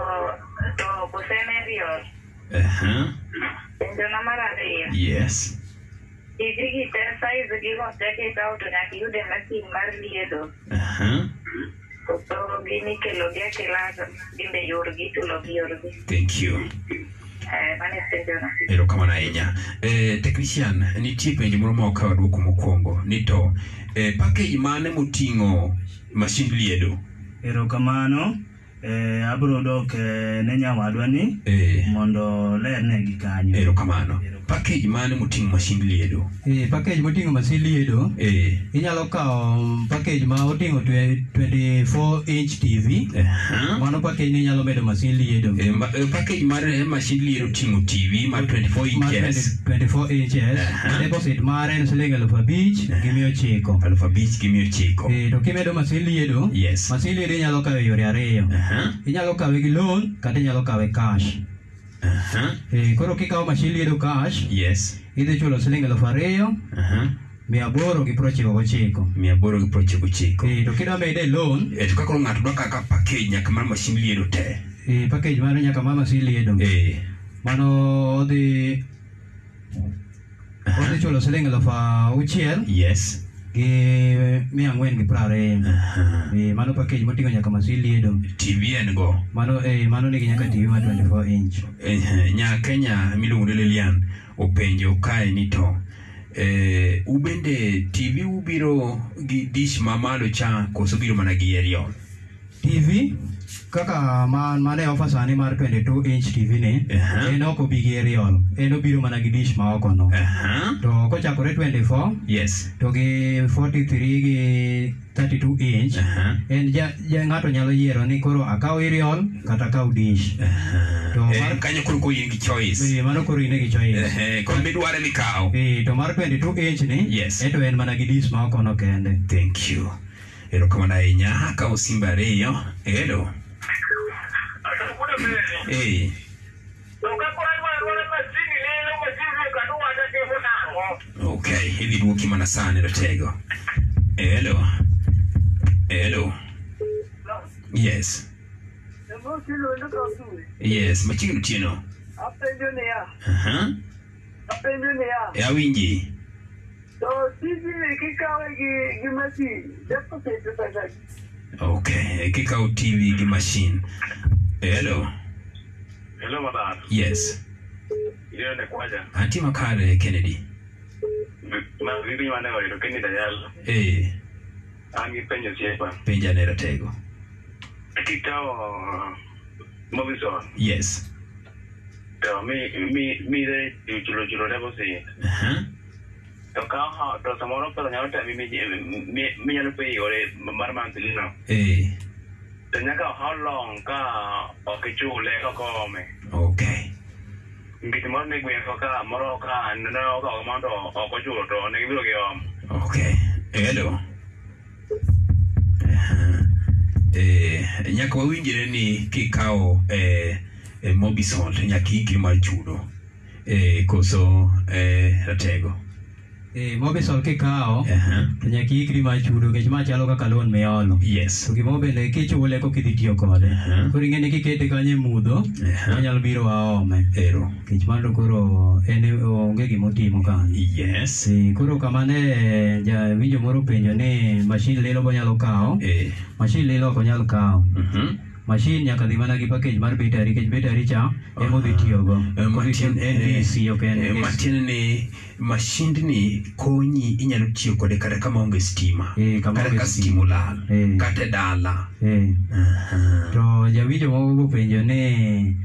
Speaker 17: to kose ne rior.
Speaker 1: Aha.
Speaker 17: Penjona mar ariyo,
Speaker 1: yes
Speaker 17: tiji gi te size gigo te kikawo to nyaka iyude masin mar liedo.
Speaker 1: Aha.
Speaker 17: To gin ikelogi akela gin be yorgi ichulogi yorgi.
Speaker 1: thank you
Speaker 17: Eh, mano e penjona.
Speaker 1: erokamano ahinya eh, technician nitie penjo moro ma okawo duoko mokwongo ni to eh, package mane moting'o masind liedo
Speaker 12: E, erokamano eh, abro dok eh, ne nyawadwa ni
Speaker 1: eh,
Speaker 12: mondo lernegi kanyo
Speaker 1: erokamano package mane moting'o masind liedo
Speaker 13: Eh, package moting'o masin liedo
Speaker 1: eh,
Speaker 13: inyalo kawo mm, package ma oting'o twe- 24 inch TV
Speaker 1: Uh-huh.
Speaker 13: mano package ni inyalo medo masin liedo
Speaker 1: E ma- e package mar eh, masind liedo oting'o tv ma 24
Speaker 13: mar
Speaker 1: inches
Speaker 13: 20 24 inches E
Speaker 1: Uh-huh.
Speaker 13: deposit mare en siling alufu abich gi mia ochiko
Speaker 1: alufu abich gi mia ochiko
Speaker 13: Eh, to kimedo masin liedo
Speaker 1: yes. Uh-huh.
Speaker 13: masin liedo inyalo kawe yore ariyo inyalo kawe gi loan kata inyalo kawe cash
Speaker 1: Aha.
Speaker 13: Eh, koro kikawo masin liedo cash
Speaker 1: Uh-huh. yes
Speaker 13: idhi chulo siling alufu ariyo
Speaker 1: Aha.
Speaker 13: mia aboro gi prochiko gochiko
Speaker 1: mia aboro gi prochiko chiko
Speaker 13: Eh, to kidwa mede e loan
Speaker 1: Eh, to kakoro ng'ato dwa kaka package nyaka mar masind liedo te
Speaker 13: eh, package mare nyaka ma masin liedo
Speaker 1: eh,
Speaker 13: mano uh, odhi odhi chulo siling alufu auchiel
Speaker 1: yes
Speaker 13: gi mia ang'wen gi piero ariyo Eh, mano package moting'o nyaka masiliedo
Speaker 1: TV en go
Speaker 13: mano eh, mano nigi nyaka tv ma 24 inch
Speaker 1: Eh, nya Kenya miluongo ni Lilian openjo kae ni to eh, ubende TV ubiro gi dish mamalo cha koso biro mana gi aerial
Speaker 13: TV kaka man mane ofa sani mar 22 inch TV ni en ok obi gi aerial en obiro mana gi dish ma oko no to kochakore 24
Speaker 1: yes
Speaker 13: to gi 43 gi 32 inch en ja, ja ng'ato nyalo yiero ni koro akaw aerial kata akaw dish to
Speaker 1: eh, kanyo koro koyie gi choice
Speaker 13: Eh, mano koro in e gi choice
Speaker 1: eh, eh, koro midware mikawo
Speaker 13: Eh, to mar 22 inch ni yes. eto en mana gi dish ma okono kende
Speaker 1: thank you erokamano ahinya akawo simba ariyo hello eh, okay idhi duoki mana sani ratego hello hello yes yes machiegni otieno
Speaker 18: Apenjo niya,
Speaker 1: Aha.
Speaker 18: apenjo niya,
Speaker 1: e awinji
Speaker 18: to tijni kikawe gi gi masin, japo keto pesa adi?
Speaker 1: okay kikawo tv gi mashin hello
Speaker 19: Hello, madam.
Speaker 1: yes
Speaker 19: Leo ni kwaja.
Speaker 1: antie makare kennedy
Speaker 19: Ma vipi mane oyudo Kenny Dayalo?
Speaker 1: eh,
Speaker 19: An gi penjo osiepa.
Speaker 1: penja ne ratego
Speaker 19: Kikawo Mobison
Speaker 1: yes
Speaker 19: to mi mi mire chulo chulo ne bosi.
Speaker 1: Aha.
Speaker 19: To ka ha to samoro pesa nyalo tami mi mi mi nyalo pe yore mar mantili no.
Speaker 1: eh,
Speaker 19: To nyaka how long ka okichule kokome.
Speaker 1: okay
Speaker 19: Nikech moro ni gweng' ko ka moro ka ne okawo mondo ok ochulo to ne gibiro giom.
Speaker 1: okay hello Aha. eh, nyaka wawinjre ni kikawo eh, eh, mobisol to nyaka ikri mar chudo eh, koso eh, ratego
Speaker 13: Eh, mobisol kikawo to nyaka ikri mar chudo nikech ma chalo kaka loan miolo
Speaker 1: yes
Speaker 13: to gimo bende kichule koka idhi tiyo kode koro ing'e ni kikete kanyo e mudho onyalo biro aome
Speaker 1: ero
Speaker 13: nikech mano to koro en e- onge gimotimo kanyo
Speaker 1: yes
Speaker 13: koro kamane jawinjo moro openjo ni mashin lilo bonyalo kawo
Speaker 1: eh,
Speaker 13: mashin lilo ok onyal kawo
Speaker 1: mhm.
Speaker 13: mashin nyaka dhi mana gi package mar betari nikech betari cha emodhi tiyogo
Speaker 1: matin- eh,
Speaker 13: DC ok en
Speaker 1: eh,
Speaker 13: AC.
Speaker 1: matiende ni mashindni konyi inyalo tiyo kode kata kama onge stima kata ka stima olal kata e dala
Speaker 13: Eh. to jawinjo moko bopenjo ni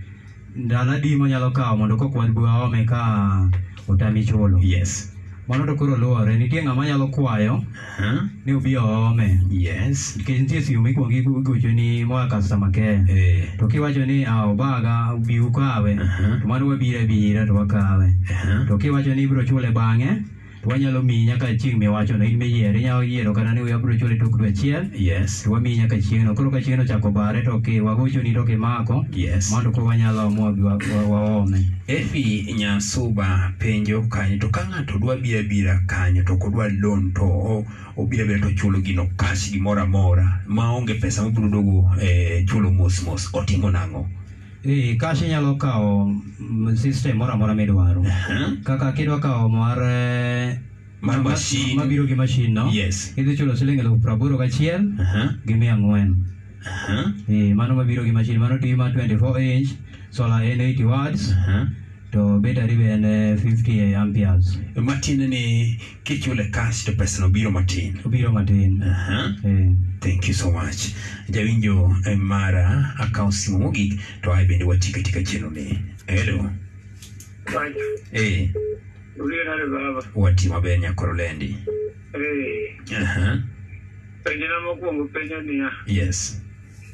Speaker 13: ndalo adi monyalo kawo mondo kok wadbu aome ka otami chulo
Speaker 1: yes
Speaker 13: mano to koro luwore nitie ng'ama nyalo kwayo ni obi oome
Speaker 1: yes
Speaker 13: nikech nitie simu mikwongo igochoni moa customer care
Speaker 1: Eh.
Speaker 13: to kiwacho ni "Ah, obaga bi ukawe to mano wabiro abira to wakawe to kiwacho ni ibiro chule bang'e to wanyalo miyi nyaka chieng' miwachono in miyier inyalo yiero kata ni wabiro chule tok dwe achiel
Speaker 1: yes
Speaker 13: to wamiyi nyaka chieng'no koro ka chieng'no ochako bare to ki wagochoni to kimako
Speaker 1: Yes.
Speaker 13: mondo ko wanyalo amua gi wa- wa- waome
Speaker 1: efi E nyasuba penjo kanyo to ka ng'ato dwa bira bira kanyo to kodwa loan to o- obira bira to chulo gino cash gimoro amora maonge pesa mobiro dogo eh, chulo mos mos otimo nang'o
Speaker 13: Eh, cash inyalo kawo mm, system moro amora midwaro kaka kidwa kawo mar eh,
Speaker 1: Uh-huh. Mar
Speaker 13: ma-
Speaker 1: machine.
Speaker 13: mabiro gi mashin no
Speaker 1: Yes. Uh-huh.
Speaker 13: idhi chulo siling elufu praboro gachiel gi mia ang'wen Eh, mano mabiro gi mashin mano tv ma 24 inch solar en 80 watts
Speaker 1: Uh-huh.
Speaker 13: to battery be en eh, 50 amperes
Speaker 1: matiende ni kichule cash to pesano biro matin
Speaker 13: obiro matin Eh.
Speaker 1: thank you so much jawinjo eh, mara akawo simu mogik to ae bende watika tika chenro ni helo eh,
Speaker 4: Uliyo nade baba?
Speaker 1: wati maber nyakoro lendi
Speaker 4: Eh,
Speaker 1: Aha,
Speaker 4: penjona mokwongo penjo niya.
Speaker 1: yes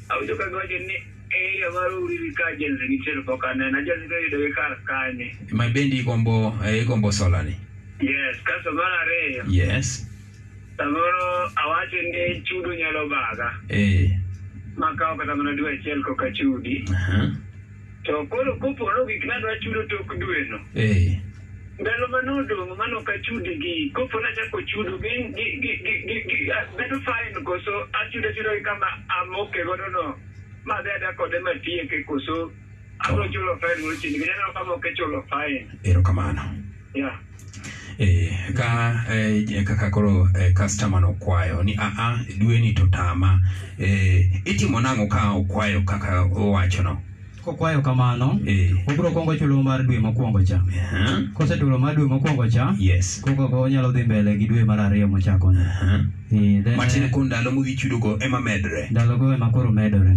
Speaker 4: Awinjo ka giwacho ni area mar Uriri ka agency nitiere pok aneno. Agency no yudogi kar kanye.
Speaker 1: ma bende igombo eh, igombo solani
Speaker 4: Yes, kasto mar ariyo.
Speaker 1: yes
Speaker 4: Samoro awacho ni chudo nyalo baga.
Speaker 1: eh,
Speaker 4: Makawo kata mana dwe achiel koka chudi.
Speaker 1: aha,
Speaker 4: To koro kopo nogik nadwa chudo tok dweno.
Speaker 1: eh,
Speaker 4: Ndalo manodong' manokachudi gi kopo nachako chudo gi gi gi gi gi gi ah, bedo fine koso achudo achudo gi kama amoke godo no madhi ada kode matieke koso abro chulo fine gochini nikech aneno kamoke chulo fine.
Speaker 1: erokamano
Speaker 4: Yeah.
Speaker 1: eh, ka eh, kaka koro eh, customer nokwayo ni aa dweni to tama eh, itimo nang'o ka okwayo kaka owachono
Speaker 13: kokwayo kamano obiro kwongo chulo mar dwe mokwongo cha kosechulo mar dwe mokwongo cha
Speaker 1: yes
Speaker 13: koka onyalo dhi mbele gi dwe mar ariyo mochako no Eh, then-
Speaker 1: matin kuom ndalo modhi chudogo ema medre
Speaker 13: ndalogo ema koro medore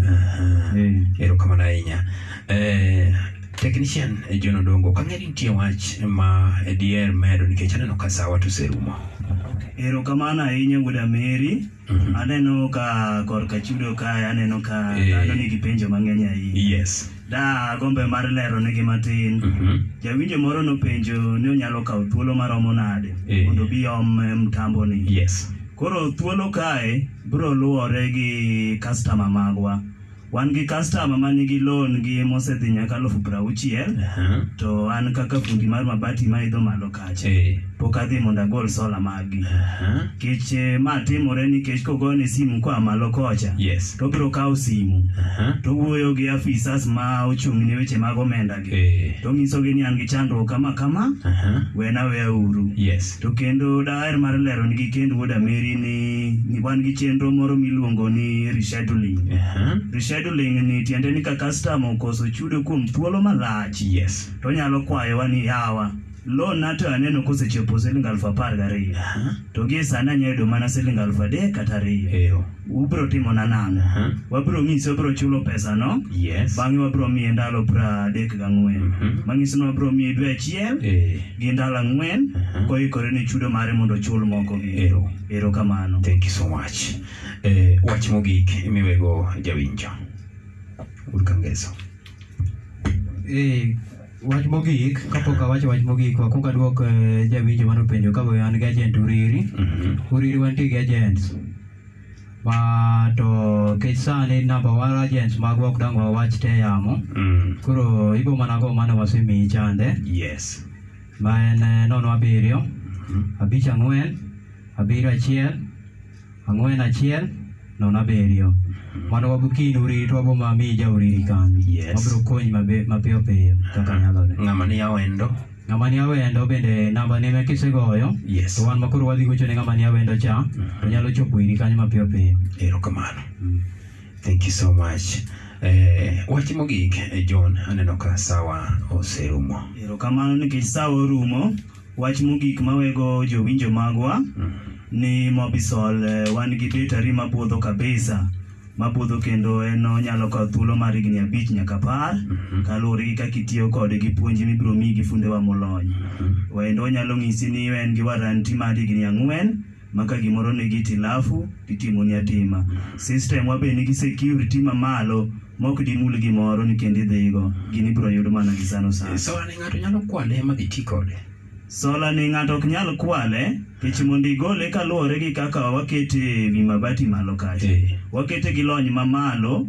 Speaker 13: eh.
Speaker 1: erokamano ahinya Eh, technician eh, John Odongo kang'e ni nitie wach ma eh, dier medo nikech aneno ka sawa toserumo
Speaker 12: erokamano ahinya wuoda meri
Speaker 1: Mhm.
Speaker 12: aneno ka korka chudo kae aneno ka dhano nigi penjo mang'eny ahinya
Speaker 1: Eh. yes Mhm.
Speaker 12: da gombe mar lero nigi matin jawinjo moro nopenjo ni onyalo kawo thuolo maromo nade
Speaker 1: Eh.
Speaker 12: mondo obi om eh, mtambo ni
Speaker 1: yes
Speaker 12: koro thuolo kae biro luwore gi kastama magwa wan gi kastama manigi loan gi mosedhi nyaka alufu prauchiel
Speaker 1: Aha.
Speaker 12: to an kaka fundi mar mabati maidho malo kacha
Speaker 1: Eh.
Speaker 12: pok adhi mondo agol sola maggi
Speaker 1: Uh-huh.
Speaker 12: kech eh, ma timore nikech kogone simu koa malo kocha
Speaker 1: yes. Uh-huh.
Speaker 12: to biro kawo simu to wuoyo gi afisas ma ochung' ne weche mag omenda
Speaker 1: Eh.
Speaker 12: gi to ng'isogi ni an gi chandruok kama kama wena weya uru
Speaker 1: Uh-huh. yes.
Speaker 12: to kendo daher mar lero nigi kendo wuoda meri ni, ni wan gi chenro moro miluongo ni resheduling
Speaker 1: Uh-huh.
Speaker 12: resheduling ni tiende ni ka kastama okoso chudo kuom thuolo malach
Speaker 1: yes.
Speaker 12: to onyalo kwayowa ni yawa lon na to aneno kosechopo siling alufu apar gariyo to gie sani anyayudo mana siling alufu adek kata ariyo ubro timona nang'o wabro ng'isi wabro chulo pesano
Speaker 1: Yes. Mhm.
Speaker 12: bang'e wabro miye ndalo pra adek gang'wen mang'isi ni wabro miye dwe achiel gi ndalo ang'wen koikore ne chudo mare mondo ochul moko gi erokamano
Speaker 1: thank you so much eh, wach mogik miwego jawinjo urkangeso
Speaker 13: Eh, wach mogik kapok awacho wach mogik wakwong aduok eh, jawinjo manopenjo ka be an gi agent uriri uriri wantie gi agents ma to kech sani namba war agents magwa ok dang wawach te yamo koro ibo mana go mane wasemiyi chande
Speaker 1: yes
Speaker 13: ma en eh, nono abiriyo abich ang'wen abiriyo achiel ang'wen achiel nono abiriyo mano wabu kiny uriri to wabo mamiyi ja uriri kanyo
Speaker 1: Yes.
Speaker 13: wabiro konyi mabe- mapiyo piyo kaka nyalore
Speaker 1: ng'ama ni awendo
Speaker 13: ng'ama ni awendo bende namba ne ma kisegoyo
Speaker 1: Yes. Mm-hmm.
Speaker 13: to wan makoro wadhi gocho ne ng'ama ni awendo cha to nyalo chopo iri kanyo mapiyo piyo
Speaker 1: erokamano
Speaker 13: Mm.
Speaker 1: thank you so much eh, wach mogik eh, john aneno ka sawa oserumo
Speaker 12: erokamano nikech sa orumo wach mogik mawego jowinjo magwa ni mobisol eh, wan gi betari mabudho kabisa mabudho kendo en onyalo kawo thuolo mar higni abich nyaka apar
Speaker 1: Mhm.
Speaker 12: kaluwore gi kaka itiyo kode gi puonj mibiro miyi gi fundewa molony
Speaker 1: Mhm.
Speaker 12: wendo onyalo ng'isi ni en gi waranti mar higni ang'wen ma ka gimoro nigi tilafu titimoni atima
Speaker 1: Mhm.
Speaker 12: system wa be nigi security mamalo mok dimul gimoro nikend idhigo gin ibiro yud mana gi sano sano
Speaker 1: sola ne Eh, ng'ato nyalo kwale ma giti kode
Speaker 12: sola ni ng'ato ok nyal kwale kech mondo igole kaluwore gi kaka wakete e wi mabati malo kacha wakete gi lony mamalo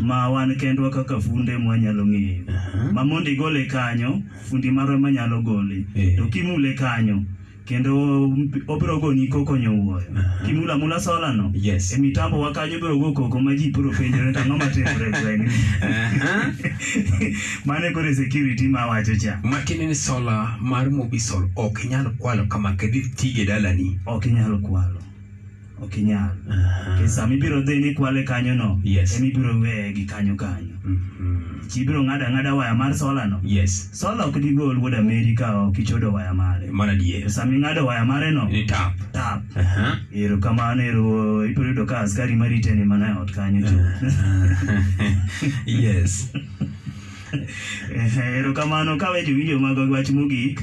Speaker 12: ma wan kendwa kaka funde mwanyalo ng'eyo ma mondo igole kanyo fundi marwa ema nyalo gole to kimule kanyo kendo obiro goni koko nyowuoyo kimula mula solano
Speaker 1: yes.
Speaker 12: e mitambo wa kanyo biro go koko ma ji biro penjore tang'o matimore e gweng'ni mano e koro e security mawacho cha
Speaker 1: matiende ni sola mar mobisol ok inyal kwalo kama e kedhi tije dalani
Speaker 12: ok inyal kwalo ok inyal Nikech sama ibiro dhi nikwale kanyono
Speaker 1: Yes.
Speaker 12: ema ibiro weye gi kanyo kanyo Ji ibiro ng'ado ang'ada waya mar solano
Speaker 1: yes
Speaker 12: sola ok digol wuod amerika ok ichodo waya mare
Speaker 1: mana dier
Speaker 12: sami ng'ado waya mare no
Speaker 1: ni tap
Speaker 12: tap ero kamano ero ibiro yudo ka askari mariteni mana e ot kanyo
Speaker 1: yes
Speaker 12: erokamano ka weche winjo mag wach mogik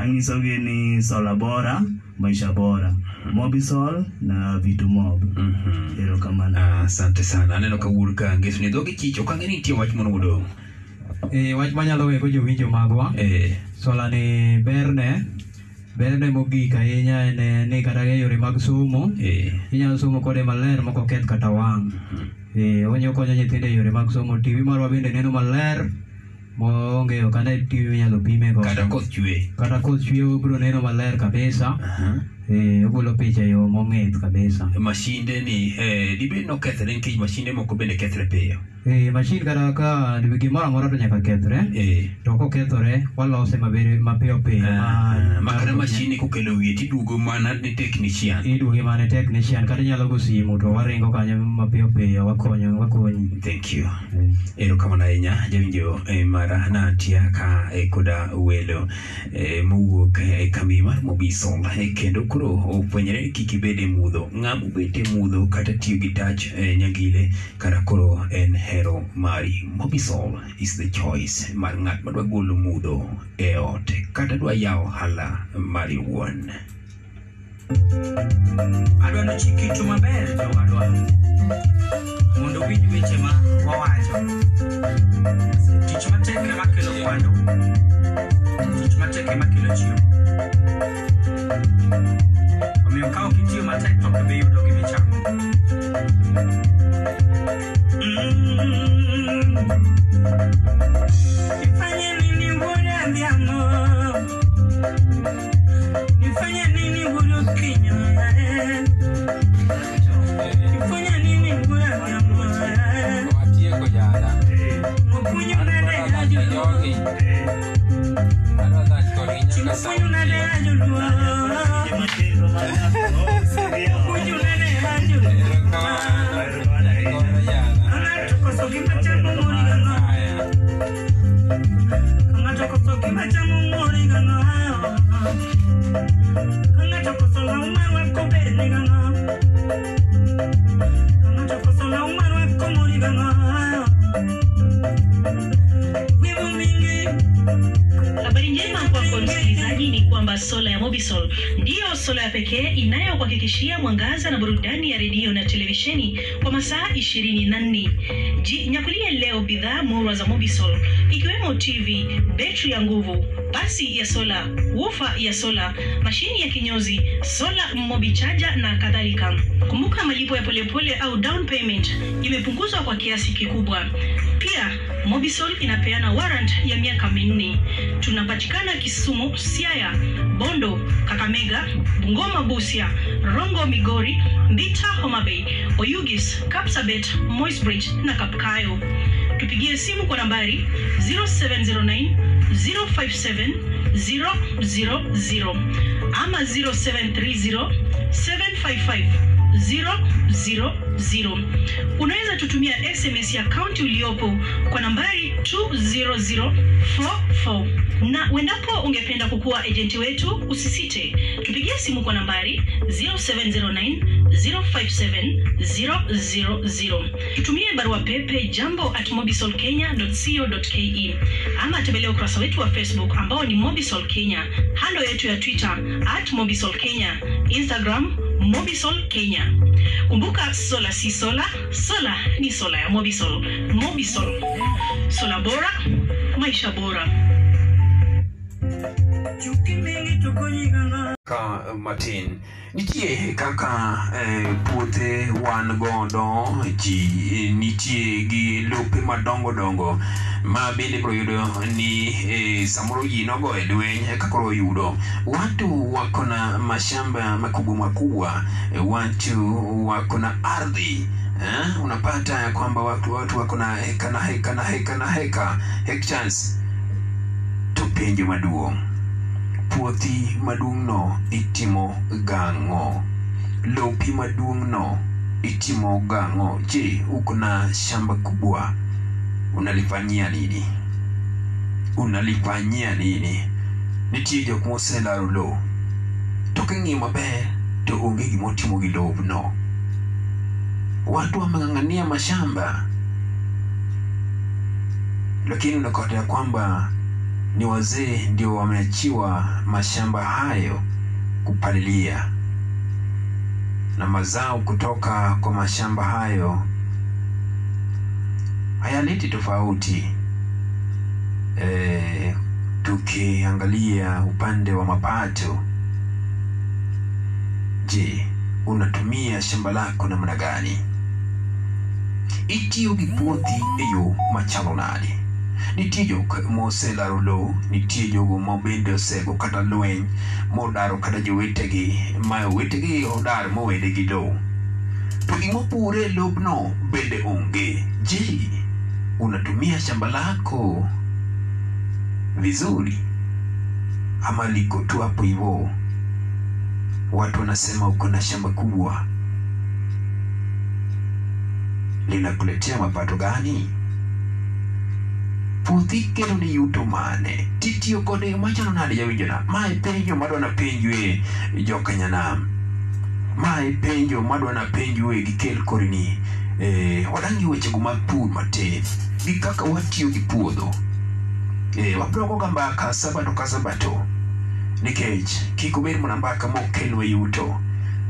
Speaker 12: ang'isogi ni sola bora maisha bora mobisol na vitu mob
Speaker 1: Mhm.
Speaker 12: erokamano
Speaker 1: asante sana aneno ka wuor ka ngeso ni dhoge chicho kang'e ni nitie wach moro modong'
Speaker 13: Eh, wach manyalo wego jowinjo magwa
Speaker 1: Eh,
Speaker 13: sola ni berne berne mogik ahinya en eh, ni kata e yore mag somo inyalo somo kode maler mok oketh kata wang' Eh, onyo konyo nyithindo e yore mag somo tv marwa bende neno maler maonge ok ane tv minyalo pime go
Speaker 1: kata koth chwe
Speaker 13: kata koth chwe obiro neno maler kabisa Eh, ogolo picha e yo mong'ith kabisa
Speaker 1: mashinde ni eh, dibed nokethre nikech mashinde moko bende kethre piyo
Speaker 13: Eh, mashin kata ka gimoro amora to nyaka kethre to kokethore walose mabe- mapiyo piyo ma-
Speaker 1: makata mashini kokelo wiye tiduogo mana ne technician
Speaker 13: iduoge mane technician kata inyalo go simu to waringo kanyo mapiyo piyo wakonyo wakonyi
Speaker 1: thank you erokamano Eh, ahinya jawinjo eh, mara natia ka eh, koda welo eh, mowuok e kambi mar mobisong Eh, kendo koro ofwenyore ni kik ibed e mudho ng'ama obet e mudho kata tiyo gi tach eh, nyagile kata koro en hero mari mobisol is the choice mar ng'at madwa golo mudho e ot kata dwa yawo ohala mari wuon
Speaker 20: adwa nochik itu maber jowadwa mondo uwinj weche ma wawacho tich matek ema kelo mwandu tich matek ema kelo chiemo omiyo ka ok itiyo matek to ok ibi yudo gimichamo Mm-hmm.
Speaker 5: Nifanye nini bure ndiamo? Nifanye nini bure ukinywa? Nifanye nini bure ndiamo?
Speaker 21: Watieko jala.
Speaker 5: Mukunyo nade
Speaker 21: Jogi. Adwa dhach kodgi nyaka sa.
Speaker 5: Mukunyo nade ajulwa. Mukunyo nade ajulwa. Ng'ato koso gimachamo moriga ng'ato. Ng'ato koso gimachamo moriga ng'ato. Ng'ato koso lauma wako berne ng'ato. Ng'ato koso lauma wako moriga ng'ato. Wivu mingi
Speaker 22: Habari njema kwako msikilizaji ni kwamba sola ya Mobisol ndiyo sola ya pekee inayokuhakikishia mwangaza na burudani ya redio na televisheni kwa masaa 24. Ji- Nyakulie leo bidhaa murwa za Mobisol ikiwemo TV, betri ya nguvu, pasi ya sola, woofer ya sola, mashini ya kinyozi, sola mobi charger na kadhalika. Kumbuka malipo ya polepole au down payment imepunguzwa kwa kiasi kikubwa. Pia Mobisol inapeana warrant ya miaka minne. Tunapatikana Kisumu, Siaya, Bondo, Kakamega, Bungoma, Busia, Rongo, Migori, Mbita, Homa Bay, Oyugis, Kapsabet, Moisbridge na Kapkayo. Tupigie simu kwa nambari 0709 057 000 ama 0730 755 000. Unaweza tutumia SMS ya kaunti uliopo kwa nambari 20044 na uendapo ungependa kukuwa ejenti wetu, usisite tupigie simu kwa nambari 0709 057 000. Tutumie barua pepe jambo at mobisolkenya.co.ke ama tembelea ukurasa wetu wa Facebook ambao ni Mobisol Kenya, handle yetu ya Twitter at Mobisol Kenya, Instagram Mobisol Kenya. Kumbuka sola si sola, sola ni sola ya Mobisol. Mobisol, sola bora, maisha bora.
Speaker 5: chuki mingi tukunyiga ng'ato.
Speaker 1: ka eh, matin nitie kaka eh, puothe wan godo ji eh, nitie gi lope madongo dongo ma bende bro yudo ni eh, samoro ji nogo e lweny eka koro oyudo watu wako na mashamba makubwa makubwa eh, watu wako na ardhi eh? unapata ya kwamba watu, watu wako na heka na heka na heka na heka hectares to penjo maduong' puothi maduong'no itimo gang'o lopi maduong'no itimo gang'o je uko na shamba kubwa unalifanyia nini unalifanyia nini nitie jok moselaro lo to king'iyo maber to onge gimotimo gi lobno watu wameng'ang'ania mashamba lakini unakota ya kwamba ni wazee ndio wameachiwa mashamba hayo kupalilia na mazao kutoka kwa mashamba hayo hayaleti tofauti e, tukiangalia upande wa mapato je unatumia shamba lako namna gani itiyo gi puothi e yo machalo nade nitie jok moselaro lowo nitie jogo ma bende osego kata lweny modaro kata jowetegi ma owetegi odar mowede gi lowo to gimopure lobno bende onge je unatumia shamba lako vizuri ama liko tu hapo hivyo watu wanasema uko na shamba kubwa linakuletea mapato gani puothi kelo ni yuto mane titiyo kode e yo machalo nade jawinjona mae penjo e, madwana penjwe jokanyanam mae penjo madwana penjwe gikel korini eh, wadangi wechego mag pur matin gi kaka watiyo gi puodho eh, wabirogoga mbaka sabato ka sabato nikech kik obed mana mbaka mokelwa yuto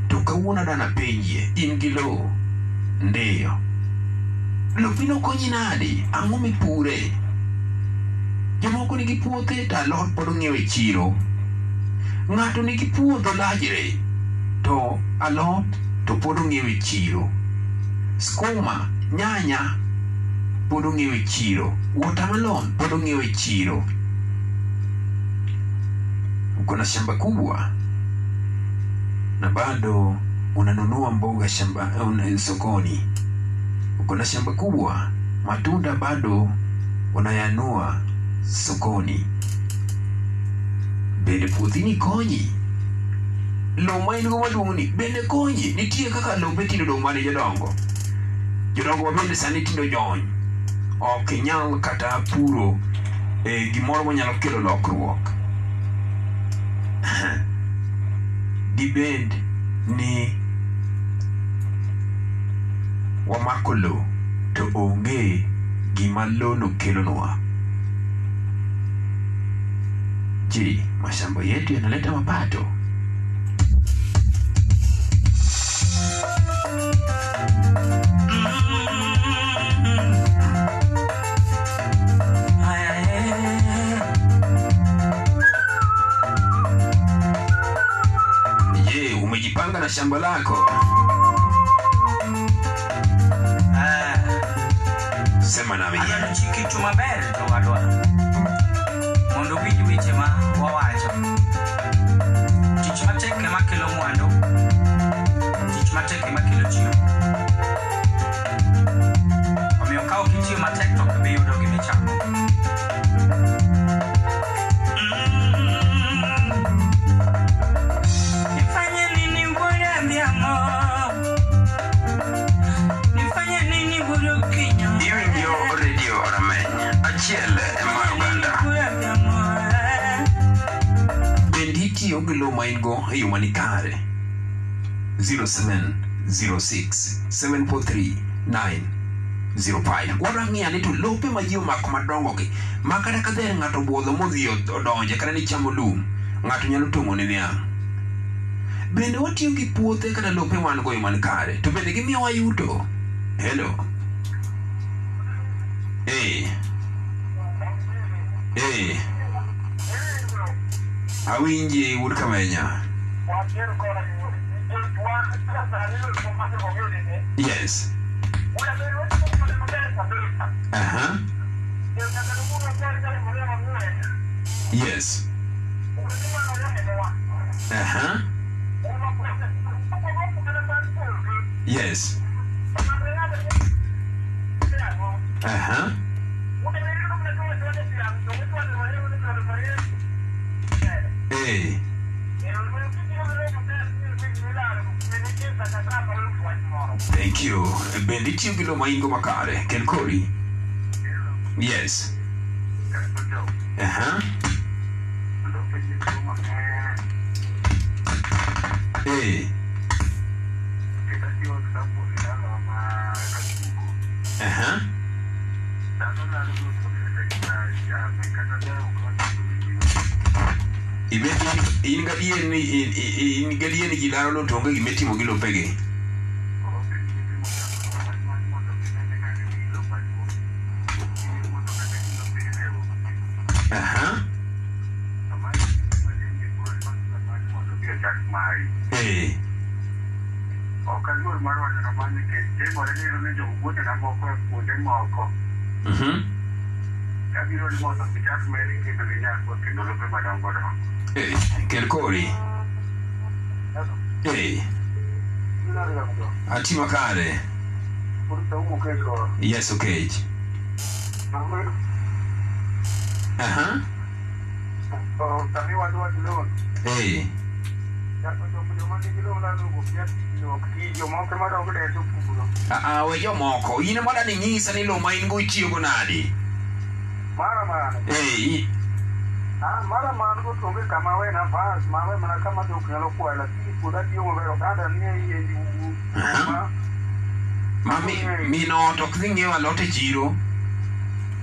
Speaker 1: to kawuono dana penjie in gi lowo ndiyo lopi nokonyi nade ang'o mipure jomoko nigi puothe to alot pod ong'iewo e chiro ng'ato nigi puodho lajre to alot to pod ong'iewo e chiro skuma nyanya pod ong'iewo e chiro watermelon pod ong'iewo e chiro uko na shamba kubwa na bado unanunua mboga shamba un, sokoni uko na shamba kubwa matunda bado unayanua sokoni bende puothini konyi lo ma in go maduong' ni bende konyi nitie kaka lope tinde odong' mane jodongo jodongo ma bende sani tinde ojony ok inyal kata puro e gimoro manyalo kelo lokruok dibed ni wamako lo to onge gima lono kelonwa je mashamba yetu yanaleta mapato
Speaker 5: eh.
Speaker 1: je umejipanga na shamba lako Ah, sema nami
Speaker 5: adwaro ji kitu maber jowadwa mondo uwinj weche ma wawacho tich matek ema kelo mwandu tich matek ema kelo chiemo omiyo ka ok itiyo matek to ok ibi yudo gimichamo
Speaker 23: Nifanye nini bure miamo? Nifanye nini bure kinyo?
Speaker 1: iwinjo redio rameny achiel ema uganda bende itiyo gi lowo ma in-go e yo manikare 0706743905 warang'iya ni to lope ma ji omako madongogi ma kata ka dher ng'ato obwodho modhi odonje kata ni chamo lum ng'ato nyalo tong'o ne niang' bende watiyo gi puothe kata lope wan-go e yo manikare to bende gimiyowa yuto helo Eh. Eh. Awinji wuod kamenya. Yes. Aha. Yes. Aha. Yes. Aha. Eh. Thank you. Bende itiyo gi lo ma in-go makare. Kel kori. Yes. Uh-huh. Aha. Eh. Aha. Ibet in in gadier ni in- in in gadier ni ji laro lo to onge gimitimo gi lopegi. Aha. Eh.
Speaker 24: Ok aluor mar wacho kamano nikech timore ni iyudo ni jowuothena moko e kuonde moko
Speaker 1: Mhm.
Speaker 14: abiro ni mondo gichak meli kendo ginyakwa kendo lope madongo dongo.
Speaker 1: Eh, kel kori. Eh, ati makare. Yes, okay. Aha. Eh,
Speaker 14: Jomoko madongo deso puro.
Speaker 1: ah, ah, we jomoko, in mana ni nyisa ni lo ma in go ichiyogo nadi.
Speaker 14: Mara mara.
Speaker 1: Eh, i-
Speaker 14: Ah, mara mara go tonge kama we na bas, mawe mana kama dok nyalo kwa lakini kuda dio ngero kada ni yeye yugu.
Speaker 1: aha. Ma mi, mi no to kdhi ng'iewo alot e chiro.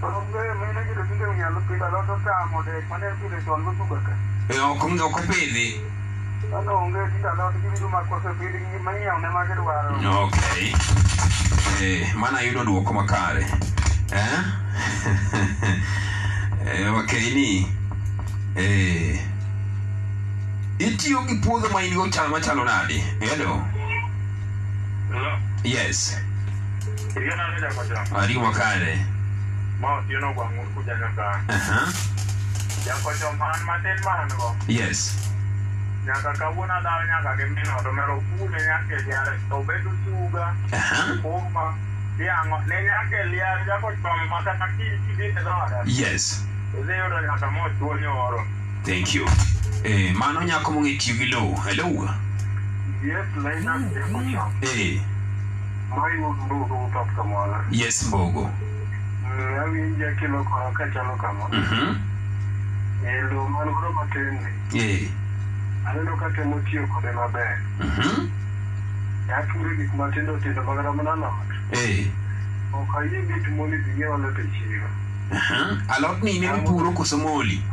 Speaker 14: Onge mene gido kinde nyalo pita loto tamo de mane pile ton go tuga ka.
Speaker 1: Eh, ok ok opidhi.
Speaker 14: Ano onge tinda lot gibi duma kwa se pili ngi manya ne ma gido waro.
Speaker 1: Okay. Eh, mana yudo duoko makare. Eh? eh, okay ni. Eh. Itiyo gi puodho ma in go chal machalo nadi? Hello.
Speaker 14: Hello.
Speaker 1: Yes.
Speaker 14: Iyo na nenda kwa jam.
Speaker 1: Ariyo makare.
Speaker 14: Ma
Speaker 4: Bon,
Speaker 14: iyo no gwangu kuja nyaka.
Speaker 1: Aha.
Speaker 14: Nyaka jom an matin man go.
Speaker 1: Yes.
Speaker 14: Nyaka kawuono adharo nyaka gi mino to mero pune nyaka e liare to obedo suga.
Speaker 1: Aha.
Speaker 14: Kuma. Yang'o ne nyaka e liare jako chom makata kiny kidhi e dhoda.
Speaker 1: Yes.
Speaker 14: Idhi yudo nyaka mochuo nyoro.
Speaker 1: Thank you. Eh, mano nyako mong'e tiyo gi lowo. Hello.
Speaker 14: Yes, lain up jako chom.
Speaker 1: Eh,
Speaker 14: Maiwuok duto utop kamoro.
Speaker 1: yes Mbogo.
Speaker 14: Mm, Awinja kilo koro kachalo kama.
Speaker 1: Mhm.
Speaker 14: E lowo man godo matin ni.
Speaker 1: Eh,
Speaker 14: Aneno katemo tiyo kode maber.
Speaker 1: mhm.
Speaker 14: Aturo gik matindo tindo makata mana alot.
Speaker 1: Eh,
Speaker 14: Ok ayie bit moni dhi ng'iew alot e chiro.
Speaker 1: aha. Alot ni ne mipuro koso moli?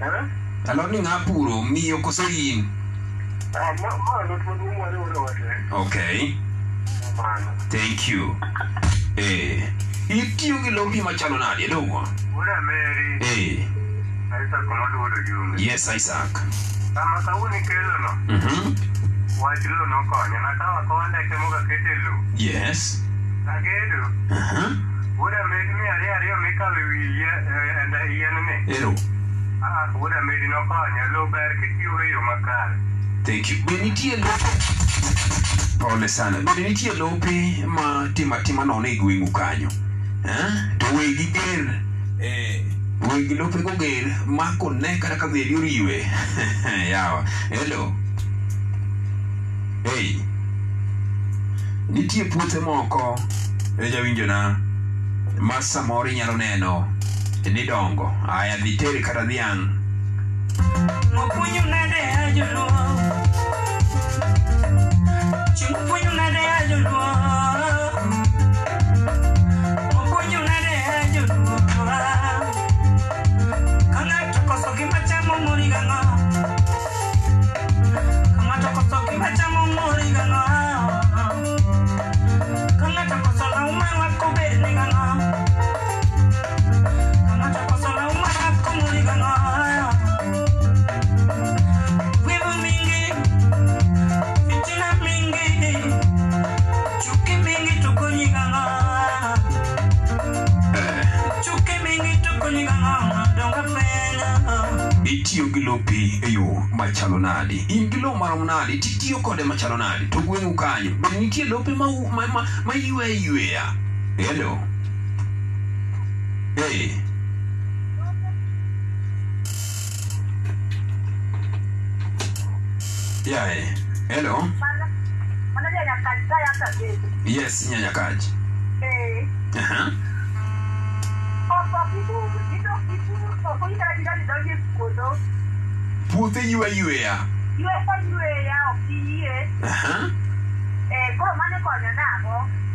Speaker 14: Eh?
Speaker 1: Alot ni ng'a puro? Miyo koso in?
Speaker 14: Ah, ma ma alot maduong' wariwore wate.
Speaker 1: Okay. Thank you. Eh, itiyo gi lopi machalo nadi? Hello.
Speaker 14: Wuoda Mary,
Speaker 1: Eh,
Speaker 14: Aisa komodo wuodo Jumbe.
Speaker 1: yes Isaac.
Speaker 14: Sama kawuoni kelo no,
Speaker 1: Mhm.
Speaker 14: wach lo nokonya. Nakawa kowa ndeke moga kete lo.
Speaker 1: Yes.
Speaker 14: Nagedo.
Speaker 1: Aha.
Speaker 14: Wuoda Mary mia ariyo ariyo mikawo e wi yie- eh, e nda- yien ni.
Speaker 1: Hello.
Speaker 14: Ah, wuoda Mary nokonya. Lo ber kitiyogo e yo makare.
Speaker 1: Thank you. Be nitie lope pole sana. Be nitie lope ma tima tima nono e gweng'u kanyo. Eh? To we giger eh we gi lope goger ma kone kata ka dheri oriwe. Yawa. Hello. Hey. Nitie puothe moko e jawinjona ma samoro inyalo neno ni dongo. Aya dhi tere kata dhiang'
Speaker 5: Mokunyo nade ya joluo Chimu kunyo nade ya joluo Mokunyo nade ya joluo Kanga tokoso gima chamo muri gang'o Kanga tokoso gima chamo muri gang'o Kanga tokoso la umang'a kuberne gang'o Kanga tokoso la umang'a kumuri gang'o wivu mingi fitina mingi chuki mingi tukonyiganga chuki mingi tukonyiganga donga fena
Speaker 1: itiyo gi lopi e yo machalo nadi in gi lowo marom nadi titiyo kode machalo nadi to gweng'u kanyo be nitie lope ma, ma, ma, ma yweya yweya helo hey. yae helo yes nyanyakach Aha. puothe ywa yweya Aha.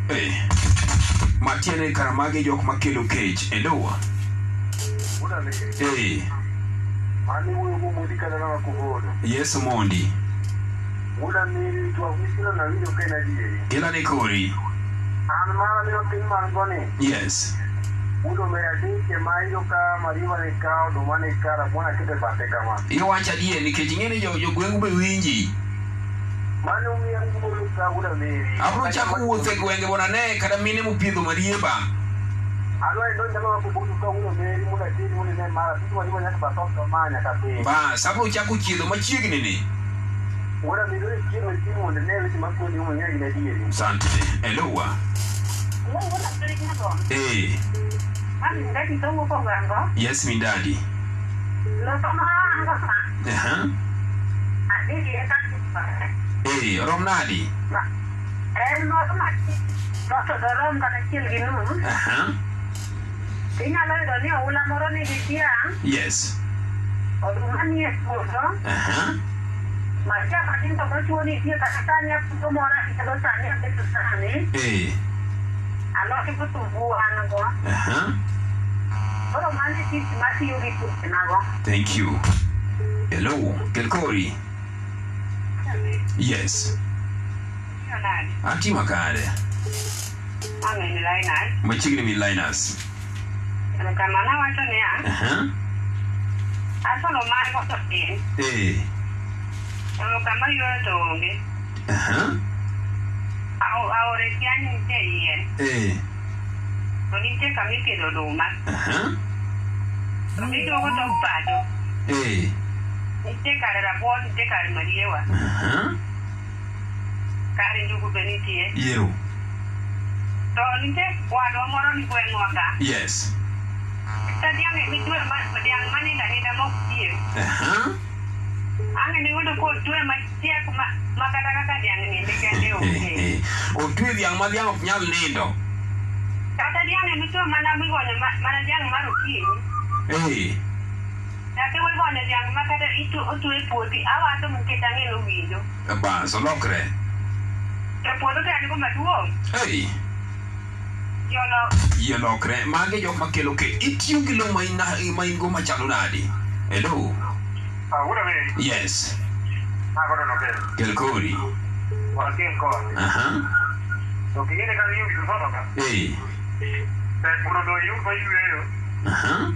Speaker 1: hey. matiene karamage e jok makelo kech elowa
Speaker 14: Wuoda Mary,
Speaker 1: hey.
Speaker 14: mani wuoyo go modi kata kama kugodo.
Speaker 1: yes mondi
Speaker 14: Wuoda Mary, twak michilo nawinjo ka en adieri.
Speaker 1: ilane kori
Speaker 14: An mara miyo piny man go ni.
Speaker 1: yes
Speaker 14: Wuodo Mary adich ema ayudo ka mariwa ne ka, oduma ne ka, rabuon aketo e bathe kama.
Speaker 1: iwacho adier nikech ing'e ni jo- jogwengu be winji
Speaker 14: Mano miyo angolo ka Wuoda Mary.
Speaker 1: abro chako wuotho e gwenge mondo ane kata mine mopiedho marieba Bas, hapo uchako chilo machiegni ni. Asante. Hello. Eh, yes mi dadi. Aha. Eh, rom nadi.
Speaker 18: En moro ma loso dorom kata achiel gi nus
Speaker 1: Aha.
Speaker 18: inyalo yudo ni oula moro nigi tiang'
Speaker 1: Yes.
Speaker 18: oduma ni e puodho
Speaker 1: Aha.
Speaker 18: masia matin to mochuo nitie kata sani aputo moro akelo sani aketo sani
Speaker 1: Eh,
Speaker 18: alot kitungu an go
Speaker 1: aha.
Speaker 18: koro mano e tich matiyo gi puothenago
Speaker 1: Thank you. Hello, Kelkori. Yes. Anti makare.
Speaker 18: ang'eni lainas
Speaker 1: Machiegni mi Linus.
Speaker 18: kamano awacho niya
Speaker 1: Aha.
Speaker 18: asono mar koso piny
Speaker 1: Eh,
Speaker 18: to kama yuoyo to onge
Speaker 1: aha.
Speaker 18: Ao- aore tiang' nitie e yien
Speaker 1: Eh,
Speaker 18: to nitie kama ipidho oduma
Speaker 1: aha.
Speaker 18: to giduogo tok pacho
Speaker 1: Eh,
Speaker 18: nitie kar rabuon nitie kar mariewa
Speaker 1: aha.
Speaker 18: kar njugu be nitie
Speaker 1: Yeo.
Speaker 18: to nitie wadwa moro ni gweng'wa ka
Speaker 1: Yes.
Speaker 18: ka dhiang' emitwe ma- dhiang' manindo aninda mok chiem
Speaker 1: Aha.
Speaker 18: ang'e ni yudo kotwe machiek ma- ma kata kaka dhiang' ninde kende onge
Speaker 1: Eh, otwe dhiang' ma dhiang' ok nyal nindo.
Speaker 18: kata dhiang' emitwe mana migonyo ma- mana dhiang' mar okinyi
Speaker 1: Eh,
Speaker 18: kata wigonyo dhiang' ma kata itu- otwe e puothi awato nikech ang'e nowinjo
Speaker 1: bas olokre.
Speaker 18: to puodho to an go maduong'
Speaker 1: Hey,
Speaker 18: jolo
Speaker 1: yie lokre. Mage jok makelo kech. Itiyo gi lo ma in ma in go machalo nadi? Hello. Yes. Kelkori. Aha. Eh, aha.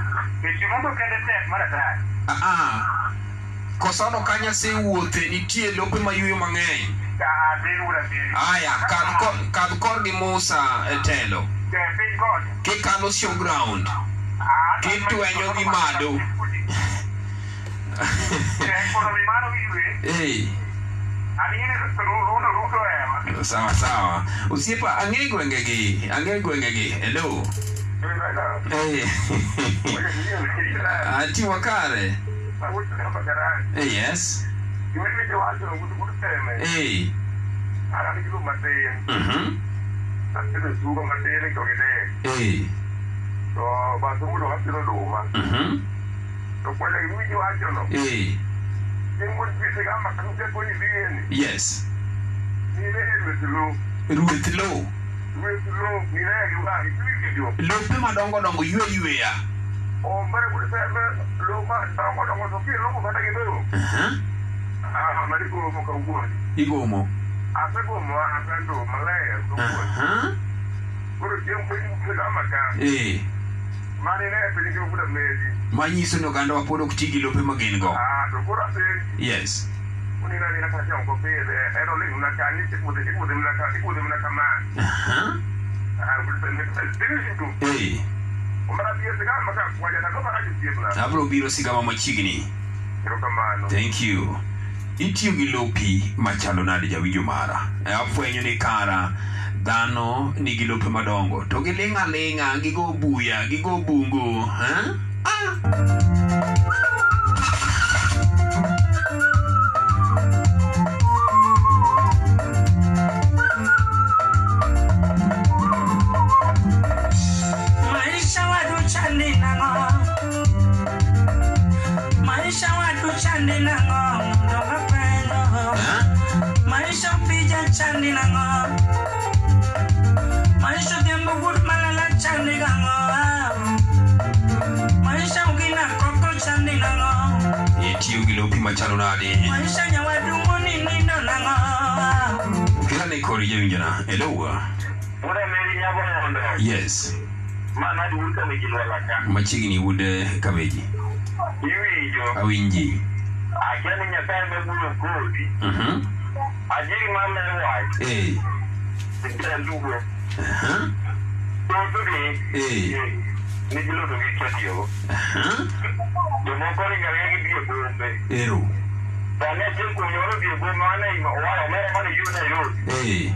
Speaker 1: Ah, Aa. Kosono kanya sewuothe nitie lope mayueyo mang'eny. Aya, kadh kor- kadh korgi Musa e telo. Kikalo show ground. Kitwenyo gi malo. Eh, sawa sawa. Osiepa, ang'e gwengegi. Ang'e gwengegi. Hello. Eh. Ati wakare. Eh, yes. Eh. Mhm. Eh. Mhm. Eh. Yes. Ruoth lo. Lope madongo dongo yue yueya. Aha. Igomo.
Speaker 14: né,
Speaker 1: Aha.
Speaker 14: um
Speaker 1: Eh. Manyiso ni oganda wa pod ok ti gi lope ma gin go. Yes.
Speaker 14: um é,
Speaker 1: Aha.
Speaker 14: Ah,
Speaker 1: Eh.
Speaker 14: tipo, né?
Speaker 1: Abro biro sigama machiegni. Thank you. Itiyo gi lopi machalo nade jawinjo mara. E, Afwenyo ni kara dhano nigi lope madongo to giling' aling'a gigo buya gigo bungu. Eh?
Speaker 5: Maisha wadu chandi nango Maisha wadu chandi nango Mundo mapendo Maisha pija chandi nango Maisha tiembo gut malala chandi nango Maisha ugina koko chandi nango
Speaker 1: Itiyo gi lopi machalo nade.
Speaker 5: Maisha nyawadu muni nindo nango
Speaker 1: Kila ne kori jawinjona. Hello. Yes. Machiegni wude kabeji. Awinji. Mhm. Eh. Aha.
Speaker 16: ni nigi loto gi chatiyogo jomoko ringare gidhi e bombe
Speaker 1: Ero.
Speaker 16: sani achiel kuom yore dhi e bombe mane owaya mere mane yudo Nairobi
Speaker 1: Eh.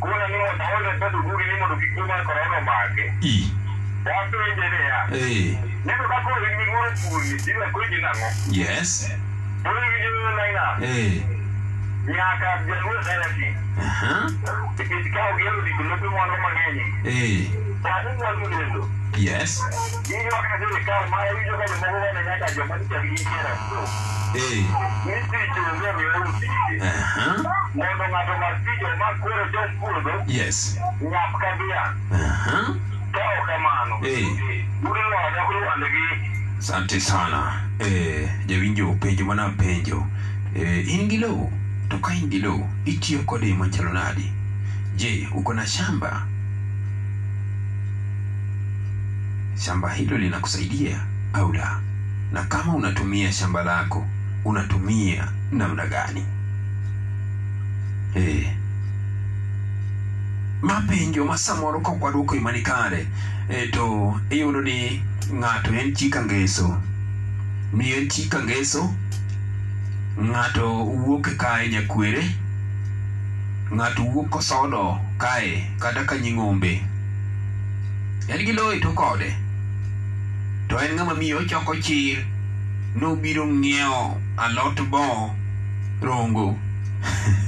Speaker 16: kuno ni mondo aole pedo gugi ni mondo kik tuo mar korona omake
Speaker 1: I.
Speaker 16: wapenje niya
Speaker 1: Eh.
Speaker 16: neno ka koro in migoro kuomi tiwe konyi nang'o
Speaker 1: Yes.
Speaker 16: koro iwinjo laina
Speaker 1: Eh.
Speaker 16: nyaka jaluo therapy
Speaker 1: Aha.
Speaker 16: nikech ka ogero dik lope mwango mang'eny
Speaker 1: Eh.
Speaker 16: sani mwandu lendo
Speaker 1: Yes.
Speaker 16: iywak ne sirikal ma iwinjo ka jomoko wane nyaka joma nicha gi yie rasto
Speaker 1: Eh.
Speaker 16: nitich onge miyoru tije
Speaker 1: Aha.
Speaker 16: mondo ng'ato omak tich omak koro jom puodho
Speaker 1: Yes. Uh-huh.
Speaker 16: nyap ka dhiang'
Speaker 1: Aha.
Speaker 16: ka ok kamano
Speaker 1: Eh.
Speaker 16: udino odok lwandgi
Speaker 1: Asante sana. Eh, jawinjo penjo mana penjo. Eh, in gi lowo to ka in gi lowo itiyo kode e machalo nadi? Je, uko na shamba? Shamba hilo linakusaidia au la? Na kama unatumia shamba lako, unatumia namna gani? Eh, ma penjo ma samoro kok waduoko gima ni kare eh, to iyudo ni ng'ato en chi ka ngeso mi en chi ka ngeso ng'ato wuok kae nyakwere ng'ato wuok kosodo kae kata ka nying'ombe en gi lowo to kode to en ng'ama miyo ochoko chir nobiro ng'iewo alot bo rongo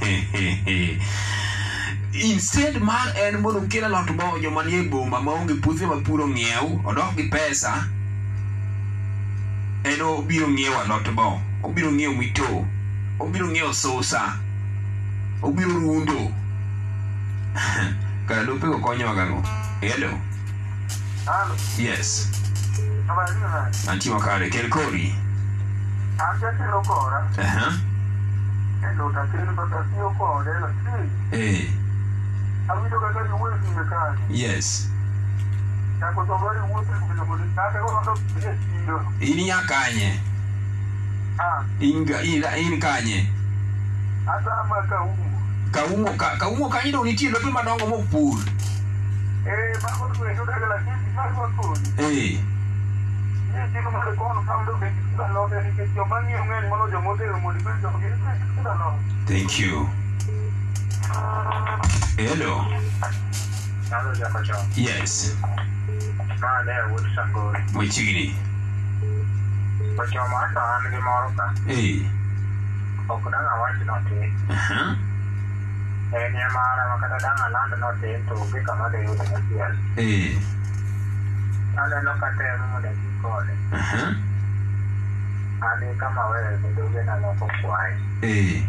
Speaker 1: instead mar en mondo okel alot bo joma nie boma maonge puothe ma puro ng'iew odok gi pesa en obiro ng'iewo alot bo obiro ng'iewo mito obiro ng'iewo susa obiro rundo kara lopego konyowagang'o helo
Speaker 14: Ah,
Speaker 1: yes
Speaker 14: tá né?
Speaker 1: antie makare kel kori
Speaker 14: Ah,
Speaker 16: aketero kora
Speaker 1: Aha.
Speaker 14: É,
Speaker 16: kendo
Speaker 14: tá
Speaker 16: tatin
Speaker 14: assim,
Speaker 16: batatiyo kode
Speaker 14: né?
Speaker 16: lakini
Speaker 1: eh
Speaker 16: awinjo kaka
Speaker 14: é
Speaker 16: giwuoyo gi mekani
Speaker 1: yes
Speaker 16: nyaka somari wuotho e gwenge mondo kata korwako e chiro
Speaker 1: in ya kanye in, ga- in, in kanye
Speaker 16: atama kaumo
Speaker 1: kaumo ka, kaumo kanyo dong nitie lope madongo mok pur
Speaker 16: ee mago gwenge odaga lakini marwa koni
Speaker 1: eh
Speaker 16: ni chiro mar kono kamdo be kisuda lote nikech joma ng'iyo ng'eny molo jomotero mondo ibed joma gin kisuda lote
Speaker 1: Thank you. Hello.
Speaker 16: nalo jakocha
Speaker 1: Yes.
Speaker 16: ma ne wuod sangori
Speaker 1: Machiegni.
Speaker 16: kocha ma ka an gi moro ka
Speaker 1: Eh.
Speaker 16: ok dang' awach notin
Speaker 1: Aha.
Speaker 16: en yamara ma kata dang' aland notin to onge kama de yude achiel
Speaker 1: Eh.
Speaker 16: aneno katemo mondo adhi kode
Speaker 1: Aha.
Speaker 16: an gi kama were kendo ugena moko kwaye
Speaker 1: Eh.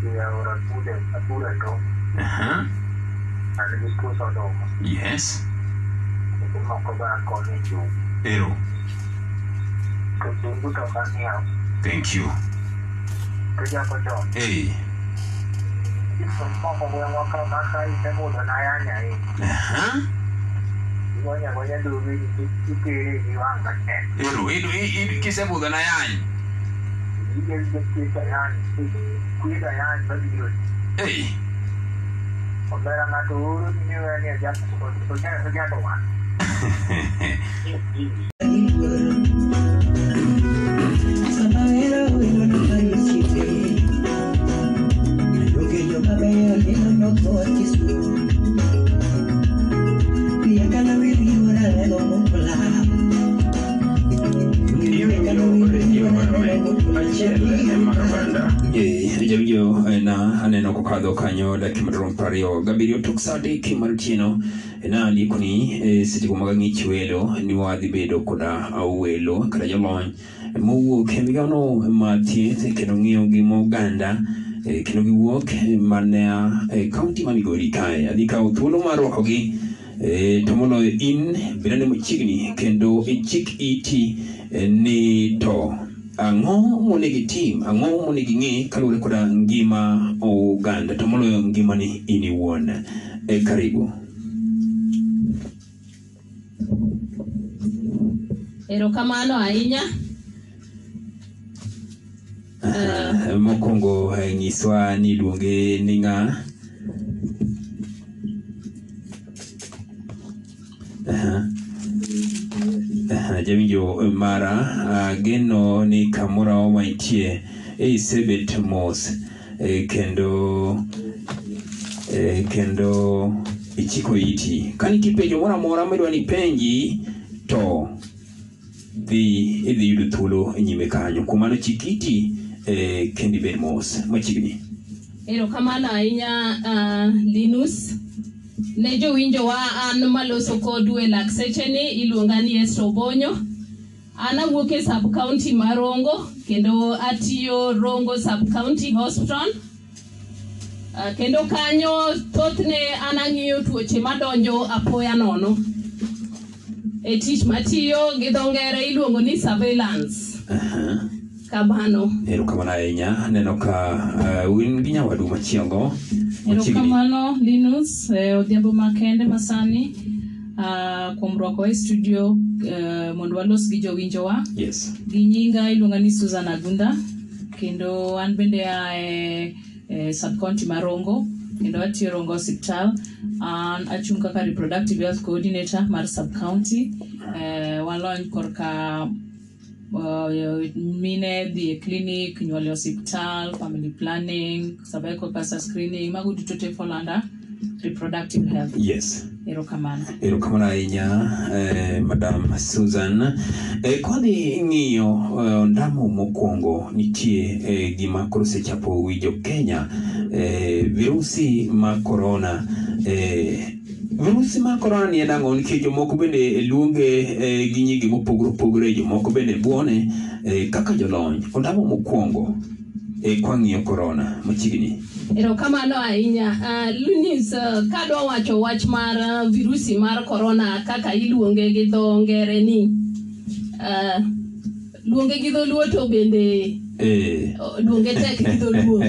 Speaker 16: gi aora kude akure to
Speaker 1: Aha.
Speaker 16: an gi kus oduma
Speaker 1: Yes.
Speaker 16: kendo moko be akonyo e chung
Speaker 1: Ero.
Speaker 16: to chungu to ok ang'iew
Speaker 1: Thank you.
Speaker 16: to jakochon
Speaker 1: Eh.
Speaker 16: moko gweng'wa ka maka isebudho na yanya ahinya
Speaker 1: Aha.
Speaker 16: igonya gonya duge nikech itere gi wang' matek
Speaker 1: Ero. Ero. Ero. Kisebudho na yany.
Speaker 16: gige jathieth ayany kweth ayany mabiro
Speaker 1: Eh.
Speaker 16: omera ng'ato oro ni niwene ojando wang'
Speaker 1: Eh, jawinjo na aneno kokadho kanyo dakika madirom prariyo gabiriyo tok saa adek mar otieno na lieko ni eh, sechego mag ang'ich welo ni wadhi bedo koda welo kata jolony mowuok e migawono mar thieth kendo ng'iyo gi moganda eh, kendo giwuok eh, mana e kaunti ma migori kae adhi kawo thuolo mar rwakogi eh, to moloyo in bedane machiegni kendo ichik iti eh, ni to ang'o monego itim ang'o monego ing'e kaluwore koda ngima oganda to moloyo ngimani in iwuon e karibu
Speaker 3: erokamano ahinya
Speaker 1: Eh, mokwongo eh, nyiswa ni iluonge ni ng'a jawinjo mara ah, geno ni kamoro wantie ei sebet mos eh, kendo eh, kendo ichiko iti ka nitie penjo moro amora midwa ni penji to dhi idhi yudo thuolo e nyime kanyo kuom mano chik iti eh, kendo ibed mos machiegni
Speaker 3: Erokamano ahinya ah, Linus ne jowinjowa an maloso kodu e lak secheni iluonga ni Esther Obonyo an awuok e sub county ma Rongo kendo atiyo Rongo sub county hospital Ah, kendo kanyo thothne an ang'iyo tuoche madonjo apoya nono e tich matiyo gi dho ngere iluongo ni surveillance kamano
Speaker 1: erokamano ahinya aneno ka uh, win gi nyawadu machielo machiegni
Speaker 2: Erokamano Linus eh, odhiambo makende masani ah, kuom rwakowa e studio eh, mondo walos gi jowinjowa
Speaker 1: yes
Speaker 2: gi nyinga iluonga ni Susan Agunda kendo an bende ae e subcounty ma Rongo kendo atiyo Rongo Osiptal an achung' kaka reproductive health coordinator mar subcounty eh, walony korka eh, mine dhi e clinic nyuol e osiptal family planning cervical cancer screening mago duto te fall under reproductive health
Speaker 1: yes
Speaker 2: erokamano
Speaker 1: erokamano ahinya eh, madam susan eh, kwadhi ng'iyo eh, ondamo mokwongo nitie eh, gima koro sechapo wi jokenya eh, virusi ma korona eh, virusi mar korona ni edang'o nikech jomoko bende luonge eh, gi nyinge mopogore opogore jomoko bende buone eh, kaka jolony ondamo mokwongo eh, kwang'iyo korona machiegni
Speaker 3: Erokamano ahinya. Uh, Lunis, uh, kadwa wacho wach mar uh, virusi mar corona kaka iluonge gi dho ngere ni uh, luonge gi dholuo to bende
Speaker 1: eh,
Speaker 3: uh, luonge tek gi dholuo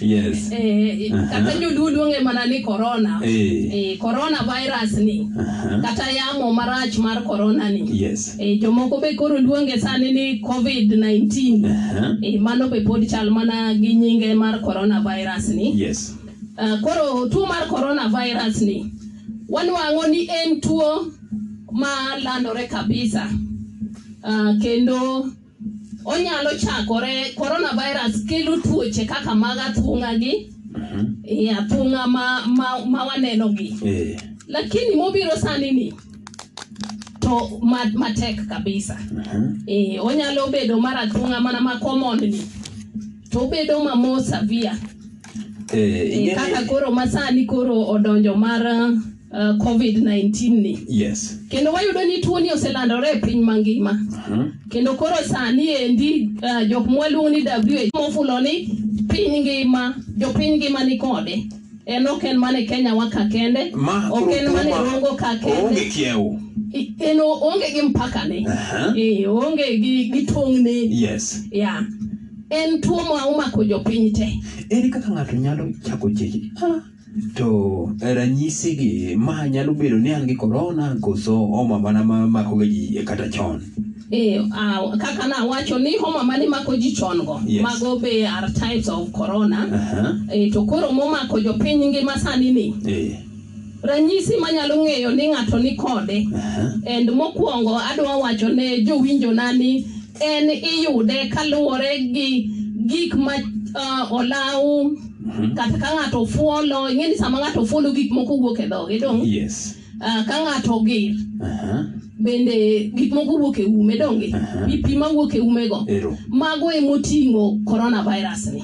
Speaker 1: yes
Speaker 3: eh,
Speaker 1: Aha.
Speaker 3: kata joluo luonge mana ni corona
Speaker 1: Eh.
Speaker 3: eh, corona virus ni
Speaker 1: Aha.
Speaker 3: kata yamo marach mar corona ni
Speaker 1: yes
Speaker 3: eh, jomoko be koro luonge sani ni covid 19
Speaker 1: Aha.
Speaker 3: eh, mano be pod chal mana gi nyinge mar corona virus ni
Speaker 1: yes
Speaker 3: Uh, koro tuo mar coronavirus ni wanwang'o ni en tuo ma landore kabisa uh, kendo onyalo chakore coronavirus kelo tuoche kaka mag athung'a gi e athung'a ma, ma, ma wanenogi
Speaker 1: eh,
Speaker 3: lakini mobiro sani ni to ma- matek kabisa
Speaker 1: aha.
Speaker 3: e, onyalo bedo mar athung'a mana ma common ni to obedo ma more severe
Speaker 1: eh,
Speaker 3: Eh,
Speaker 1: ing'e ni-
Speaker 3: kaka koro masani koro odonjo mar uh, covid-19 ni
Speaker 1: yes
Speaker 3: kendo wayudo ni tuoni oselandore e piny mangima
Speaker 1: Aha.
Speaker 3: kendo koro sani endi uh, jok mwaluongo ni WHO mofulo ni piny ngima jopiny ngima ni kode en ok en mana e kenya wa ka kende
Speaker 1: Ma
Speaker 3: ok en
Speaker 1: koro
Speaker 3: mana e
Speaker 1: tuo ma
Speaker 3: rongo ka
Speaker 1: oonge
Speaker 3: kende
Speaker 1: kiewo
Speaker 3: I- en o- oonge gi mpaka ne Eh, oonge gi, gi tong' ne
Speaker 1: yes
Speaker 3: ya en tuo ma omako jopiny te
Speaker 1: ere kaka ng'ato nyalo chako cheche "Ah, to ranyisigi ma nyalo bedo ni an gi korona koso homa mana ma makoga ji e kata chon
Speaker 3: Eh, ah, kaka nawacho ni homa mane mako ji chon go
Speaker 1: Yes.
Speaker 3: mago be are types of corona
Speaker 1: Aha.
Speaker 3: eh, to koro momako jopiny ngima sani ni
Speaker 1: Eh,
Speaker 3: ranyisi manyalo ng'eyo ni ng'ato ni kode
Speaker 1: Uh-huh.
Speaker 3: and mokwongo adwa wacho ne jowinjona ni en iyude kaluwore gi gik ma ah, olaw
Speaker 1: Mm-hmm.
Speaker 3: kata ka ng'ato fuolo ing'e ni sama ng'ato fuolo gik moko wuok e dhoge dong
Speaker 1: yes
Speaker 3: Ah, ka ng'ato ogir
Speaker 1: Aha.
Speaker 3: bende gik moko wuok e ume donge pi pi mawuok e umego
Speaker 1: ero
Speaker 3: mago emoting'o coronavirus ni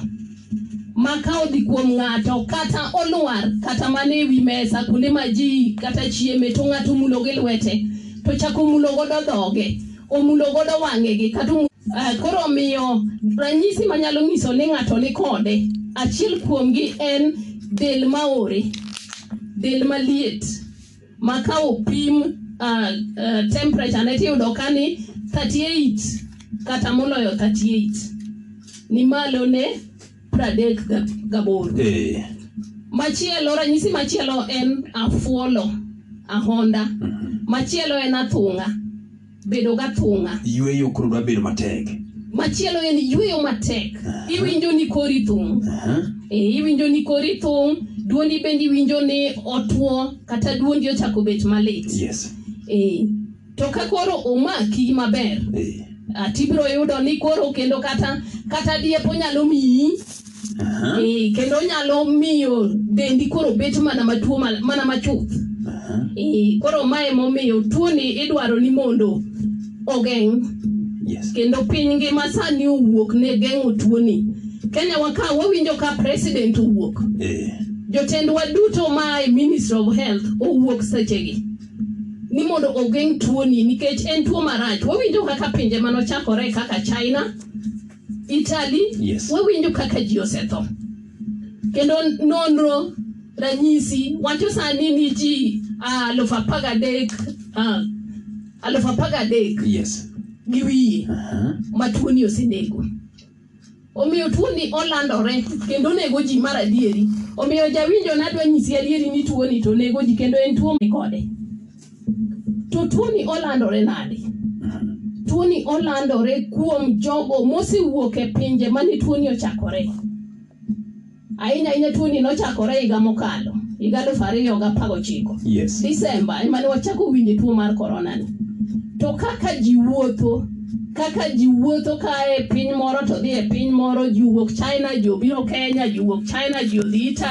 Speaker 3: ma ka odhi kuom ng'ato kata olwar kata mana e wi mesa kuonde ma ji kata chieme to ng'ato mulo gi lwete to chako mulo godo dhoge omulo godo wang'egi kata omu- Ah, koro omiyo ranyisi manyalo nyiso ni ng'ato ni kode achiel kuomgi en del maore del maliet ma ka opim uh, uh, temperature ne tiyudo ka ni 38 kata moloyo 38 ni malo ne 30 ga- gaboro
Speaker 1: eh,
Speaker 3: machielo ranyisi machielo en afuolo ahonda machielo en athung'a bedo gathung'a
Speaker 1: yweyo koro dwa bedo matek
Speaker 3: machielo en yweyo matek iwinjo ni kori thung'
Speaker 1: Aha.
Speaker 3: Eh, iwinjo ni kori thung' dwondi bende iwinjo ni otuo kata dwondi ochako bet malit
Speaker 1: yes
Speaker 3: Eh, to ka koro omaki maber
Speaker 1: Eh.
Speaker 3: ah, tibiro yudo ni koro kendo kata kata diep onyalo miyi
Speaker 1: Uh-huh.
Speaker 3: Eh, kendo onyalo miyo dendi koro bet mana matuo mal- mana machuth Eh, koro mae emomiyo tuoni idwaro ni mondo ogeng' kendo piny ngima sani owuok ne geng'o tuoni kenya waka wawinjo ka president owuok
Speaker 1: Eh.
Speaker 3: jotendwa duto ma e ministry of health owuok sechegi ni mondo ogeng' tuoni nikech en tuo marach wawinjo kaka pinje manochakore kaka china italy
Speaker 6: Yes.
Speaker 3: wawinjo kaka ji osetho kendo nonro ranyisi wacho sani ni ji ah, alufu apaga adek ah, alufu apaga adek
Speaker 1: yes.
Speaker 3: gi wiye ma tuoni osenego omiyo tuoni olandore kendo onego ji mar adieri omiyo jawinjo nadwa nyisi adieri ni tuoni to nego ji kendo en tuo kode to tuoni olandore nade tuoni olandore kuom jogo mosewuok e pinje mane tuoni ochakore ahinya ahinya tuoni nochakore higa mokalo higa eluf ariyo gapar gochiko
Speaker 6: Yes.
Speaker 3: disemba emane wachako winje tuo mar koronani to kaka ji wuotho kaka ji wuotho e kae piny moro to dhi e piny moro ji owuok china ji obiro kenya ji owuok china ji odhi itali